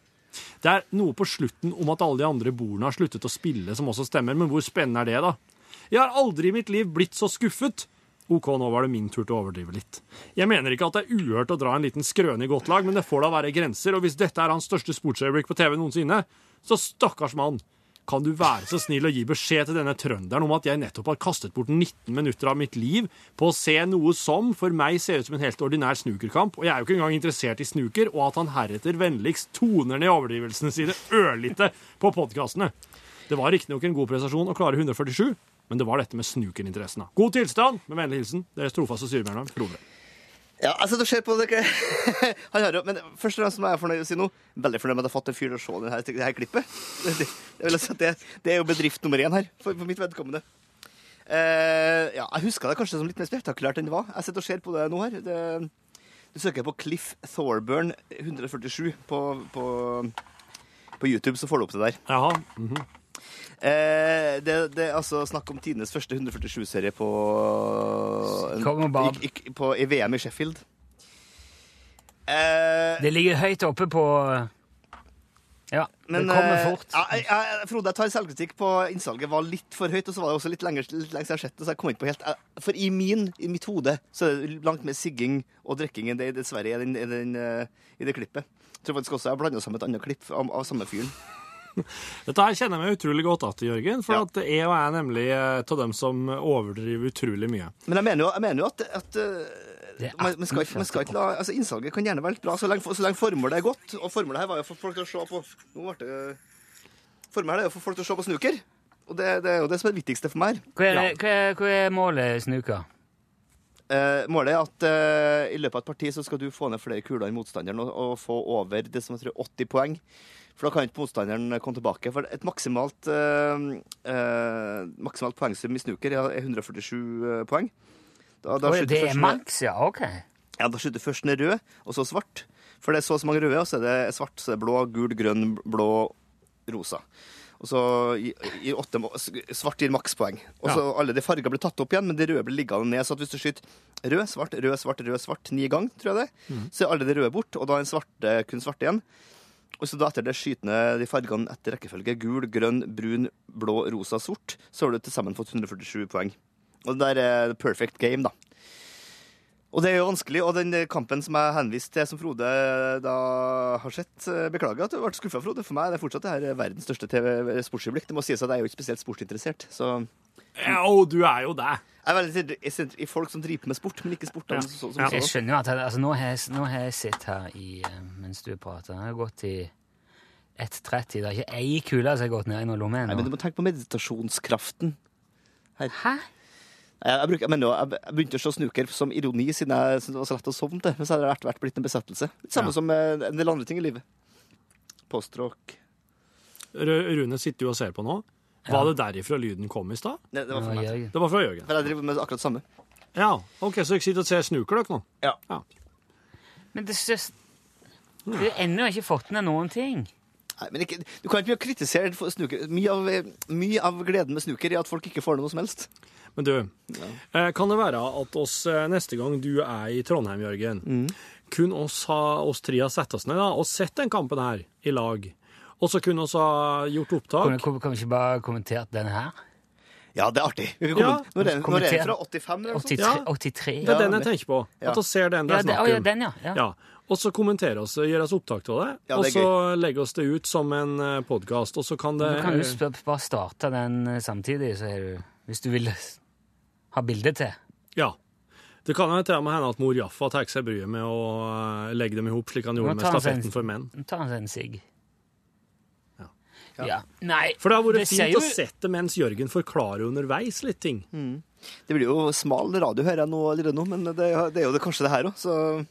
Speaker 5: Det er noe på slutten om at alle de andre bordene har sluttet å spille, som også stemmer, men hvor spennende er det, da? Jeg har aldri i mitt liv blitt så skuffet. OK, nå var det min tur til å overdrive litt. Jeg mener ikke at det er uhørt å dra en liten skrøne i godt lag, men det får da være grenser, og hvis dette er hans største sportsøyeblikk på TV noensinne, så stakkars mann. Kan du være så snill å gi beskjed til denne trønderen om at jeg nettopp har kastet bort 19 minutter av mitt liv på å se noe som for meg ser ut som en helt ordinær snukerkamp, og jeg er jo ikke engang interessert i snuker, og at han heretter vennligst toner ned overdrivelsene sine ørlite på podkastene. Det var riktignok en god prestasjon å klare 147, men det var dette med snukerinteressen. da. God tilstand! Med vennlig hilsen deres trofaste styremedlem Frode.
Speaker 12: Ja, altså du ser på dere Han har jo, Men først og fremst må jeg være fornøyd med å si noe. Veldig fornøyd med at jeg har fått en fyr til å se det her, det her klippet. Det, det, jeg vil si at det, det er jo bedrift nummer én her, for, for mitt vedkommende. Eh, ja, jeg husker det kanskje som litt mer spektakulært enn det var. Jeg sitter og ser på det nå her. Det, du søker på Cliff Thorburn 147 på, på, på YouTube, så får du opp det der.
Speaker 5: Jaha.
Speaker 12: Eh, det, det er altså snakk om tidenes første 147-serie på,
Speaker 3: Kong og Bob.
Speaker 12: i, i, på, i VM i Sheffield. Eh,
Speaker 3: Det ligger høyt oppe på Ja,
Speaker 12: men,
Speaker 3: det kommer
Speaker 12: eh,
Speaker 3: fort.
Speaker 12: Ja, jeg, jeg, Frode, jeg tar selvkritikk på innsalget var litt for høyt, og så var det også litt lenger, litt lenger siden jeg har sett det, så jeg kom ikke på helt. jeg- For i min, i mitt hode, så er det langt mer sigging og drikking enn det dessverre er i den, i den, eh, i det klippet. Jeg tror faktisk også jeg har blanda sammen et annet klipp av, av samme fyren.
Speaker 5: Dette her kjenner jeg meg utrolig godt igjen til, Jørgen. For at jeg og jeg er nemlig et av dem som overdriver utrolig mye.
Speaker 12: Men jeg mener jo, jeg mener jo at, at eh, man, man, skal, ikke- man skal ikke la altså Innsalget kan gjerne være litt bra, så lenge, så lenge formålet er godt. Og formålet her var jo å få folk til å se på Nå ble det Formålet er jo å få folk til å se på snooker. Og det, det er jo det som er det viktigste for meg. her.
Speaker 3: Hva er, det- hva er, hva er målet, Snuka?
Speaker 12: Eh, målet er at eh, i løpet av et parti så skal du få ned flere kuler enn motstanderen og, og få over det som jeg tror er 80 poeng. For da kan ikke motstanderen komme tilbake. For et maksimalt, eh, eh, maksimalt poengsum i snooker er 147 poeng. Da- da
Speaker 3: Oi,
Speaker 12: skyter
Speaker 3: det er
Speaker 12: først ned-
Speaker 3: maks, ja. Ok.
Speaker 12: Ja, da skyter først ned rød, og så svart. For det er så og så mange røde, og så er det svart, så er det blå, gul, grønn, blå, rosa. Og så gir- gir åtte, må- s- svart gir makspoeng. Og så alle de farger blir tatt opp igjen, men de røde blir liggende ned. Så at hvis du skyter rød, svart, rød, svart, rød, svart ni ganger, tror jeg det,
Speaker 5: Mhm.
Speaker 12: så er alle de røde bort, og da er den svarte kun svart igjen. Og så da etter det skytende de fargene etter rekkefølge, gul, grønn, brun, blå, rosa, sort, så har du til sammen fått 147 poeng. Og det der er perfect game, da. Og det er jo vanskelig, og den kampen som jeg henviste til, som Frode da har sett eh, Beklager at du ble skuffa, Frode. For meg er det fortsatt det her er verdens største TV sportsøyeblikk. Det må sies at jeg er jo ikke spesielt sportsinteressert, så
Speaker 5: Jo, du er jo det.
Speaker 12: Jeg er veldig interessert i folk som driver med sport, men ikke sport.
Speaker 3: Ja.
Speaker 12: som så- som sånn.
Speaker 3: Ja.
Speaker 12: så.
Speaker 3: Jeg skjønner jo at jeg- altså, nå, har jeg, nå har jeg sittet her i, eh, mens du prater. Jeg har gått i 1,30. Det er ikke ei kule som har gått ned i noen lomme
Speaker 12: Nei, men du
Speaker 3: ennå.
Speaker 12: må tenke på meditasjonskraften. Hæ? Jeg, jeg, bruker, jeg, mener, jo, jeg jeg begynte å se snooker som ironi siden jeg syntes det var så lett å sovne til. Men så har det vært, vært blitt en besettelse. Litt samme som eh, en del andre ting i livet. Postråk.
Speaker 5: Ru- Rune sitter jo og ser på nå. Var det derifra lyden kom i stad?
Speaker 12: Nei, det var fra meg.
Speaker 5: Det var fra Jørgen.
Speaker 12: For jeg driver med akkurat det samme.
Speaker 5: Ja, OK, så dere sitter og ser snooker dere nå?
Speaker 12: Ja.
Speaker 3: Men det synes
Speaker 12: Mm.
Speaker 3: Du har ennå ikke fått ned noen ting.
Speaker 12: Nei, men ikke, du kan ikke mye kritisere for snooker. Mye av, mye av gleden med snooker er at folk ikke får noe som helst.
Speaker 5: Men du, eh, kan det være at oss eh, neste gang du er i Trondheim, Jørgen,
Speaker 12: Mm.
Speaker 5: kun oss, ha, oss tre har sett oss ned da, og sett den kampen her i lag, og så kunne oss ha gjort
Speaker 3: Kan,
Speaker 5: opptak?
Speaker 3: kan, kan vi ikke bare kommentert den her?
Speaker 12: Ja, det er artig. Vi kan
Speaker 5: Ja.
Speaker 12: kommentere- Når er- når er det fra 85 eller noe
Speaker 3: 83,
Speaker 12: sånt?
Speaker 5: Ja.
Speaker 3: 83.
Speaker 5: Det er den jeg tenker på.
Speaker 12: Ja.
Speaker 5: At vi ser den
Speaker 3: Ja,
Speaker 5: det er
Speaker 3: det- å,
Speaker 5: snakk om.
Speaker 3: ja, den, ja. Ja.
Speaker 5: Og så kommentere oss, gjøre oss opptak av det,
Speaker 3: Ja,
Speaker 5: og
Speaker 3: det er
Speaker 5: så legge oss det ut som en podkast, og så kan det
Speaker 3: Du kan jo sp- bare starte den eh, samtidig, så er du, hvis du vil s- ha bilde til.
Speaker 5: Ja. Det kan jo til og med hende at mor Jaffa tar seg bryet med å eh, legge dem i hop, slik han
Speaker 3: Nå
Speaker 5: gjorde med
Speaker 3: tar han seg en-
Speaker 5: stafetten for menn.
Speaker 3: Nå tar han seg en sigg. Ja. Nei,
Speaker 5: For det har vært
Speaker 3: det ser
Speaker 5: fint
Speaker 3: jo-
Speaker 5: å sette mens Jørgen forklarer underveis litt ting.
Speaker 12: Mm. Det blir jo smal radio, hører jeg nå, eller nå men det, det er jo det, kanskje det her òg, så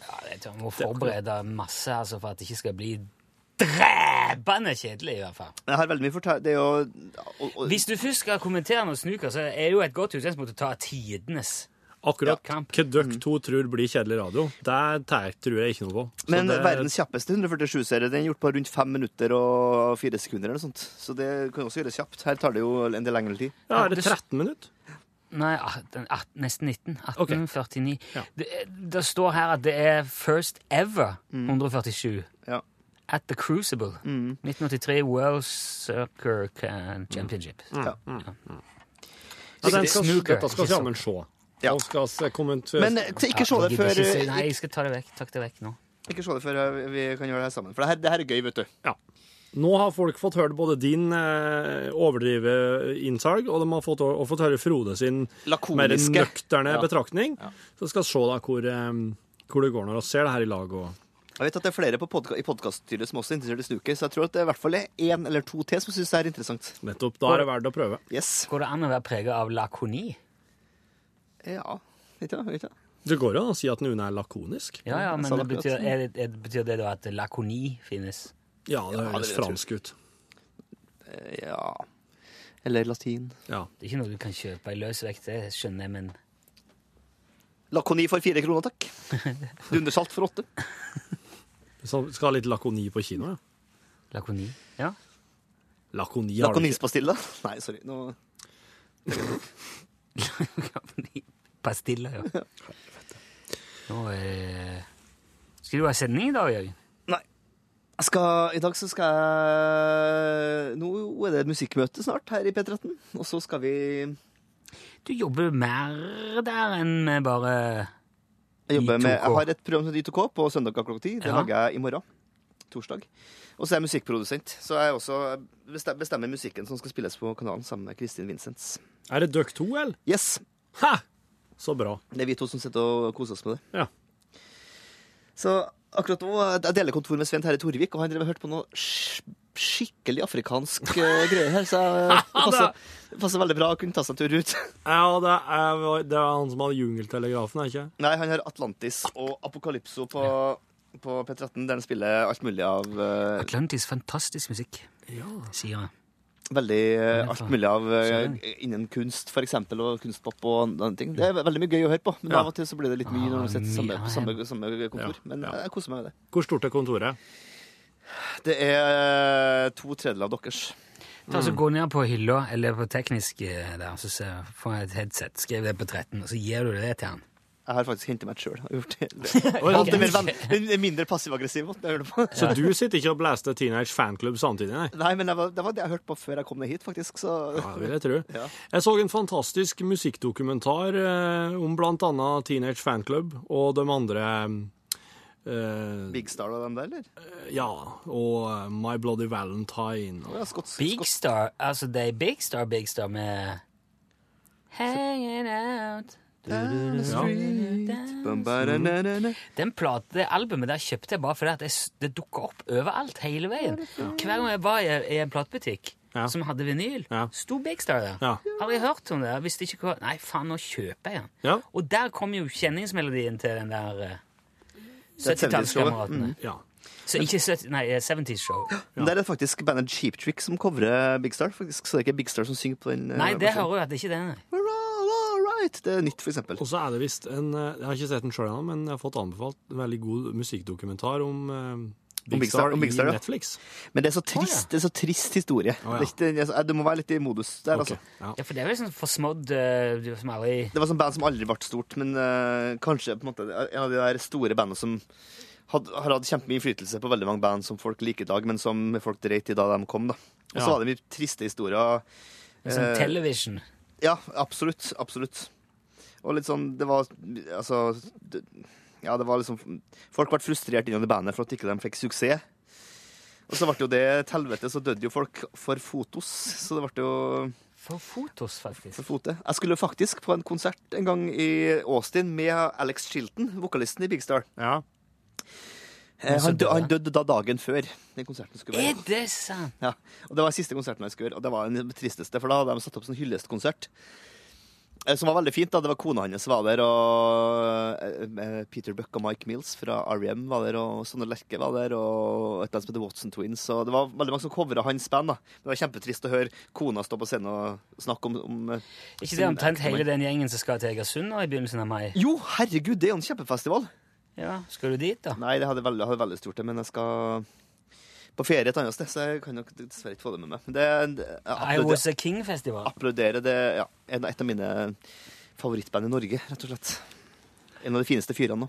Speaker 3: Ja, det tror jeg må forberede masse altså, for at det ikke skal bli dræbende kjedelig, i hvert fall.
Speaker 12: Jeg har veldig mye fortell... Det er jo
Speaker 3: Hvis du først skal kommentere noe snuker, så er det jo et godt utgangspunkt å ta tidenes.
Speaker 5: Akkurat hva
Speaker 12: Mm.
Speaker 5: dere to tror blir kjedelig radio, det tar- tror jeg ikke noe på. Så
Speaker 12: Men
Speaker 5: det-
Speaker 12: verdens kjappeste 147-serie den er gjort på rundt fem minutter og fire sekunder. eller noe sånt. Så det kan også gjøres kjapt. Her tar det jo en del lengre tid.
Speaker 5: Ja, er det 13 minutter?
Speaker 3: Nei, 18, 18, nesten 19. 1849. Det, det står her at det er First Ever 147. At The Crucible. 1983 World Soccer Can- Championship.
Speaker 5: Ja. Mm.
Speaker 3: Så
Speaker 5: Ja, den
Speaker 3: det-
Speaker 5: skal,
Speaker 3: snooker,
Speaker 5: dette skal
Speaker 3: ikke
Speaker 5: vi
Speaker 3: så-
Speaker 5: jammen se. Og skal se kommentere
Speaker 12: Men, eh, ikke se det
Speaker 3: jeg gidder
Speaker 12: før-
Speaker 3: ikke si- Nei, jeg skal ta det vekk. Takk det vekk nå.
Speaker 12: Ikke se det før eh, vi kan gjøre det her sammen. For det her, det her er gøy, vet du.
Speaker 5: Nå har folk fått høre både din eh, overdrive innsalg, og de har fått, og fått høre Frode sin mer
Speaker 12: Lakoniske.
Speaker 5: nøkterne
Speaker 12: Ja.
Speaker 5: betraktning. Så skal vi se da hvor, eh, hvor det går når vi ser det her i lag. Og...
Speaker 12: Jeg vet at det er flere på podka i podkaststyret som også er interessert i snooker, så jeg tror at det er i hvert fall er én eller to til som syns det er interessant.
Speaker 5: Nettopp. Da er det verdt å prøve.
Speaker 12: Yes.
Speaker 3: Går det an å være prega av lakoni?
Speaker 12: Ja. Vet du, vet du.
Speaker 5: Det går jo an å si at Nune er lakonisk.
Speaker 3: Ja, ja, men
Speaker 5: Jeg sa
Speaker 3: det
Speaker 5: akkurat.
Speaker 3: betyr, er det, er, betyr det da at lakoni finnes?
Speaker 5: Ja, det høres fransk ut.
Speaker 12: Eh, Ja Eller latin.
Speaker 3: Det er ikke noe du kan kjøpe i løs vekt, det skjønner jeg, men
Speaker 12: Lakoni for fire kroner, takk. Dundersalt for åtte.
Speaker 5: Så skal ha litt lakoni på kino, ja.
Speaker 3: Lakoni? Ja.
Speaker 5: Lakoni har du ikke.
Speaker 12: Lakonispastille? Nei, sorry. Nå...
Speaker 3: Pastiller, ja. Nå eh, Skal du ha sending i dag, Jørgen?
Speaker 12: Jeg skal, I dag så skal jeg Nå er det musikkmøte snart her i P13, og så skal vi
Speaker 3: Du jobber mer der enn med bare
Speaker 12: Jeg, jobber med, jeg
Speaker 3: I2K.
Speaker 12: har et program som heter Y2K på søndag klokka ti. Det
Speaker 3: Ja.
Speaker 12: lager jeg i morgen. Torsdag. Og så er jeg musikkprodusent, så jeg er også bestem- bestemmer musikken som skal spilles på kanalen sammen med Kristin Vincents.
Speaker 5: Er det Duck 2, eller?
Speaker 12: Yes.
Speaker 5: Ha! Så bra.
Speaker 12: Det er vi to som sitter og koser oss med det.
Speaker 5: Ja.
Speaker 12: Så akkurat nå Jeg deler kontor med Svein Terje Torvik, og han drev og hørte på noe sk- skikkelig afrikansk eh, greier her, så jeg, det passer, det passer veldig bra å kunne ta seg en tur ut.
Speaker 5: Ja, det er, det er han som hadde Jungeltelegrafen, er det ikke?
Speaker 12: Nei, han har Atlantis og Apokalypso på, på P13, der han spiller alt mulig av eh,
Speaker 3: Atlantis, fantastisk musikk, sier jeg.
Speaker 12: Veldig eh,
Speaker 3: Ja,
Speaker 12: alt
Speaker 3: faen.
Speaker 12: mulig av eh,
Speaker 3: Søren.
Speaker 12: innen kunst, for eksempel, og kunstpop og andre ting. Det er veldig mye gøy å høre på, men
Speaker 5: Ja.
Speaker 12: av og til så blir det litt mye når du sitter samme, på samme, samme kontor.
Speaker 5: Ja,
Speaker 12: Men eh,
Speaker 5: ja.
Speaker 12: jeg koser meg med det.
Speaker 5: Hvor stort er kontoret?
Speaker 12: Det er eh, to tredjedeler av deres. Mm.
Speaker 3: Ta så Gå ned på hylla eller på teknisk eh, der, så se- får jeg et headset. Skriv det på 13, og så gir du det til han.
Speaker 12: Jeg har faktisk hentet meg et sjøl.
Speaker 5: Oi,
Speaker 12: Alt er mer venn, en mindre passiv-aggressiv måten jeg gjør det på.
Speaker 5: Så du sitter ikke og blaster Teenage Fanclub samtidig, nei?
Speaker 12: Nei, men det var, det var det jeg hørte på før jeg kom ned hit, faktisk. Så...
Speaker 5: Ja, det vil jeg tro.
Speaker 12: Ja.
Speaker 5: Jeg så en fantastisk musikkdokumentar eh, om blant annet Teenage Fanclub og de andre eh,
Speaker 12: Big Star og dem der, eller?
Speaker 5: Ja, og eh, My Bloody Valentine.
Speaker 12: Ja, Scott,
Speaker 3: Big Star, altså det er Big Star, Big Star med Hanging out
Speaker 12: Down the street.
Speaker 3: Den plate, det albumet der kjøpte jeg bare fordi at det, s- det dukka opp overalt hele veien. Hver gang jeg var i, i en platebutikk som hadde vinyl, sto Big Star der. Aldri hørt om det. jeg Visste ikke hva Nei, faen, nå kjøper jeg den.
Speaker 5: Ja.
Speaker 3: Og der kom jo kjenningsmelodien til den der eh,
Speaker 12: Det er et 70s-show,
Speaker 3: 70-tallskameratene.
Speaker 12: mm. Ja.
Speaker 3: Så ikke 70, nei, eh, 70-show.
Speaker 12: Men der er det faktisk bandet Cheap Trick som covrer Big Star, faktisk. Så det er ikke Big Star som synger på den. eh,
Speaker 3: Nei, det
Speaker 12: versjonen.
Speaker 3: hører jo at det ikke er det. nei.
Speaker 12: We're all alright. Det er nytt, for eksempel.
Speaker 5: Og så er det visst en eh, Jeg har ikke sett den sjøl ennå, men jeg har fått anbefalt en veldig god musikkdokumentar om eh, Big, Star,
Speaker 12: om Big Star,
Speaker 5: i
Speaker 12: ja.
Speaker 5: Netflix.
Speaker 12: Men det er så trist, det er så trist historie.
Speaker 5: ja.
Speaker 12: Det er ikke- det er så- eh, Du må være litt i modus der, altså.
Speaker 3: Ja. for det er vel sånn forsmådd eh, du som aldri
Speaker 12: Det var sånn band som aldri ble stort, men eh, kanskje på en måte en av de der store bandene som had, har hatt kjempemye innflytelse på veldig mange band som folk liker i dag, men som folk dreit i da de kom. da. Og
Speaker 3: Ja.
Speaker 12: så var det mye triste historier.
Speaker 3: Det er Sånn
Speaker 12: eh,
Speaker 3: television.
Speaker 12: Ja, absolutt. Absolutt. Og litt sånn Det var altså det, Ja, det var liksom Folk ble frustrert innad i bandet for at ikke de fikk suksess. Og så ble jo det et helvete, så døde jo folk for fotos. Så det ble jo
Speaker 3: For fotos, faktisk.
Speaker 12: For fote. Jeg skulle faktisk på en konsert en gang i Austin med Alex Chilton, vokalisten i Big Star.
Speaker 5: Ja.
Speaker 12: Eh,
Speaker 3: Men så
Speaker 12: han, dø,
Speaker 3: døde
Speaker 12: han døde da dagen før den konserten skulle være.
Speaker 3: Er det sant?
Speaker 12: Ja, og det var siste konserten jeg skulle gjøre, og det var den tristeste, for da hadde de satt opp sånn hyllestkonsert. eh, Som var veldig fint, da. Det var kona hans var der, og eh, eh, Peter Buck og Mike Mills fra R.E.M. var der, og Sonne Lerche var der, og et band som heter Watson Twins. Og det var veldig mange som covra hans band, da. Det var kjempetrist å høre kona stå på scenen og snakke om, om eh,
Speaker 3: Ikke det
Speaker 12: sin
Speaker 3: omtrent hele
Speaker 12: ektemann.
Speaker 3: den gjengen som skal til Egersund nå i begynnelsen av mai?
Speaker 12: Jo, herregud, det er jo en kjempefestival.
Speaker 3: Ja, Skal du dit, da?
Speaker 12: Nei, det hadde veldig, hadde veldig stort, det, men jeg skal på ferie et annet sted, så jeg kan nok dessverre ikke få det med meg. Men Det, det, jeg
Speaker 3: I
Speaker 12: applauder-
Speaker 3: Was A King-festival.
Speaker 12: applaudere det ja, en- et av mine favorittband i Norge, rett og slett. En av de fineste fyrene nå.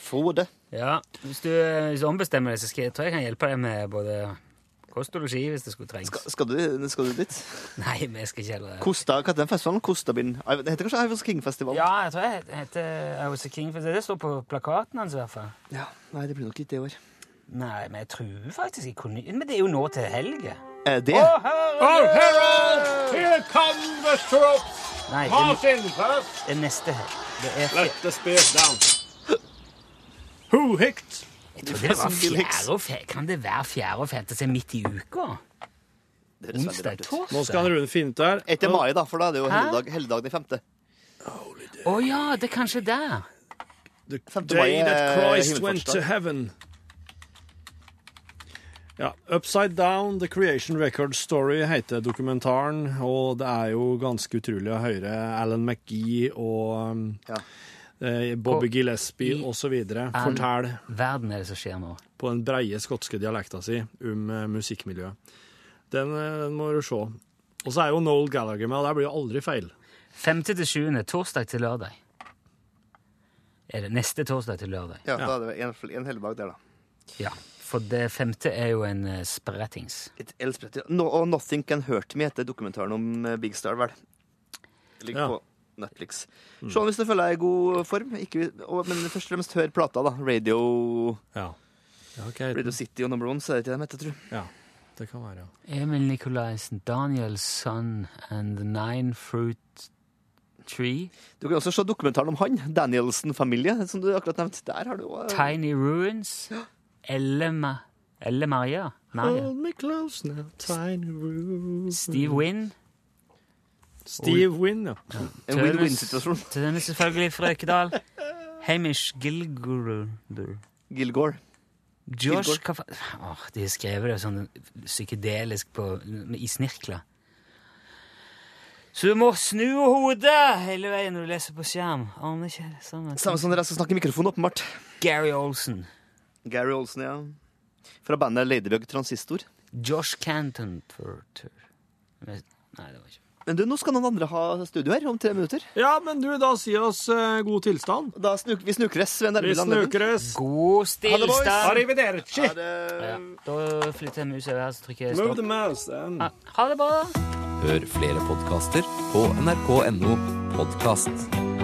Speaker 12: Få det.
Speaker 3: Ja, Hvis du, hvis du ombestemmer deg, så skal jeg, tror jeg jeg kan hjelpe deg med både kost og losji hvis det skulle trengs.
Speaker 12: Skal, skal, du, skal du dit?
Speaker 3: Nei, men jeg skal ikke heller
Speaker 12: Kosta, hva heter den festivalen? Kostabyen. Nei, Det heter kanskje Ivans King-festivalen?
Speaker 3: Ja, jeg tror jeg het- heter I Was A King. For det står på plakaten hans i hvert fall.
Speaker 12: Ja, Nei, det blir nok ikke det i år.
Speaker 3: Nei, men jeg tror faktisk jeg kunne Men det er jo nå til helga.
Speaker 12: Er Eh, det?
Speaker 3: Å, herre!
Speaker 2: Here come the troops!
Speaker 3: Nei, det
Speaker 2: March in first!
Speaker 3: det er neste helg. Det er
Speaker 2: Let the spear down. Who hicked?
Speaker 3: Jeg trodde det var fjerde og fe Kan det være fjerde og femte seg midt i uka? Onsdag,
Speaker 5: Nå skal
Speaker 3: torsdag?
Speaker 5: Rune finne ut der.
Speaker 12: Etter mai, da, for da er det jo
Speaker 3: Hæ?
Speaker 12: helligdag, helligdag den femte.
Speaker 3: Å ja, det er kanskje der.
Speaker 5: The
Speaker 12: Femte mai
Speaker 5: day
Speaker 12: er
Speaker 5: that Christ went to
Speaker 12: himmelfartsdag.
Speaker 5: heaven. Ja, Upside Down, The Creation Record Story heter dokumentaren, og det er jo ganske utrolig å høre Alan McGee og um, eh, Bobby
Speaker 3: Og-
Speaker 5: Gillespie
Speaker 3: i-
Speaker 5: osv.
Speaker 3: Alan-
Speaker 5: fortelle
Speaker 3: Verden er det som skjer nå.
Speaker 5: på den breie skotske dialekta si om eh, musikkmiljøet. Den, eh, den må du se. Og så er jo Noel Gallagher med, og der blir jo aldri feil.
Speaker 3: Femte til sjuende, torsdag til lørdag. Er det neste torsdag til lørdag?
Speaker 12: Ja, da er det en, en helligdag der, da.
Speaker 3: Ja, for det femte er jo en eh, sprettings.
Speaker 12: Et elsprett, ja. no, og Nothing Can Hurt Me heter dokumentaren om eh, Big Star, vel. Ligger på Netflix.
Speaker 5: Mm.
Speaker 12: Se den hvis du føler deg i god form. Ikke, og, men først og fremst hør plata, da. Radio, Radio City og Number One, så er det ikke det de heter, tror jeg.
Speaker 5: Det kan være, ja.
Speaker 3: Emil Nikolaisen, Daniel Sun and the Nine Fruit Tree.
Speaker 12: Du kan også se dokumentaren om han, Danielsen-familie, som du akkurat nevnte. Der har du eh, også
Speaker 3: Tiny Ruins. Elle, Ma Elle Maria. Maria.
Speaker 5: Hold me close now, tiny room.
Speaker 3: Steve Wynn.
Speaker 5: Steve Wynn, ja.
Speaker 12: En win-win-situasjon.
Speaker 3: Tønes selvfølgelig Frøkedal. Hamish Gilgore.
Speaker 12: Gilgore.
Speaker 3: Josh
Speaker 12: Gilgore.
Speaker 3: hva fa- Åh, De har skrevet det sånn psykedelisk på, i snirkler. Så du må snu hodet hele veien når du leser på skjerm. Arne Kjell, samme.
Speaker 12: Samme som dere som snakker i mikrofonen, åpenbart.
Speaker 3: Gary Olsen.
Speaker 12: Gary Olsen, ja. Fra bandet Ladybug Transistor.
Speaker 3: Josh Canton. Nei, det var ikke
Speaker 12: Men du, nå skal noen andre ha studio her om tre minutter.
Speaker 5: Ja, men du, da sier oss eh, god tilstand.
Speaker 12: Da snuk, vi snukres ved en
Speaker 5: Vi snukres.
Speaker 3: God stillstand.
Speaker 5: Arrivederci.
Speaker 3: Ja, da flytter jeg muset her, så trykker jeg
Speaker 5: Move
Speaker 3: stopp.
Speaker 5: the mouse. then.
Speaker 3: Ja, ha det bra.
Speaker 14: Hør flere podkaster på nrk.no podkast.